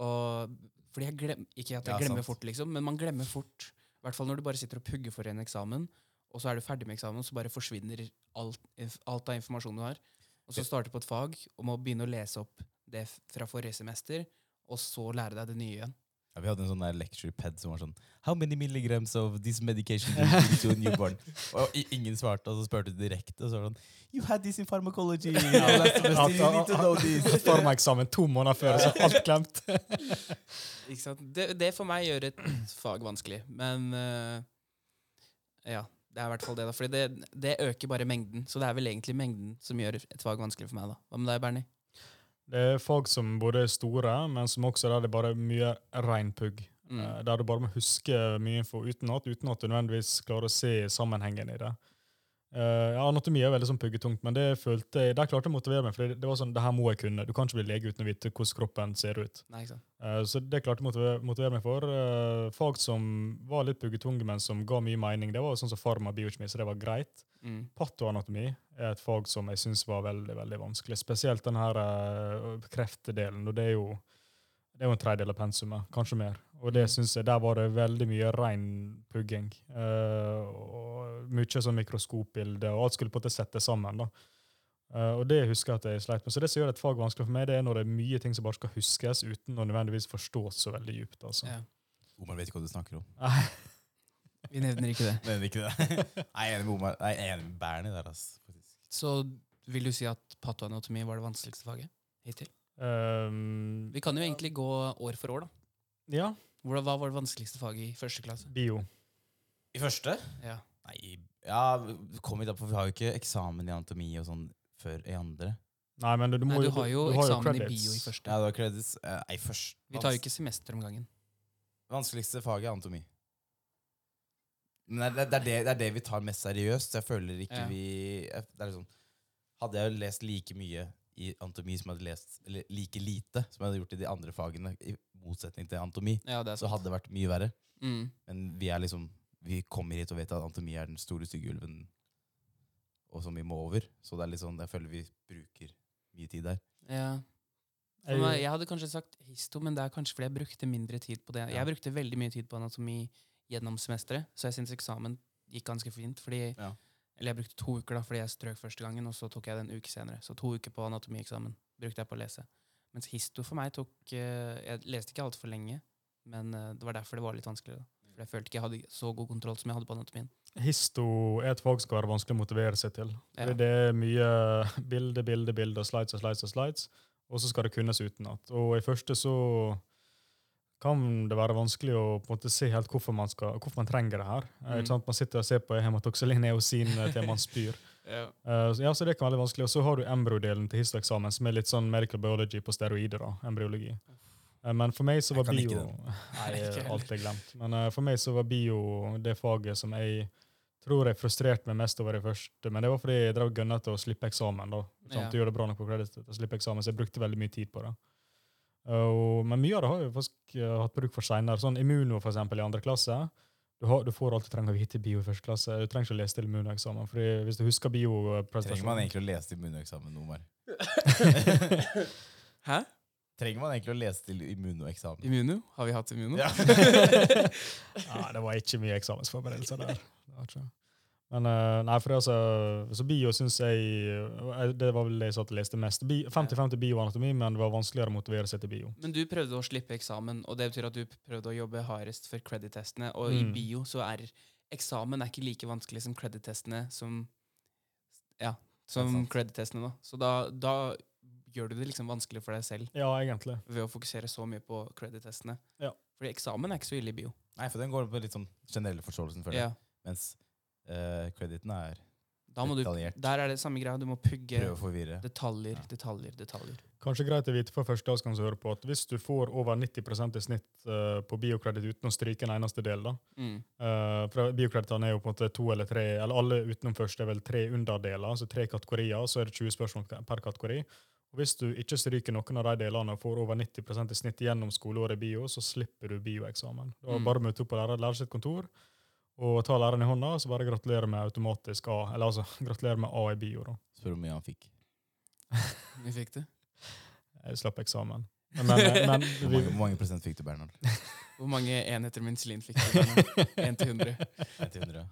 Speaker 3: Og, fordi jeg glem, ikke at jeg
Speaker 1: Ja,
Speaker 3: glemmer
Speaker 1: sant.
Speaker 3: fort, liksom, men man glemmer fort. I hvert fall når du bare sitter og pugger for en eksamen, og så er du ferdig med eksamen, og så bare forsvinner alt, inf- alt av informasjonen du har. Og så starter du på et fag og må begynne å lese opp det f- fra forrige semester, og så lære deg det nye igjen.
Speaker 1: Ja, vi hadde en sånn der lecture pad som var sånn How many milligrams of this medication do you give to a <laughs> newborn? Og i- ingen svarte, og så spurte du direkte, og så var det sånn You had this in pharmacology! <laughs> Ja, last semester, you need to know this.
Speaker 2: Formaksamen to måneder før, så alt glemt.
Speaker 3: Ikke sant? Det, det for meg gjør et fag vanskelig, men eh, ja. Det er i hvert fall det, da. Fordi det, det øker bare mengden. Så det er vel egentlig mengden som gjør et fag vanskelig for meg, da. Hva med deg, Bernie?
Speaker 2: Det er fag som både er store, men som også der det er bare mye reinpugg.
Speaker 3: Mm.
Speaker 2: Eh, Der du bare må huske mye info utenat, uten at du nødvendigvis klarer å se sammenhengen i det. Eh, ja, anatomi er veldig sånn puggetungt, men det følte jeg, der klarte jeg å motivere meg. For det, det var sånn, det her må jeg kunne. Du kan ikke bli lege uten å vite hvordan kroppen ser ut.
Speaker 3: Nei, ikke sant?
Speaker 2: Eh, Så det klarte jeg å motivere, motivere meg for. Eh, Fag som var litt puggetunge, men som ga mye mening, det var sånn som farma biokjemi, så det var greit.
Speaker 3: Mm.
Speaker 2: Patoanatomi er et fag som jeg syns var veldig veldig vanskelig. Spesielt den her eh, kreftdelen. og Det er jo det er jo en tredjedel av pensumet, kanskje mer. Og det
Speaker 3: Mm.
Speaker 2: synes jeg, Der var det veldig mye rein pugging. eh, og Mye sånn mikroskopbilde, og alt skulle på en måte settes sammen. da. Eh, og det husker jeg at jeg sleit med. Så det som gjør et fag vanskelig for meg, det er når det er mye ting som bare skal huskes uten å nødvendigvis forstås så veldig djupt. altså.
Speaker 3: Ja.
Speaker 1: Omar vet ikke hva du snakker om.
Speaker 3: Vi nevner ikke det.
Speaker 1: Mener ikke <laughs> det. Nei, jeg er enig med Omar. Nei, jeg er enig med Bernie der, altså. faktisk.
Speaker 3: Så vil du si at patoanatomi var det vanskeligste faget hittil?
Speaker 2: Eh,
Speaker 3: Vi kan jo egentlig gå år for år, da.
Speaker 2: ja,
Speaker 3: Hvordan, hva var det vanskeligste faget i første klasse?
Speaker 2: bio.
Speaker 1: I første?
Speaker 3: Ja.
Speaker 1: Nei, ja, kom hit da, for vi har jo ikke eksamen i anatomi og sånn før i andre.
Speaker 2: Nei, men du, du, må,
Speaker 3: Nei, du har jo eksamen i bio i
Speaker 2: credits.
Speaker 3: første.
Speaker 1: Ja, det var credits. Eh, Nei, først.
Speaker 3: Vi tar jo ikke semester om gangen.
Speaker 1: Vanskeligste faget er anatomi. Men det, det, er det, det er det vi tar mest seriøst. så Jeg føler ikke
Speaker 3: Ja.
Speaker 1: vi jeg, det er liksom, Hadde jeg lest like mye i anatomi som jeg hadde lest eller like lite som jeg hadde gjort i de andre fagene, i motsetning til anatomi,
Speaker 3: Ja, det er
Speaker 1: så
Speaker 3: sant.
Speaker 1: hadde det vært mye verre.
Speaker 3: Mm.
Speaker 1: Men vi er liksom Vi kommer hit og vet at anatomi er den store stygge ulven, og som vi må over. Så det er litt sånn, jeg føler vi bruker mye tid der.
Speaker 3: Ja. For meg, jeg hadde kanskje sagt histo, men det er kanskje fordi jeg brukte mindre tid på det.
Speaker 1: Ja.
Speaker 3: Jeg brukte veldig mye tid på anatomi gjennom semesteret, så jeg syns eksamen gikk ganske fint. Fordi
Speaker 1: Ja.
Speaker 3: Eller jeg brukte to uker, da, fordi jeg strøk første gangen, og så tok jeg det en uke senere. Så to uker på anatomieksamen brukte jeg på å lese. Mens histo for meg tok eh, Jeg leste ikke altfor lenge, men eh, det var derfor det var litt vanskeligere. da. For jeg følte ikke jeg hadde så god kontroll som jeg hadde på anatomien.
Speaker 2: Histo er et fag som skal være vanskelig å motivere seg til.
Speaker 3: Ja.
Speaker 2: Det er mye bilde, bilde, bilde, og slides og slides og slides, og så skal det kunnes utenat. Og i første så kan det være vanskelig å på en måte se helt hvorfor man, skal, hvorfor man trenger det her. Eh,
Speaker 3: Mm.
Speaker 2: Ikke sant? Man sitter og ser på hematoxylin eosin eh, til man spyr. Eh, så- ja, så det kan være litt vanskelig. Og så har du embryodelen til histoeksamen, som er litt sånn medical biology på steroider. da, embryologi. Eh, men for meg så
Speaker 1: Jeg
Speaker 2: var
Speaker 1: kan ikke
Speaker 2: bio
Speaker 1: den.
Speaker 2: <laughs> Nei,
Speaker 3: Ikke heller.
Speaker 2: alt er glemt. Men eh, for meg så var bio det faget som jeg tror jeg frustrerte meg mest over i første. Men det var fordi jeg drev og gunnet til å slippe eksamen. da. Sånn,
Speaker 3: Ja.
Speaker 2: Du gjør det bra nok på kreditt til å slippe eksamen, så jeg brukte veldig mye tid på det. Og, men mye av det har jeg faktisk eh, hatt bruk for seinere. Sånn Immuno, for eksempel, i andre klasse. Du, har, du får alt du trenger å vite i bio i første klasse. Du trenger ikke å lese til immuneksamen. fordi hvis du husker
Speaker 1: Trenger man
Speaker 2: biopresentasjonen
Speaker 1: egentlig å lese til immunoeksamen, Omar?
Speaker 2: <laughs>
Speaker 3: Hæ?
Speaker 1: Trenger man egentlig å lese til immunoeksamen?
Speaker 3: Immuno? Har vi hatt immuno?
Speaker 1: Ja.
Speaker 2: Ja, det var ikke mye eksamensforberedelser der. Det var ikke. Men eh, nei, for det altså, så bio syns jeg eh, Det var vel det jeg satt og leste mest. Bi- 50-50 bioanatomi, men det var vanskeligere å motivere seg til bio.
Speaker 3: Men du prøvde å slippe eksamen, og det betyr at du prøvde å jobbe hardest for credit-testene. Og i
Speaker 2: Mm.
Speaker 3: bio så er eksamen er ikke like vanskelig som credit-testene som Ja,
Speaker 1: Det er
Speaker 3: som
Speaker 1: sant.
Speaker 3: credit-testene, da. Så da, da gjør du det liksom vanskelig for deg selv
Speaker 2: Ja, egentlig.
Speaker 3: ved å fokusere så mye på credit-testene.
Speaker 2: Ja.
Speaker 3: Fordi eksamen er ikke så ille i bio.
Speaker 1: Nei, for den går på litt sånn generelle forståelsen, føler jeg.
Speaker 3: Ja.
Speaker 1: Mens eh, krediten er
Speaker 3: Da må du,
Speaker 1: Detaljert.
Speaker 3: der er det samme greia. Du må pugge
Speaker 1: prøve å forvirre.
Speaker 3: detaljer,
Speaker 1: Ja.
Speaker 3: detaljer, detaljer.
Speaker 2: Kanskje greit å vite for førstedagsgang som hører på, at hvis du får over 90 i snitt eh, på biokreditt uten å stryke en eneste del, da
Speaker 3: Mm.
Speaker 2: Eh, for Biokreditene er jo på en måte to eller tre, eller alle utenom første er vel tre underdeler, altså tre kategorier, og så er det 20 spørsmål ka- per kategori. Og Hvis du ikke stryker noen av de delene og får over 90 i snitt gjennom skoleåret i bio, så slipper du bioeksamen. Da
Speaker 3: Mm.
Speaker 2: bare møter du opp på lærer, lærer sitt kontor og ta læreren i hånda, så bare gratulerer med automatisk A, eller altså <laughs> gratulerer med A i bio. da.
Speaker 1: Spør hvor mye han fikk.
Speaker 3: Vi fikk det.
Speaker 2: Jeg slapp eksamen. Men, men,
Speaker 3: <laughs>
Speaker 2: men
Speaker 1: Hvor mange, hvor mange prosent fikk du, Bernhard?
Speaker 3: Hvor mange enheter minselin fikk du?
Speaker 1: <laughs>
Speaker 3: 1 til 100.
Speaker 1: 100.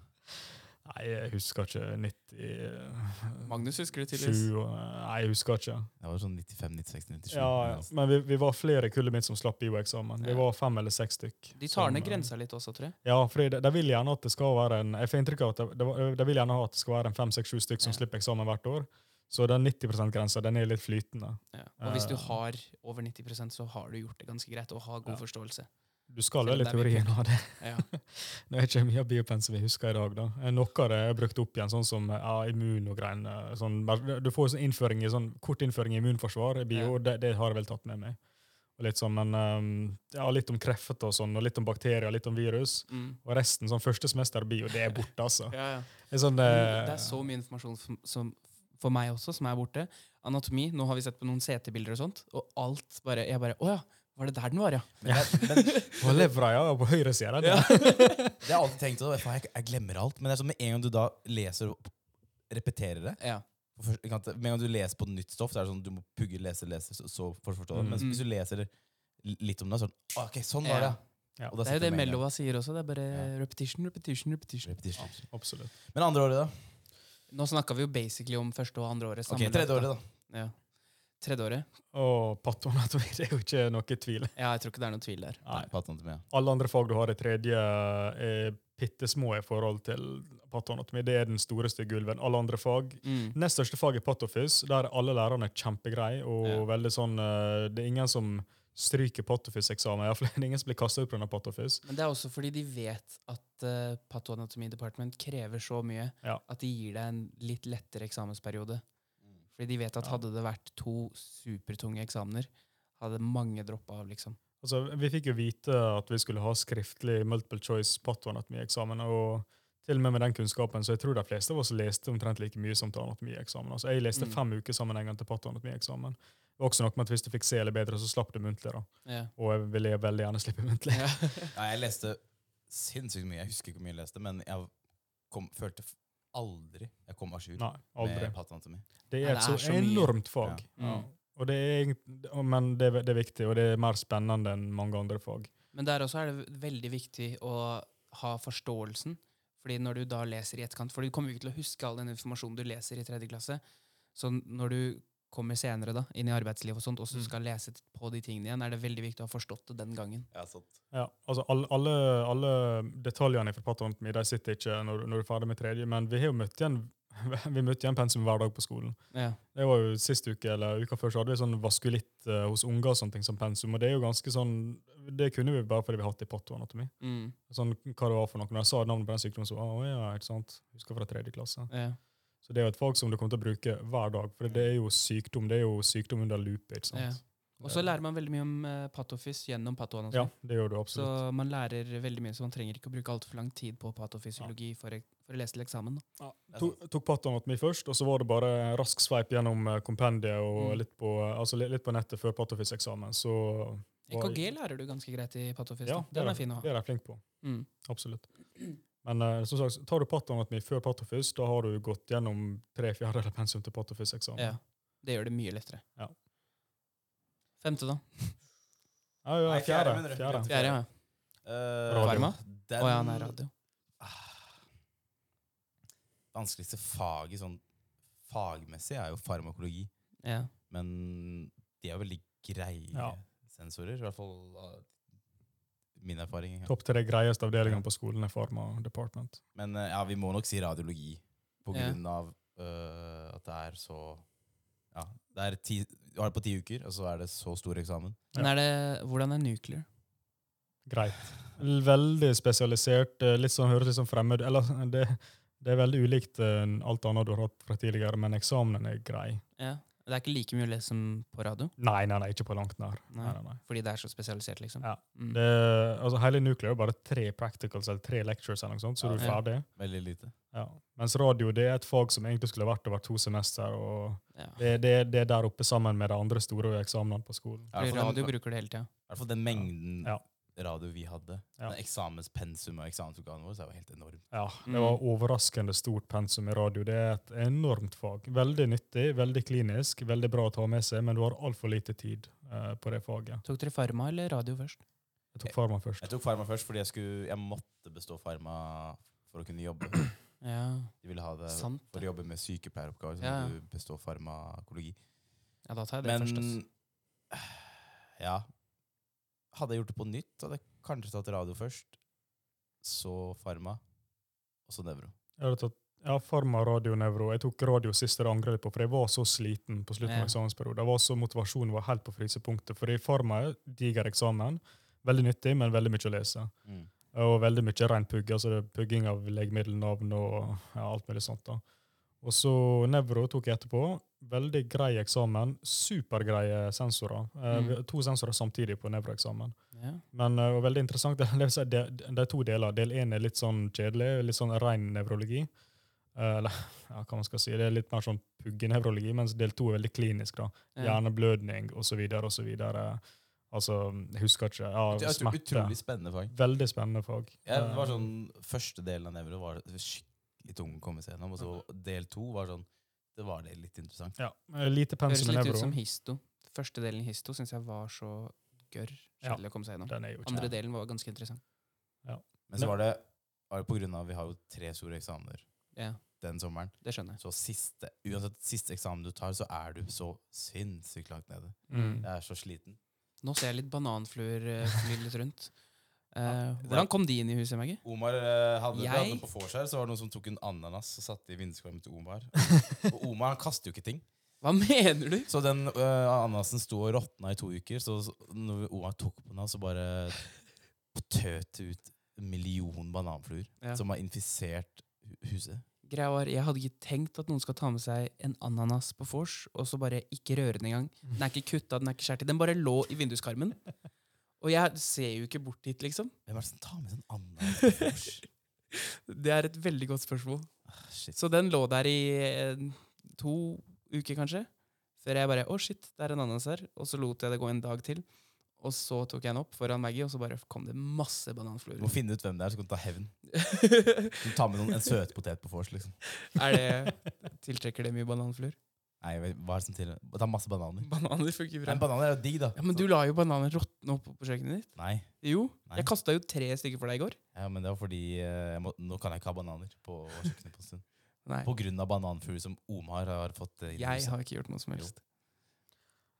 Speaker 2: Nei, jeg husker ikke eh, 90
Speaker 3: Magnus husker det tydeligvis.
Speaker 2: 7 eh, Nei, jeg husker ikke.
Speaker 1: Det var sånn 95, 96, 97.
Speaker 2: Ja, ja. Men vi, vi var flere i kullet mitt som slapp bioeksamen. Vi
Speaker 3: Ja.
Speaker 2: var fem eller seks stykk.
Speaker 3: De tar
Speaker 1: Sånn,
Speaker 3: ned
Speaker 2: som, eh,
Speaker 3: grensa litt også, tror jeg.
Speaker 2: Ja, for de, de vil gjerne at det skal være en jeg får inntrykk av at det, det, var- de vil gjerne ha at det skal være en fem, seks, sju stykk som
Speaker 3: Ja.
Speaker 2: slipper eksamen hvert år. Så den 90 %-grensa den er litt flytende.
Speaker 3: Ja. Og hvis du
Speaker 2: Eh.
Speaker 3: har over 90 så har du gjort det ganske greit og har god
Speaker 2: Ja.
Speaker 3: forståelse.
Speaker 2: Du skal
Speaker 3: Selv
Speaker 2: vel i
Speaker 3: om det er mye
Speaker 2: teorien ha det.
Speaker 3: Ja.
Speaker 2: Det er ikke mye av biopensen vi husker i dag. da. Eh, Noe av det er brukt opp igjen, sånn som eh, ja, immun og greiene. Sånn, bare- du får sånn innføring i, sånn, kort innføring i immunforsvar i bio,
Speaker 3: Ja.
Speaker 2: og det, det har jeg vel tatt med meg. Og litt sånn, men ehm, ja, Litt om kreft og sånn, og litt om bakterier og litt om virus.
Speaker 3: <laughs> Mm.
Speaker 2: Og resten, sånn første semester
Speaker 3: <laughs>
Speaker 2: bio, det er borte, altså.
Speaker 3: Ja,
Speaker 1: <laughs>
Speaker 3: ja.
Speaker 2: Det er sånn,
Speaker 3: Men
Speaker 2: eh,
Speaker 3: Det er så mye informasjon som, som for meg også, som er borte. Anatomi. Nå har vi sett på noen CT-bilder og sånt, og alt bare Jeg bare Å ja, var det der den var, ja?
Speaker 1: Men jeg, men
Speaker 2: På levra, ja, på høyre sida.
Speaker 3: Ja.
Speaker 1: det har jeg alltid tenkt, og faen, jeg, jeg glemmer alt. Men det er sånn med en gang du da leser og repeterer det
Speaker 3: ja.
Speaker 1: for første- ikke sant, Med en gang du leser på nytt stoff, så er det sånn du må pugge, lese, lese, så, så for å forstå det.
Speaker 2: Mm.
Speaker 1: Men hvis du leser litt om det, så er det sånn OK, sånn var det.
Speaker 3: Ja.
Speaker 2: Ja.
Speaker 1: Og da
Speaker 3: Det er jo
Speaker 1: sitter
Speaker 3: det
Speaker 1: du med en gang.
Speaker 3: Mellova sier også. Det er bare
Speaker 1: Ja.
Speaker 3: repetition, repetition, repetition.
Speaker 1: Repetition.
Speaker 2: <laughs> Absolutt.
Speaker 1: Men andre året, da?
Speaker 3: Nå snakka vi jo basically om første og andre året.
Speaker 1: Ok,
Speaker 3: sammenlagt,
Speaker 1: Tredje året, da.
Speaker 3: da. Ja. Tredje året?
Speaker 2: Og patronatomi, <laughs> det er jo ikke noe tvil.
Speaker 3: Ja, jeg tror ikke det er noe tvil der.
Speaker 1: Nei, patenanatomi, ja.
Speaker 2: Alle andre fag du har i tredje, er bitte små i forhold til patronatomi. Det er den storeste gulven. Alle andre fag
Speaker 3: Mm.
Speaker 2: Nest største fag er patofys. Der er alle lærerne kjempegreie. og
Speaker 3: Ja.
Speaker 2: veldig sånn, eh, Det er ingen som stryker patofys-eksamen. i hvert fall. <laughs> Det er Ingen som blir kastet ut pga. patofys.
Speaker 3: Men det er også fordi de vet at uh, Patoanatomy Department krever så mye
Speaker 2: Ja.
Speaker 3: at de gir deg en litt lettere eksamensperiode. Fordi de vet at
Speaker 2: Ja.
Speaker 3: hadde det vært to supertunge eksamener, hadde mange droppa av, liksom.
Speaker 2: Altså, vi fikk jo vite at vi skulle ha skriftlig multiple choice patoanatomieksamen, og til og med med den kunnskapen, så jeg tror de fleste av oss leste omtrent like mye som til anatomieksamen. Altså, jeg leste
Speaker 3: Mm.
Speaker 2: fem uker sammenhengende til patoanatomieksamen. Det var Også noe med at hvis du fikk se eller bedre, så slapp du muntlig, da.
Speaker 3: Ja.
Speaker 2: Og jeg ville veldig gjerne slippe
Speaker 3: <laughs>
Speaker 2: muntlig.
Speaker 1: Nei, jeg leste sinnssykt mye. Jeg husker ikke hvor mye jeg leste, men jeg kom, følte f- aldri jeg kom à jour
Speaker 2: Nei, aldri.
Speaker 1: med patenanatomi.
Speaker 2: Det
Speaker 3: Nei,
Speaker 2: er et
Speaker 3: det
Speaker 2: så
Speaker 3: er så mye.
Speaker 2: enormt fag.
Speaker 3: Ja.
Speaker 2: Ja.
Speaker 3: Mm.
Speaker 2: Og det er, egent- men det, er- det er viktig, og det er mer spennende enn mange andre fag.
Speaker 3: Men der også er det veldig viktig å ha forståelsen Fordi når du da leser i etterkant, for du kommer jo ikke til å huske all den informasjonen du leser i tredje klasse. Så når du kommer senere da, inn i arbeidslivet og sånt, og så
Speaker 2: Mm.
Speaker 3: skal lese på de tingene igjen, er det veldig viktig å ha forstått det den gangen.
Speaker 1: Ja, sant.
Speaker 2: Ja, altså alle, alle, alle detaljene fra patenten min, de sitter ikke når, når du er ferdig med tredje, men vi har jo møtt igjen, <laughs> vi møtte igjen pensum hver dag på skolen.
Speaker 3: Ja.
Speaker 2: Det var jo Sist uke eller uka før så hadde vi sånn vaskulitt eh, hos unger og sånne ting som pensum. og Det er jo ganske sånn, det kunne vi bare fordi vi har hatt det i pattoanatomi.
Speaker 3: Mm.
Speaker 2: Sånn, hva det var for noe. Når jeg sa navnet på den sykdommen, så «Å, ja, ikke sant? Husker fra tredje klasse.
Speaker 3: Ja.
Speaker 2: Så det er jo et fag som du kommer til å bruke hver dag, for det er jo sykdom. Det er jo sykdom under lupe, ikke sant?
Speaker 3: Ja. Og så lærer man veldig mye om eh, patofys gjennom patoanatomi.
Speaker 2: Ja, det gjør du
Speaker 3: Så
Speaker 2: absolutt.
Speaker 3: man lærer veldig mye, så man trenger ikke å bruke altfor lang tid på patofysiologi for, ek- for å lese til eksamen. Da.
Speaker 2: To, tok pattoanatomi først, og så var det bare rask sveip gjennom eh, kompendiet og
Speaker 3: Mm.
Speaker 2: litt, på, eh, altså li- litt på nettet før patofyseksamen. Så var-
Speaker 3: EKG lærer du ganske greit i patofys.
Speaker 2: Ja,
Speaker 3: da.
Speaker 2: det
Speaker 3: Den
Speaker 2: er
Speaker 3: er fin å
Speaker 2: det
Speaker 3: ha.
Speaker 2: er de flinke på.
Speaker 3: Mm. <clears throat>
Speaker 2: Absolutt. Men eh, som sagt, tar du pattoanatomi før patofys, da har du gått gjennom tre fjerdedeler pensum til patofyseksamen.
Speaker 3: Ja, det gjør det mye lettere.
Speaker 2: Ja.
Speaker 3: Femte, da?
Speaker 2: Ja, ja,
Speaker 1: Nei,
Speaker 2: fjerde.
Speaker 1: fjerde, mener du?
Speaker 2: fjerde.
Speaker 1: Fjerde.
Speaker 3: Fjerde, ja.
Speaker 1: Eh,
Speaker 3: Farma?
Speaker 1: Den
Speaker 3: Å ja, nei, radio.
Speaker 1: vanskeligste faget sånn fagmessig er jo farmakologi.
Speaker 3: Ja.
Speaker 1: Men de er veldig greie
Speaker 2: Ja.
Speaker 1: sensorer. I hvert fall av min erfaring. Ja.
Speaker 2: Topp tre greieste avdelingene på skolen er Pharma Department.
Speaker 1: Men eh, ja, vi må nok si radiologi på
Speaker 3: Ja.
Speaker 1: grunn av eh, at det er så Ja, det er ti, du har det på ti uker, og så er det så stor eksamen.
Speaker 3: Men er det, hvordan er nuclear?
Speaker 2: Greit. Veldig spesialisert. eh, Litt sånn, høres litt sånn fremmed Eller <laughs> det, det er veldig ulikt eh, alt annet du har hatt fra tidligere, men eksamenen er grei.
Speaker 3: Ja. Det er ikke like mye å lese som på radio,
Speaker 2: Nei, nei, nei, ikke på langt nær.
Speaker 3: Nei.
Speaker 2: Nei, nei, nei.
Speaker 3: fordi det er så spesialisert, liksom.
Speaker 2: Ja.
Speaker 3: Mm.
Speaker 2: Det, altså, hele nuclear er bare tre practicals eller tre lectures, eller noe sånt, så
Speaker 1: Ja.
Speaker 2: du er
Speaker 3: Ja.
Speaker 2: ferdig.
Speaker 1: Veldig lite.
Speaker 2: Ja. Mens radio det er et fag som egentlig skulle vært over to semester, og
Speaker 3: Ja.
Speaker 2: det, det, det er der oppe sammen med de andre store eksamenene på skolen.
Speaker 1: I hvert
Speaker 3: Fordi
Speaker 1: fall-
Speaker 3: radio bruker det hele tida.
Speaker 1: i hvert fall den mengden
Speaker 2: Ja.
Speaker 1: radio vi hadde.
Speaker 2: Ja.
Speaker 1: Men Eksamenspensum og eksamensoppgavene våre så er jo helt enormt.
Speaker 2: Ja, det
Speaker 3: Mm.
Speaker 2: var overraskende stort pensum i radio. Det er et enormt fag. Veldig nyttig, veldig klinisk, veldig bra å ta med seg, men du har altfor lite tid eh, på det faget.
Speaker 3: Tok dere farma eller radio først?
Speaker 2: Jeg tok farma først.
Speaker 1: Jeg tok farma først fordi jeg, skulle, jeg måtte bestå farma for å kunne jobbe.
Speaker 3: Ja,
Speaker 1: De ville ha det
Speaker 3: sant.
Speaker 1: Eh, for å jobbe med sykepleieroppgaver. Så
Speaker 3: Ja.
Speaker 1: må du bestå farmakologi.
Speaker 3: Ja, da tar jeg det
Speaker 1: Men
Speaker 3: først. altså. ass.
Speaker 1: <sighs> ja Hadde jeg gjort det på nytt, hadde jeg kanskje tatt radio først, så farma, og så nevro.
Speaker 2: Jeg hadde tatt ja, farma, radio, nevro. Jeg tok radio sist, og det angrer jeg på, for jeg var så sliten på slutten
Speaker 3: Ja.
Speaker 2: av eksamensperioden. Jeg var så Motivasjonen var helt på frysepunktet. Fordi farma er diger eksamen. Veldig nyttig, men veldig mye å lese. Og veldig mye ren pugg, altså det er pugging av legemiddelnavn og ja, alt mulig sånt. da. Og så Nevro tok jeg etterpå. Veldig grei eksamen. Supergreie sensorer. Eh,
Speaker 3: Mm.
Speaker 2: vi har To sensorer samtidig på Nevro-eksamen.
Speaker 3: Ja.
Speaker 2: Men eh, og veldig interessant, <laughs> det vil si, det, det er to deler. Del én er litt sånn kjedelig, litt sånn ren nevrologi. Eh, eller <laughs> ja, hva man skal si, det er litt mer sånn puggenevrologi, mens del to er veldig klinisk. da.
Speaker 3: Ja.
Speaker 2: Hjerneblødning osv. osv. Altså, jeg husker ikke.
Speaker 1: Det
Speaker 2: Ja,
Speaker 1: er utro-
Speaker 2: smerte.
Speaker 1: utrolig spennende fag.
Speaker 2: Veldig spennende fag.
Speaker 1: Ja, det var
Speaker 2: Eh,
Speaker 1: sånn, Første delen av nevro var skikkelig tung å komme seg gjennom, og så del to var sånn Det var det litt interessant.
Speaker 2: Ja, eh, Lite
Speaker 3: Høres
Speaker 2: pensum i
Speaker 3: litt
Speaker 2: nevro.
Speaker 3: ut som histo. Første delen i histo syns jeg var så gørr.
Speaker 2: Ja.
Speaker 3: Kjedelig å komme seg gjennom.
Speaker 2: Den er jo
Speaker 3: Andre
Speaker 2: ikke
Speaker 3: delen var ganske interessant.
Speaker 1: Men så var det, var det på grunn av Vi har jo tre store eksamener
Speaker 3: Ja,
Speaker 1: den sommeren.
Speaker 3: det skjønner jeg.
Speaker 1: Så siste, uansett siste eksamen du tar, så er du så sinnssykt langt nede.
Speaker 2: Mm.
Speaker 1: Jeg er så sliten.
Speaker 3: Nå ser jeg litt bananfluer eh, fly litt
Speaker 2: <laughs>
Speaker 3: rundt. Eh,
Speaker 1: det er-
Speaker 3: hvordan kom de inn i huset, Maggie?
Speaker 1: Omar eh, hadde, vi hadde
Speaker 3: Jeg-
Speaker 1: noe på vors her, så var det noen som tok en ananas og satte i vinduskarmen til Omar. Og Omar han kaster jo ikke ting.
Speaker 3: Hva <laughs> mener du?
Speaker 1: Så den eh, ananasen sto og råtna i to uker, så så når Omar tok på den, så bare tøt det ut en million bananfluer
Speaker 3: Ja.
Speaker 1: som har infisert hu- huset.
Speaker 3: Greia var, Jeg hadde ikke tenkt at noen skal ta med seg en ananas på vors, og så bare ikke røre den engang. Den er ikke kutta, den er ikke skåret i. Den bare lå i vinduskarmen. Og jeg ser jo ikke bort dit, liksom.
Speaker 1: Hvem er det som tar med seg en ananas på vors?
Speaker 3: <laughs> Det er et veldig godt spørsmål.
Speaker 1: Ah, Shit.
Speaker 3: Så den lå der i eh, to uker, kanskje. Før jeg bare Å, shit, det er en ananas her. Og så lot jeg det gå en dag til. Og så tok jeg den opp foran Maggie, og så bare kom det masse
Speaker 1: Du må
Speaker 3: bananfluer.
Speaker 1: finne ut hvem det er, så kan du ta hevn. Du tar med noen, en søtpotet på vors, liksom. <laughs>
Speaker 3: er det Tiltrekker det mye bananfluer?
Speaker 1: Nei, jeg vet- hva er det som til? Ta masse bananer.
Speaker 3: Bananer funker bra.
Speaker 1: Men bananer er jo digg, da.
Speaker 3: Ja, Men du la jo bananer råtne opp på kjøkkenet ditt.
Speaker 1: Nei.
Speaker 3: Jo.
Speaker 1: Nei.
Speaker 3: Jeg kasta jo tre stykker for deg i går.
Speaker 1: Ja, men det var fordi eh, jeg må, Nå kan jeg ikke ha bananer på kjøkkenet på en stund.
Speaker 3: Nei.
Speaker 1: På grunn av bananfugl som Omar har fått eh, inn i
Speaker 3: Jeg
Speaker 1: huset.
Speaker 3: har ikke gjort noe som helst.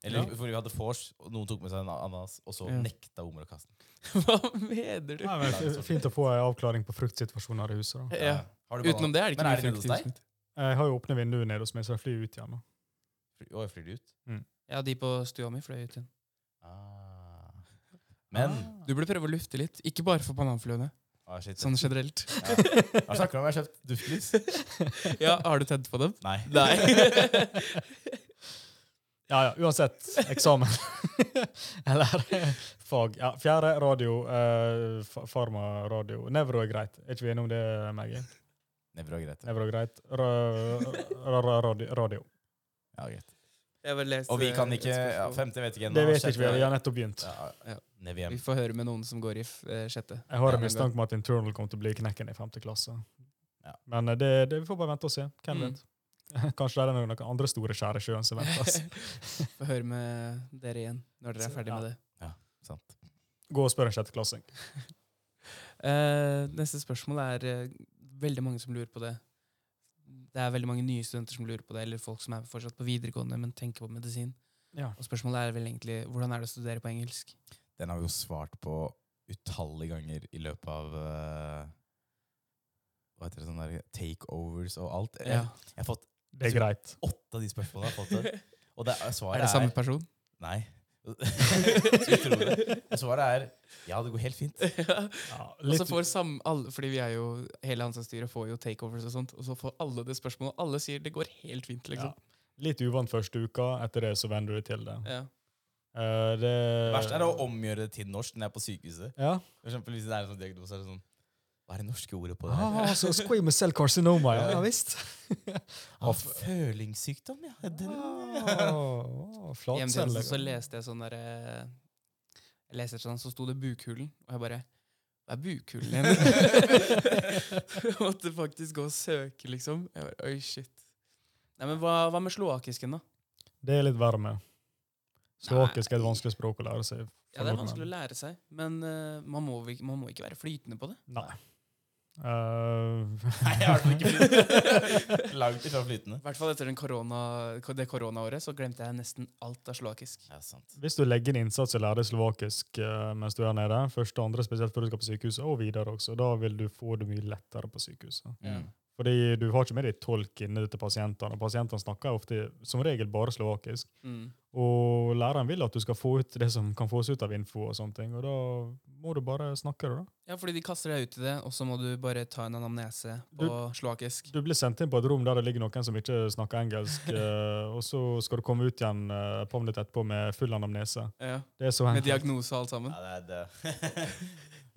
Speaker 1: Eller
Speaker 3: Ja.
Speaker 1: fordi vi hadde vors, og noen tok med seg en ananas, og så
Speaker 3: Ja.
Speaker 1: nekta Omar å kaste den.
Speaker 3: <laughs> Hva mener du?
Speaker 2: Nei, men
Speaker 1: sånn.
Speaker 2: f- Fint å få en avklaring på fruktsituasjonen her i huset. da. Eh,
Speaker 3: Ja.
Speaker 1: Har du
Speaker 3: Utenom det er det ikke
Speaker 1: Men er
Speaker 3: mye
Speaker 1: det nede hos
Speaker 3: frukt. i
Speaker 1: deg?
Speaker 3: huset mitt.
Speaker 2: Jeg har jo åpne vinduet nede hos meg, så jeg flyr ut igjen. da.
Speaker 1: banan- Å, jeg flyr de ut?
Speaker 3: Ja, de på stua mi fløy ut igjen.
Speaker 1: Ah. Men
Speaker 2: Ah.
Speaker 3: Du burde prøve å lufte litt. Ikke bare for bananfluene.
Speaker 1: ah, shit, <laughs>
Speaker 3: Sånn generelt.
Speaker 1: ja. Jeg snakker om jeg har kjøpt duftlys.
Speaker 3: Ja, Har du tent på dem?
Speaker 1: Nei.
Speaker 3: <laughs> Nei.
Speaker 2: Ja, ja, uansett. Eksamen. <laughs> Eller fag. Ja, Fjerde radio. eh, fa- Farma-radio. Nevro er greit. Er ikke vi enige om det, Maggie?
Speaker 1: Nevro og Grete.
Speaker 2: Nevro er greit. Ra- ra- ra- radio- Radio.
Speaker 1: Ja, greit.
Speaker 3: Jeg bare leste
Speaker 1: Og vi kan ikke
Speaker 3: et
Speaker 1: ja,
Speaker 3: spørsmål.
Speaker 1: Femte vet ikke ennå.
Speaker 2: Det vet ikke vi,
Speaker 1: sjette-
Speaker 2: vi har nettopp begynt.
Speaker 1: Ja,
Speaker 3: Ja.
Speaker 1: ned vi hjem.
Speaker 3: Vi får høre med noen som går i f eh, sjette.
Speaker 2: Jeg har
Speaker 3: Ja,
Speaker 2: en
Speaker 3: men
Speaker 2: mistanke om at internal kommer til å bli knekken i femte klasse.
Speaker 1: Ja.
Speaker 2: Men eh, det, det, vi får bare vente og se. Hvem
Speaker 3: Mm.
Speaker 2: vet? <laughs> Kanskje det er noen andre store skjær i sjøen som venter
Speaker 3: <laughs>
Speaker 1: altså.
Speaker 2: oss.
Speaker 3: Får høre med dere igjen når dere er ferdig
Speaker 2: Ja.
Speaker 3: med det.
Speaker 1: Sant.
Speaker 2: Gå og spør en sjetteklassing.
Speaker 3: Eh, neste spørsmål er eh, veldig mange som lurer på det. Det er veldig mange nye studenter som lurer på det, eller folk som er fortsatt på videregående, men tenker på medisin.
Speaker 2: Ja.
Speaker 3: Og spørsmålet er vel egentlig hvordan er det å studere på engelsk?
Speaker 1: Den har vi jo svart på utallige ganger i løpet av eh, Hva heter det sånn der takeovers og alt. Jeg,
Speaker 3: Ja.
Speaker 1: jeg har fått
Speaker 2: Det er greit.
Speaker 1: åtte av de spørsmålene. jeg har fått det. Og det, er- svaret
Speaker 3: Er det samme person?
Speaker 1: <laughs>
Speaker 3: <laughs>
Speaker 1: Nei. Skulle tro det. Og svaret er ja, det går helt fint.
Speaker 2: Ja,
Speaker 3: Og
Speaker 2: litt,
Speaker 3: så får sam, alle, fordi vi er jo, Hele ansattstyret får jo takeovers og sånt, og så får alle det spørsmålet, og alle sier det går helt fint. liksom.
Speaker 2: litt uvant første uka, etter det så venner du deg til det.
Speaker 3: Ja.
Speaker 2: Eh, det
Speaker 1: Det verste er å omgjøre det til norsk når jeg er på sykehuset.
Speaker 2: Ja.
Speaker 1: For eksempel hvis det er en sånn diagnose, så er det sånn Hva er det norske ordet på det her?
Speaker 2: Ah, så squamous cell carcinoma, ja, ja visst.
Speaker 1: Ah, følingssykdom, ja. Den,
Speaker 3: Ah.
Speaker 2: Oh,
Speaker 3: Hjemmetjenesten så
Speaker 2: Flatceller.
Speaker 3: leste jeg sånn der, eh, jeg leste et sånt, så sto det bukhulen, og jeg bare Hva er bukhulen igjen? <laughs> jeg måtte faktisk gå og søke, liksom. Jeg bare, Oi, shit. Nei, men hva, hva med sloakisken, da?
Speaker 2: Det er litt verre med. Slovakisk er et
Speaker 3: Nei.
Speaker 2: vanskelig språk å lære seg.
Speaker 3: Ja, Det er vanskelig å lære seg, men eh, man, må, vi- man må ikke være flytende på det.
Speaker 2: Nei. Eh,
Speaker 1: <laughs> Nei, jeg har den ikke flytende. <laughs> Langt ifra flytende.
Speaker 3: I hvert fall etter den korona, det koronaåret så glemte jeg nesten alt av sloakisk.
Speaker 1: Ja, sant.
Speaker 2: Hvis du legger inn innsats i å lære deg slovakisk eh, mens du er nede, første og andre, spesielt før du skal på sykehuset, og videre også, da vil du få det mye lettere på sykehuset.
Speaker 1: Mm.
Speaker 2: Fordi du har ikke med deg tolk inne til pasientene, og pasientene snakker ofte som regel bare slovakisk.
Speaker 3: Mm.
Speaker 2: Og læreren vil at du skal få ut det som kan fås ut av info, og sånne ting, og da må du bare snakke det, da.
Speaker 3: Ja, fordi de kaster deg ut i det, og så må du bare ta en anamnese på sloakisk.
Speaker 2: Du blir sendt inn på et rom der det ligger noen som ikke snakker
Speaker 3: <laughs>
Speaker 2: engelsk, eh, og så skal du komme ut igjen eh, et par minutter etterpå med full anamnese.
Speaker 3: Ja,
Speaker 2: Det er så
Speaker 3: med diagnose og alt sammen.
Speaker 1: Ja, det, er det.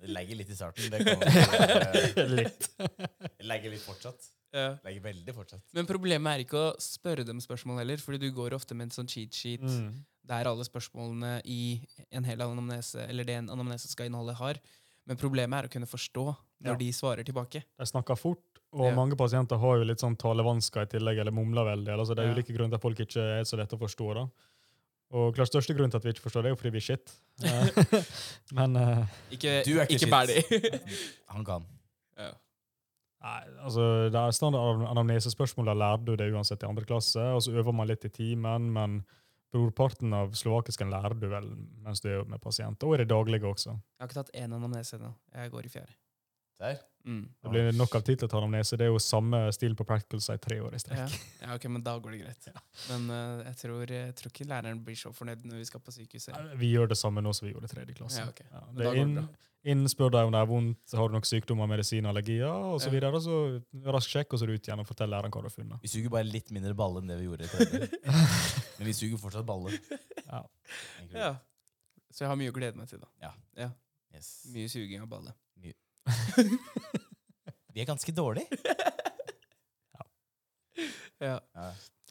Speaker 1: det <laughs> legger litt i starten. Det <laughs> kan man-
Speaker 2: Litt.
Speaker 1: eh, det legger litt fortsatt.
Speaker 3: Ja.
Speaker 1: Det Legger veldig fortsatt.
Speaker 3: Men problemet er ikke å spørre dem spørsmål heller, fordi du går ofte med en sånn cheat sheet
Speaker 2: Mm.
Speaker 3: der alle spørsmålene i en hel anamnese, eller det en anamnese skal inneholde, har. Men problemet er å kunne forstå når
Speaker 2: Ja.
Speaker 3: de svarer tilbake.
Speaker 2: De snakker fort, og
Speaker 3: Ja.
Speaker 2: mange pasienter har jo litt sånn talevansker i tillegg, eller mumler veldig. eller så Det er
Speaker 3: Ja.
Speaker 2: ulike grunner til at folk ikke er så lette å forstå. da. Og klart største grunn til at vi ikke forstår det, er jo fordi vi er
Speaker 3: <laughs>
Speaker 2: shit. Eh, <laughs> Men eh,
Speaker 3: Ikke,
Speaker 1: Du er ikke
Speaker 3: ikke
Speaker 1: shit.
Speaker 3: bæl i.
Speaker 1: Han kan.
Speaker 3: ja.
Speaker 2: nei, altså, det er standard an- anamnesespørsmål, der lærer du det uansett i andre klasse, og så øver man litt i timen, men brorparten av slovakisken lærer du vel mens du er med pasienter, og i det daglige også.
Speaker 3: Jeg har ikke tatt én anamnese ennå. Jeg går i fjerde.
Speaker 1: Der.
Speaker 3: Mm.
Speaker 2: Det blir nok av tid til å ta anamnese. Det er jo samme stilen på practicals i tre år i
Speaker 3: Ja.
Speaker 2: strekk.
Speaker 3: ja, ok, men da går det greit. Men eh, jeg, tror, jeg tror ikke læreren blir så fornøyd når vi skal på sykehuset.
Speaker 2: Nei, Vi gjør det samme nå som vi gjorde i tredje klasse.
Speaker 3: Ja, ok.
Speaker 2: Ja,
Speaker 3: Men
Speaker 2: det
Speaker 3: da
Speaker 2: er
Speaker 3: går det
Speaker 2: inn, inn spør deg om det er vondt, har du nok sykdommer, medisin, allergier og så
Speaker 3: Ja.
Speaker 2: videre, og så rask sjekk, og så er du ut igjen og fortell læreren hva du har funnet.
Speaker 1: Vi suger bare litt mindre balle enn det vi gjorde. i <laughs> tredje. Men vi suger fortsatt balle.
Speaker 2: Ja.
Speaker 1: Egentlig.
Speaker 3: Ja. Så jeg har mye å glede meg til, da.
Speaker 1: Yes.
Speaker 3: Mye suging av balle. <laughs>
Speaker 1: Vi er ganske dårlige.
Speaker 3: Ja.
Speaker 1: Ja.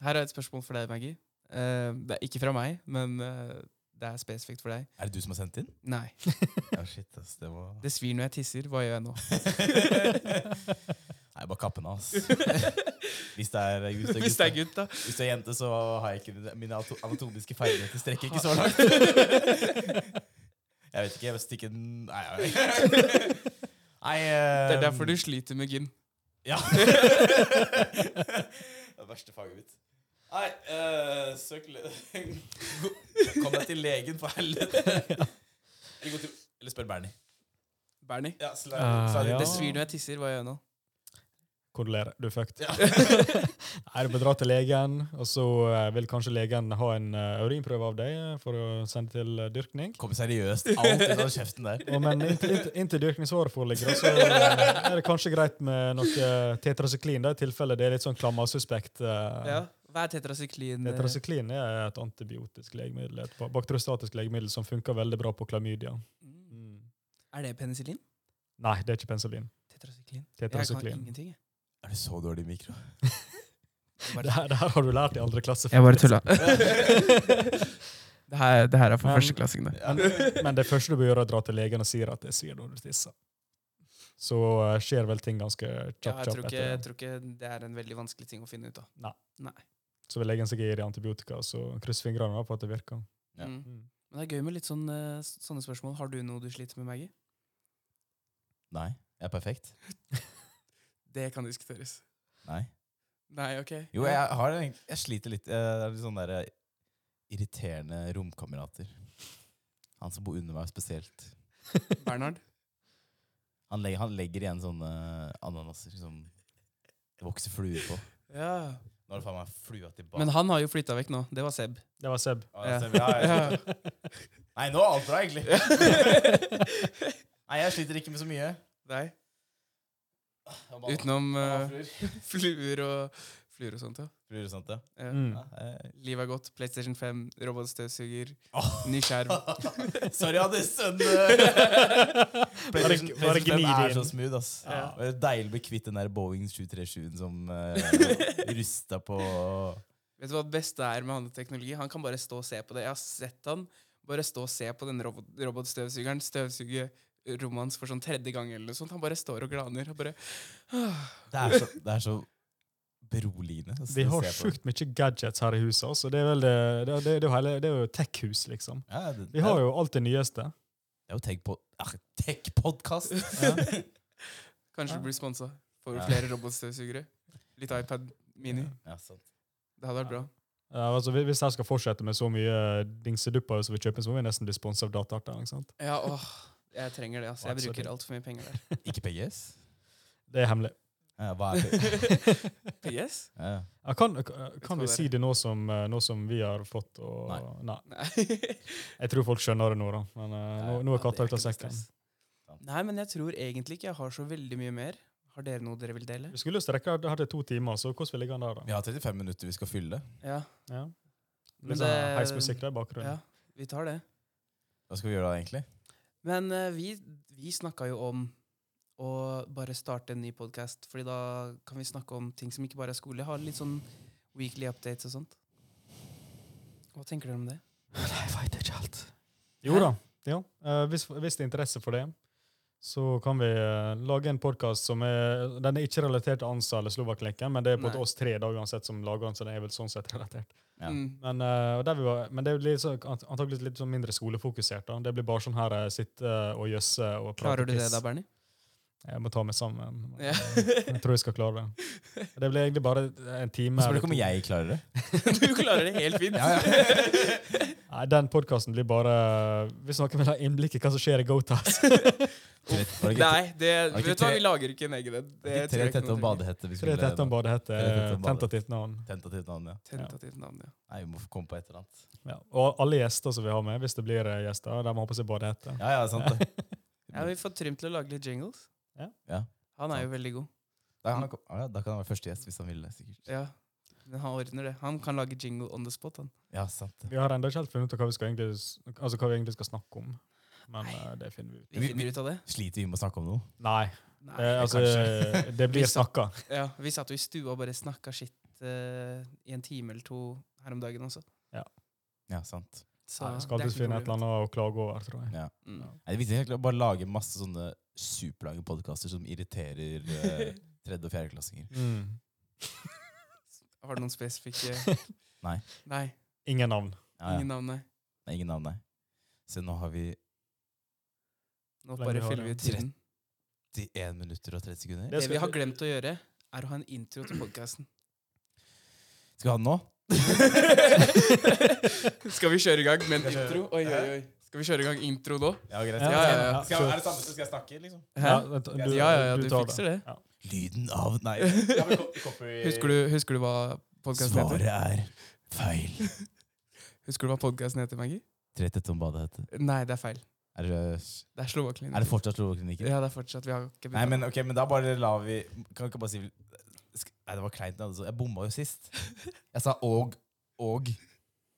Speaker 3: Her er et spørsmål for deg, Maggie. Eh, det er ikke fra meg, men eh, det er spesifikt for deg.
Speaker 1: Er det du som har sendt inn?
Speaker 2: <laughs>
Speaker 3: Nei.
Speaker 1: Ja, shit, ass. Det var
Speaker 3: <laughs> Det svir når jeg tisser. Hva gjør jeg nå?
Speaker 1: <laughs> Nei, Jeg bare kapper den <laughs> av. ass. Hvis det er hvis det er gutt, da.
Speaker 3: Hvis det er gutt, da.
Speaker 1: Hvis du er jente, så har jeg ikke Mine ato- anatomiske ferdigheter strekker ikke så
Speaker 3: <laughs>
Speaker 1: langt. Jeg vet ikke. Jeg vil stikke en Nei, jeg vet ikke.
Speaker 3: <laughs>
Speaker 1: Nei ehm,
Speaker 3: Det er
Speaker 2: Um,
Speaker 3: derfor du sliter med gym. <laughs>
Speaker 1: Ja. Det verste faget mitt. Nei, eh, søk le- <laughs> Kom deg til legen, for
Speaker 3: <laughs>
Speaker 1: helvete. Eller, gå til- eller spør Bernie.
Speaker 3: Bernie.
Speaker 1: Ja, slide,
Speaker 2: Ah,
Speaker 1: slide.
Speaker 2: ja.
Speaker 3: Det svir når jeg tisser. Hva gjør jeg nå?
Speaker 2: Kondolerer. Du er fucked.
Speaker 1: Ja.
Speaker 2: Nei, du må dra til legen, og så eh, vil kanskje legen ha en eh, urinprøve av deg eh, for å sende til eh, dyrkning.
Speaker 1: Kom seriøst. Alt ut av kjeften der.
Speaker 2: Og men inntil, inntil, inntil dyrkningsåret foreligger, så eh, er det kanskje greit med noe tetrasyklin, da, i tilfelle det er litt sånn klammersuspekt. eh.
Speaker 3: Ja. Hva er eh, tetrasyklin?
Speaker 2: Tetrasyklin er et antibiotisk legemiddel, et ba- bakteriostatisk legemiddel som funker veldig bra på klamydia.
Speaker 3: Mm. Er det penicillin?
Speaker 2: Nei, det er ikke penicillin.
Speaker 3: Tetrasyklin. Jeg kan
Speaker 2: <laughs> Tetrasyklin.
Speaker 3: ingenting, jeg.
Speaker 1: Er du så dårlig i mikro?
Speaker 2: Det her, det her har du lært i andre klasse.
Speaker 3: Jeg bare
Speaker 2: faktisk.
Speaker 3: tulla. det, her, det her er for
Speaker 2: Men-
Speaker 3: førsteklassingene.
Speaker 2: Men, men det første du bør gjøre, er å dra til legen og si at det svir når du tisser. Så eh, skjer vel ting ganske
Speaker 3: Ja,
Speaker 2: kjapt
Speaker 3: jeg, tror ikke,
Speaker 2: kjapt etter
Speaker 3: jeg
Speaker 2: det.
Speaker 3: tror ikke det er en veldig vanskelig ting å finne ut av.
Speaker 2: Så vil legen seg gi deg antibiotika, så kryss fingrene da for at det virker.
Speaker 1: Ja.
Speaker 3: Mm. Men det er gøy med litt sånn, eh, sånne spørsmål. Har du noe du sliter med, Maggie?
Speaker 1: Nei. Jeg er perfekt.
Speaker 3: Det kan diskuteres.
Speaker 1: Nei.
Speaker 3: Nei, ok.
Speaker 1: Jo, jeg, har, en- jeg sliter litt. Eh, Det er litt sånne der eh, irriterende romkamerater. Han som bor under meg spesielt. <laughs>
Speaker 3: Bernhard?
Speaker 1: Han legger, han legger igjen sånne ananaser som det vokser fluer på.
Speaker 3: Ja.
Speaker 1: Nå har det faen meg flua tilbake.
Speaker 3: Men han har jo flytta vekk nå. Det var Seb.
Speaker 2: Det var Seb.
Speaker 1: Ja, jeg ser- ja,
Speaker 3: <laughs>
Speaker 1: ja. Nei, nå er alt bra, egentlig. Nei, jeg sliter ikke med så mye.
Speaker 3: Nei.
Speaker 1: Jeg bare-
Speaker 3: Utenom
Speaker 1: jeg bare fluer.
Speaker 3: eh, fluer og fluer og sånt, ja.
Speaker 1: Fluer og sånt, ja.
Speaker 3: ja.
Speaker 2: Mm.
Speaker 1: Ja, jeg-
Speaker 3: Livet er godt. PlayStation 5, robotstøvsuger,
Speaker 1: Åh.
Speaker 3: ny skjerm.
Speaker 1: <laughs> Sorry, Hannes. men,
Speaker 2: Bare-
Speaker 1: eh, PlayStation
Speaker 2: bare
Speaker 1: PlayStation
Speaker 2: gni
Speaker 1: 5 er
Speaker 2: det
Speaker 1: så
Speaker 2: inn.
Speaker 1: smooth, ass.
Speaker 3: Ja.
Speaker 1: Det er deilig å bli kvitt den der Boeing 737-en som uh, rusta på
Speaker 3: Vet du hva det beste er med han og teknologi? Han kan bare stå og se på det. Jeg har sett han bare stå og se på den robot robotstøvsugeren støvsuge rommet hans for sånn tredje gang eller noe sånt. Han bare står og glaner. Og bare
Speaker 1: Det er så, det er så beroligende. ass,
Speaker 2: Vi
Speaker 1: å
Speaker 2: har
Speaker 1: se på.
Speaker 2: sjukt mye gadgets her i huset. Altså. Det er vel det, det, det, det, er jo hele- det er jo tech-hus, liksom.
Speaker 1: Ja, det,
Speaker 2: Vi har jo alt det nyeste.
Speaker 1: Det er jo tech på ah, Tech-podkast!
Speaker 3: Kanskje
Speaker 2: Ja.
Speaker 3: du blir sponsa. Får
Speaker 1: Ja.
Speaker 3: flere robotstøvsugere. Litt iPad Mini.
Speaker 1: Ja, sant.
Speaker 3: Det hadde vært bra.
Speaker 2: Ja, altså, hvis- Hvis jeg skal fortsette med så mye dingsedupper som vi kjøper, så må vi nesten bli sponset av Datahart. der, ikke sant?
Speaker 3: Ja, åh. Jeg trenger det. altså. Jeg
Speaker 2: Absolutt.
Speaker 3: bruker altfor mye penger <laughs> der.
Speaker 1: Ikke PGS?
Speaker 2: Det er hemmelig.
Speaker 1: Ja, hva er det?
Speaker 3: PS?
Speaker 1: Ja.
Speaker 2: Ja, kan kan
Speaker 3: hva
Speaker 2: vi
Speaker 3: det er.
Speaker 2: si det nå som, eh, nå som vi har fått
Speaker 1: Nei.
Speaker 2: og, Nei.
Speaker 3: Nei.
Speaker 2: Jeg tror folk skjønner det nå, da. Men eh,
Speaker 1: Ja, ja.
Speaker 2: nå, nå er
Speaker 3: Ja, det
Speaker 2: katta
Speaker 3: er
Speaker 2: ute av
Speaker 3: ikke noe
Speaker 2: sekken.
Speaker 3: stress. Nei, men jeg tror egentlig ikke jeg har så veldig mye mer. Har dere noe dere vil dele?
Speaker 2: Vi skulle jo strekke det her til to timer, så hvordan vil ligge an der, da?
Speaker 1: Vi har 35 minutter vi skal fylle.
Speaker 3: Ja.
Speaker 2: Ja.
Speaker 3: Men det-
Speaker 2: Litt sånn heismusikk der i
Speaker 3: ja
Speaker 2: bakgrunnen.
Speaker 3: vi tar det.
Speaker 1: Hva skal vi gjøre da, egentlig?
Speaker 3: Men eh, vi, vi snakka jo om å bare starte en ny podkast, Fordi da kan vi snakke om ting som ikke bare er skole. Ha litt sånn weekly updates og sånt. Hva tenker dere om
Speaker 2: <laughs>
Speaker 3: det?
Speaker 2: Jeg veit ikke alt. Jo
Speaker 3: Hæ?
Speaker 2: da. Ja. Eh, hvis, hvis det er interesse for det, så kan vi eh, lage en podkast som er Den er ikke relatert til ANSA eller Slovaklinken, men det er på
Speaker 3: Nei.
Speaker 2: et oss tre da uansett som lager den, så den er vel sånn sett relatert.
Speaker 1: Ja.
Speaker 3: Mm.
Speaker 2: Men, eh, og der vi var, men det er jo litt så- ant- antakeligvis litt sånn mindre skolefokusert. da. Det blir bare sånn her eh, sitte og jøsse og prate
Speaker 3: Klarer du det
Speaker 2: piss.
Speaker 3: da, Bernie? <laughs>
Speaker 2: Jeg må ta meg sammen.
Speaker 3: Ja.
Speaker 2: Jeg tror jeg skal klare det. Det blir egentlig bare en time.
Speaker 1: Spør du
Speaker 2: eller
Speaker 1: ikke om
Speaker 2: to.
Speaker 1: jeg klarer det?
Speaker 3: du klarer det helt fint.
Speaker 1: Ja,
Speaker 2: Nei, den podkasten blir bare Vi snakker med innblikk i hva som skjer i Gotas.
Speaker 1: Var det ikke
Speaker 3: Nei, det,
Speaker 1: det ikke
Speaker 3: vet du hva,
Speaker 1: tre-
Speaker 3: vi lager ikke en egen en.
Speaker 1: tre,
Speaker 3: Det tror
Speaker 1: tre
Speaker 3: jeg ikke
Speaker 1: tette
Speaker 3: noe
Speaker 1: om
Speaker 3: trenger.
Speaker 1: badehette? Vi
Speaker 2: Tre
Speaker 1: skulle
Speaker 2: tett om badehette.
Speaker 1: Tre tett om badehette.
Speaker 2: Tentativt navn.
Speaker 1: Tentativt navn, ja.
Speaker 3: Tentativt navn, ja.
Speaker 1: Nei, vi må få komme på et eller annet.
Speaker 2: Ja. Og alle gjester som vi har med, hvis det blir eh, gjester, de har på seg badehette.
Speaker 1: Ja, ja, sant det.
Speaker 3: <laughs> ja. Vi får Trym til å lage litt jingles.
Speaker 2: Ja.
Speaker 1: Ja.
Speaker 3: Han er jo veldig god.
Speaker 1: Da kan han, kom- ja, da kan han være første gjest, hvis han vil det, sikkert.
Speaker 3: Ja. Men han ordner det. Han kan lage jingle on the spot, han.
Speaker 1: Ja, sant det.
Speaker 2: Vi har ennå ikke helt funnet ut hva vi, skal egentlig, s- altså hva vi egentlig skal snakke om, men
Speaker 3: Nei.
Speaker 2: eh, det finner vi ut.
Speaker 3: Vi
Speaker 1: Vi-
Speaker 3: finner
Speaker 1: vi-
Speaker 3: ut av det.
Speaker 1: Sliter vi med å snakke om noe?
Speaker 2: Nei,
Speaker 3: Nei.
Speaker 2: eh, altså,
Speaker 1: kanskje.
Speaker 2: eh, det
Speaker 3: Vi
Speaker 2: blir
Speaker 3: sa-
Speaker 2: snakka.
Speaker 3: Ja, vi satt jo i stua og bare snakka skitt eh, i en time eller to her om dagen også.
Speaker 1: Ja, sant.
Speaker 3: Så
Speaker 2: Jeg skal
Speaker 3: det er ikke noe
Speaker 2: alltid finne et eller
Speaker 3: problem.
Speaker 2: annet å klage over, tror jeg.
Speaker 1: Ja.
Speaker 3: Mm. <laughs>
Speaker 1: Nei, det er viktig egentlig å bare lage masse sånne superlange podkaster som irriterer eh, tredje- og fjerdeklassinger.
Speaker 2: Mm.
Speaker 3: Har du noen spesifikke
Speaker 1: Nei.
Speaker 3: <laughs> Nei,
Speaker 2: Ingen navn.
Speaker 1: Ja, ja.
Speaker 3: ingen navn, nei.
Speaker 1: Nei, Ingen navn, nei. Se, nå har vi
Speaker 3: Nå
Speaker 2: Hvor lenge
Speaker 3: bare
Speaker 2: har
Speaker 3: fyller
Speaker 2: du?
Speaker 3: vi ut tiden.
Speaker 1: 31 minutter og 30 sekunder.
Speaker 2: Det
Speaker 3: Det
Speaker 2: skal
Speaker 3: vi har
Speaker 2: vi-
Speaker 3: glemt å gjøre, er å ha en intro til podkasten.
Speaker 1: Skal vi ha den nå?
Speaker 3: <laughs> Skal vi kjøre i gang med en intro? Oi, oi, oi. Skal vi kjøre i gang intro nå?
Speaker 1: Ja, greit.
Speaker 2: Ja,
Speaker 3: ja, ja.
Speaker 1: Skal, er det samme som skal jeg snakke, liksom?
Speaker 3: Hæ?
Speaker 2: vent, du,
Speaker 3: Ja, ja, ja, du
Speaker 2: tar
Speaker 3: fikser det.
Speaker 2: Ja.
Speaker 1: Lyden av Nei.
Speaker 3: Husker du, husker du hva podkasten
Speaker 1: Svaret
Speaker 3: heter?
Speaker 1: er feil.
Speaker 3: Husker du hva podcasten heter, Maggie?
Speaker 1: Tre tett om badet heter
Speaker 3: Nei, det er feil.
Speaker 1: Er det,
Speaker 3: Det er Slovakia.
Speaker 1: er det fortsatt Lovoklinikken?
Speaker 3: Ja, det er fortsatt. Vi har ikke
Speaker 1: Nei, men ok, men da bare lar vi Kan ikke bare si Sk- Nei, det var kleint. altså. Jeg bomma jo
Speaker 3: <laughs>
Speaker 1: sist. Jeg sa og, og,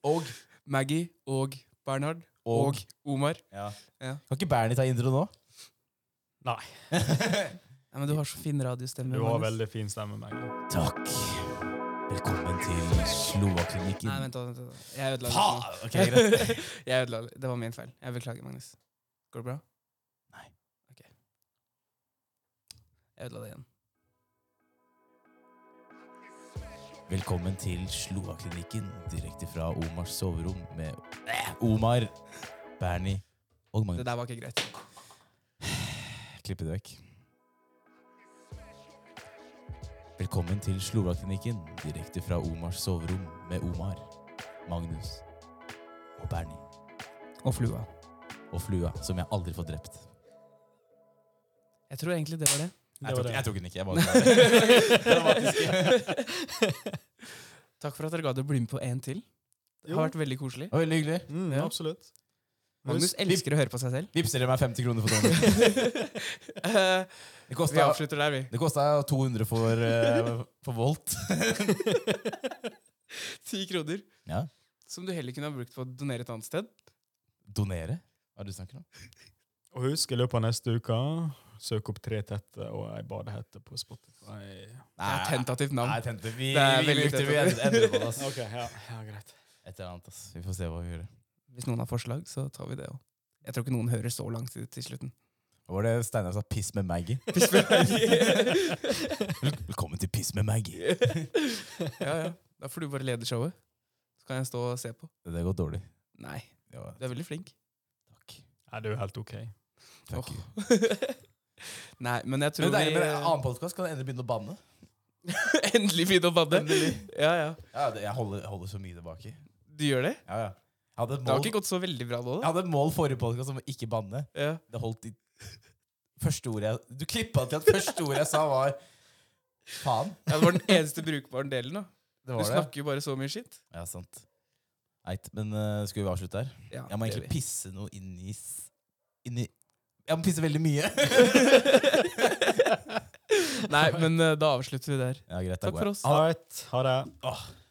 Speaker 1: og,
Speaker 3: Maggie og Bernhard og,
Speaker 1: og.
Speaker 3: Omar.
Speaker 1: Ja.
Speaker 3: Ja.
Speaker 1: Kan ikke Bernie ta intro nå?
Speaker 2: Nei.
Speaker 3: Nei, men Du har så fin radiostemme.
Speaker 2: Du har
Speaker 3: Magnus.
Speaker 2: veldig fin stemme, Maggie.
Speaker 1: <laughs> Takk. Velkommen til Slovaklinikken.
Speaker 3: Nei, vent, da, vent, da. Jeg ødela det.
Speaker 1: Faen!
Speaker 3: nå.
Speaker 1: Ok, greit. <laughs>
Speaker 3: <laughs> Jeg ødela det. Det var min feil. Jeg beklager, Magnus. Går det bra?
Speaker 1: Nei.
Speaker 3: Ok. Jeg ødela det igjen.
Speaker 1: Velkommen til Slovaklinikken, direkte fra Omars soverom med eh, Omar, Bernie og
Speaker 3: Det
Speaker 1: Magnus.
Speaker 3: der var ikke greit.
Speaker 1: Klippe det vekk. Velkommen til Slovaklinikken, direkte fra Omars soverom med Omar, Magnus og Bernie.
Speaker 3: Og flua.
Speaker 1: Og flua, som jeg aldri får drept.
Speaker 3: Jeg tror egentlig det var det.
Speaker 1: Jeg tok, jeg tok den ikke. jeg bare
Speaker 3: <laughs> Takk for at dere gadd å bli med på en til. Det
Speaker 2: Jo.
Speaker 3: har vært veldig koselig.
Speaker 1: Oi, hyggelig.
Speaker 2: Mm,
Speaker 3: Ja.
Speaker 2: Absolutt.
Speaker 3: Magnus elsker å høre på seg selv.
Speaker 1: Vipser dere meg 50 kroner for tonen?
Speaker 3: Eh,
Speaker 1: Det
Speaker 3: vi
Speaker 1: kosta-
Speaker 3: avslutter der, vi.
Speaker 1: det kosta 200 for, eh, for volt.
Speaker 3: Ti kroner.
Speaker 1: Ja.
Speaker 3: Som du heller kunne ha brukt på å donere et annet sted.
Speaker 1: Donere? Hva er det du snakker om?
Speaker 2: Og husk, i løpet av neste uke, søk opp tre tette og ei badehette på Spotify.
Speaker 3: Det er tentativt navn.
Speaker 1: Nei, tente. Vi,
Speaker 3: Det er
Speaker 1: vi
Speaker 3: veldig
Speaker 1: lukter, vi endrer
Speaker 3: tentativt.
Speaker 1: endrer på det.
Speaker 3: <laughs>
Speaker 1: ass.
Speaker 2: Ok, ja, ja greit.
Speaker 1: Et eller annet, ass. Vi får se hva vi gjør.
Speaker 3: Hvis noen har forslag, så tar vi det òg. Jeg tror ikke noen hører så langt til,
Speaker 1: <laughs>
Speaker 3: til slutten.
Speaker 1: Hva var det Steinar sa? Piss med Maggie? Vel- Velkommen til Piss med Maggie.
Speaker 3: ja, ja. Da får du bare lede showet. Så kan jeg stå og se på.
Speaker 1: Det går dårlig.
Speaker 3: Nei,
Speaker 1: Ja,
Speaker 3: du er
Speaker 1: <laughs>
Speaker 3: veldig flink.
Speaker 1: takk.
Speaker 2: <laughs> Ja, det er jo helt ok.
Speaker 1: Takk.
Speaker 3: Nei, men jeg tror
Speaker 1: Men det er, men
Speaker 3: vi
Speaker 1: en annen podkast kan endelig begynne å banne.
Speaker 3: Endelig begynne å banne. Ja, ja.
Speaker 1: Ja, det, jeg holder, holder så mye tilbake.
Speaker 3: Du gjør det?
Speaker 1: Ja, ja. Jeg hadde et
Speaker 3: Det har
Speaker 1: mål,
Speaker 3: ikke gått så veldig bra nå,
Speaker 1: jeg
Speaker 3: da.
Speaker 1: hadde et mål forrige podkast om å ikke banne.
Speaker 3: Ja.
Speaker 1: Det holdt i første ordet jeg Du klippa til at første ordet jeg sa, var faen.
Speaker 3: Ja, det var den eneste brukbare delen. da.
Speaker 1: Det
Speaker 3: Du
Speaker 1: var det.
Speaker 3: snakker jo bare så mye skitt.
Speaker 1: Ja, sant. Eit, men eh, skal vi avslutte her?
Speaker 3: Ja,
Speaker 1: Jeg må
Speaker 3: det
Speaker 1: egentlig
Speaker 3: vet
Speaker 1: pisse noe inn i s- inn i- Jeg må pisse veldig mye.
Speaker 3: jeg. Nei, men eh, da avslutter vi der.
Speaker 1: ja, greit, da
Speaker 3: Takk
Speaker 1: går jeg.
Speaker 3: for oss.
Speaker 2: All right, ha det.
Speaker 1: Åh.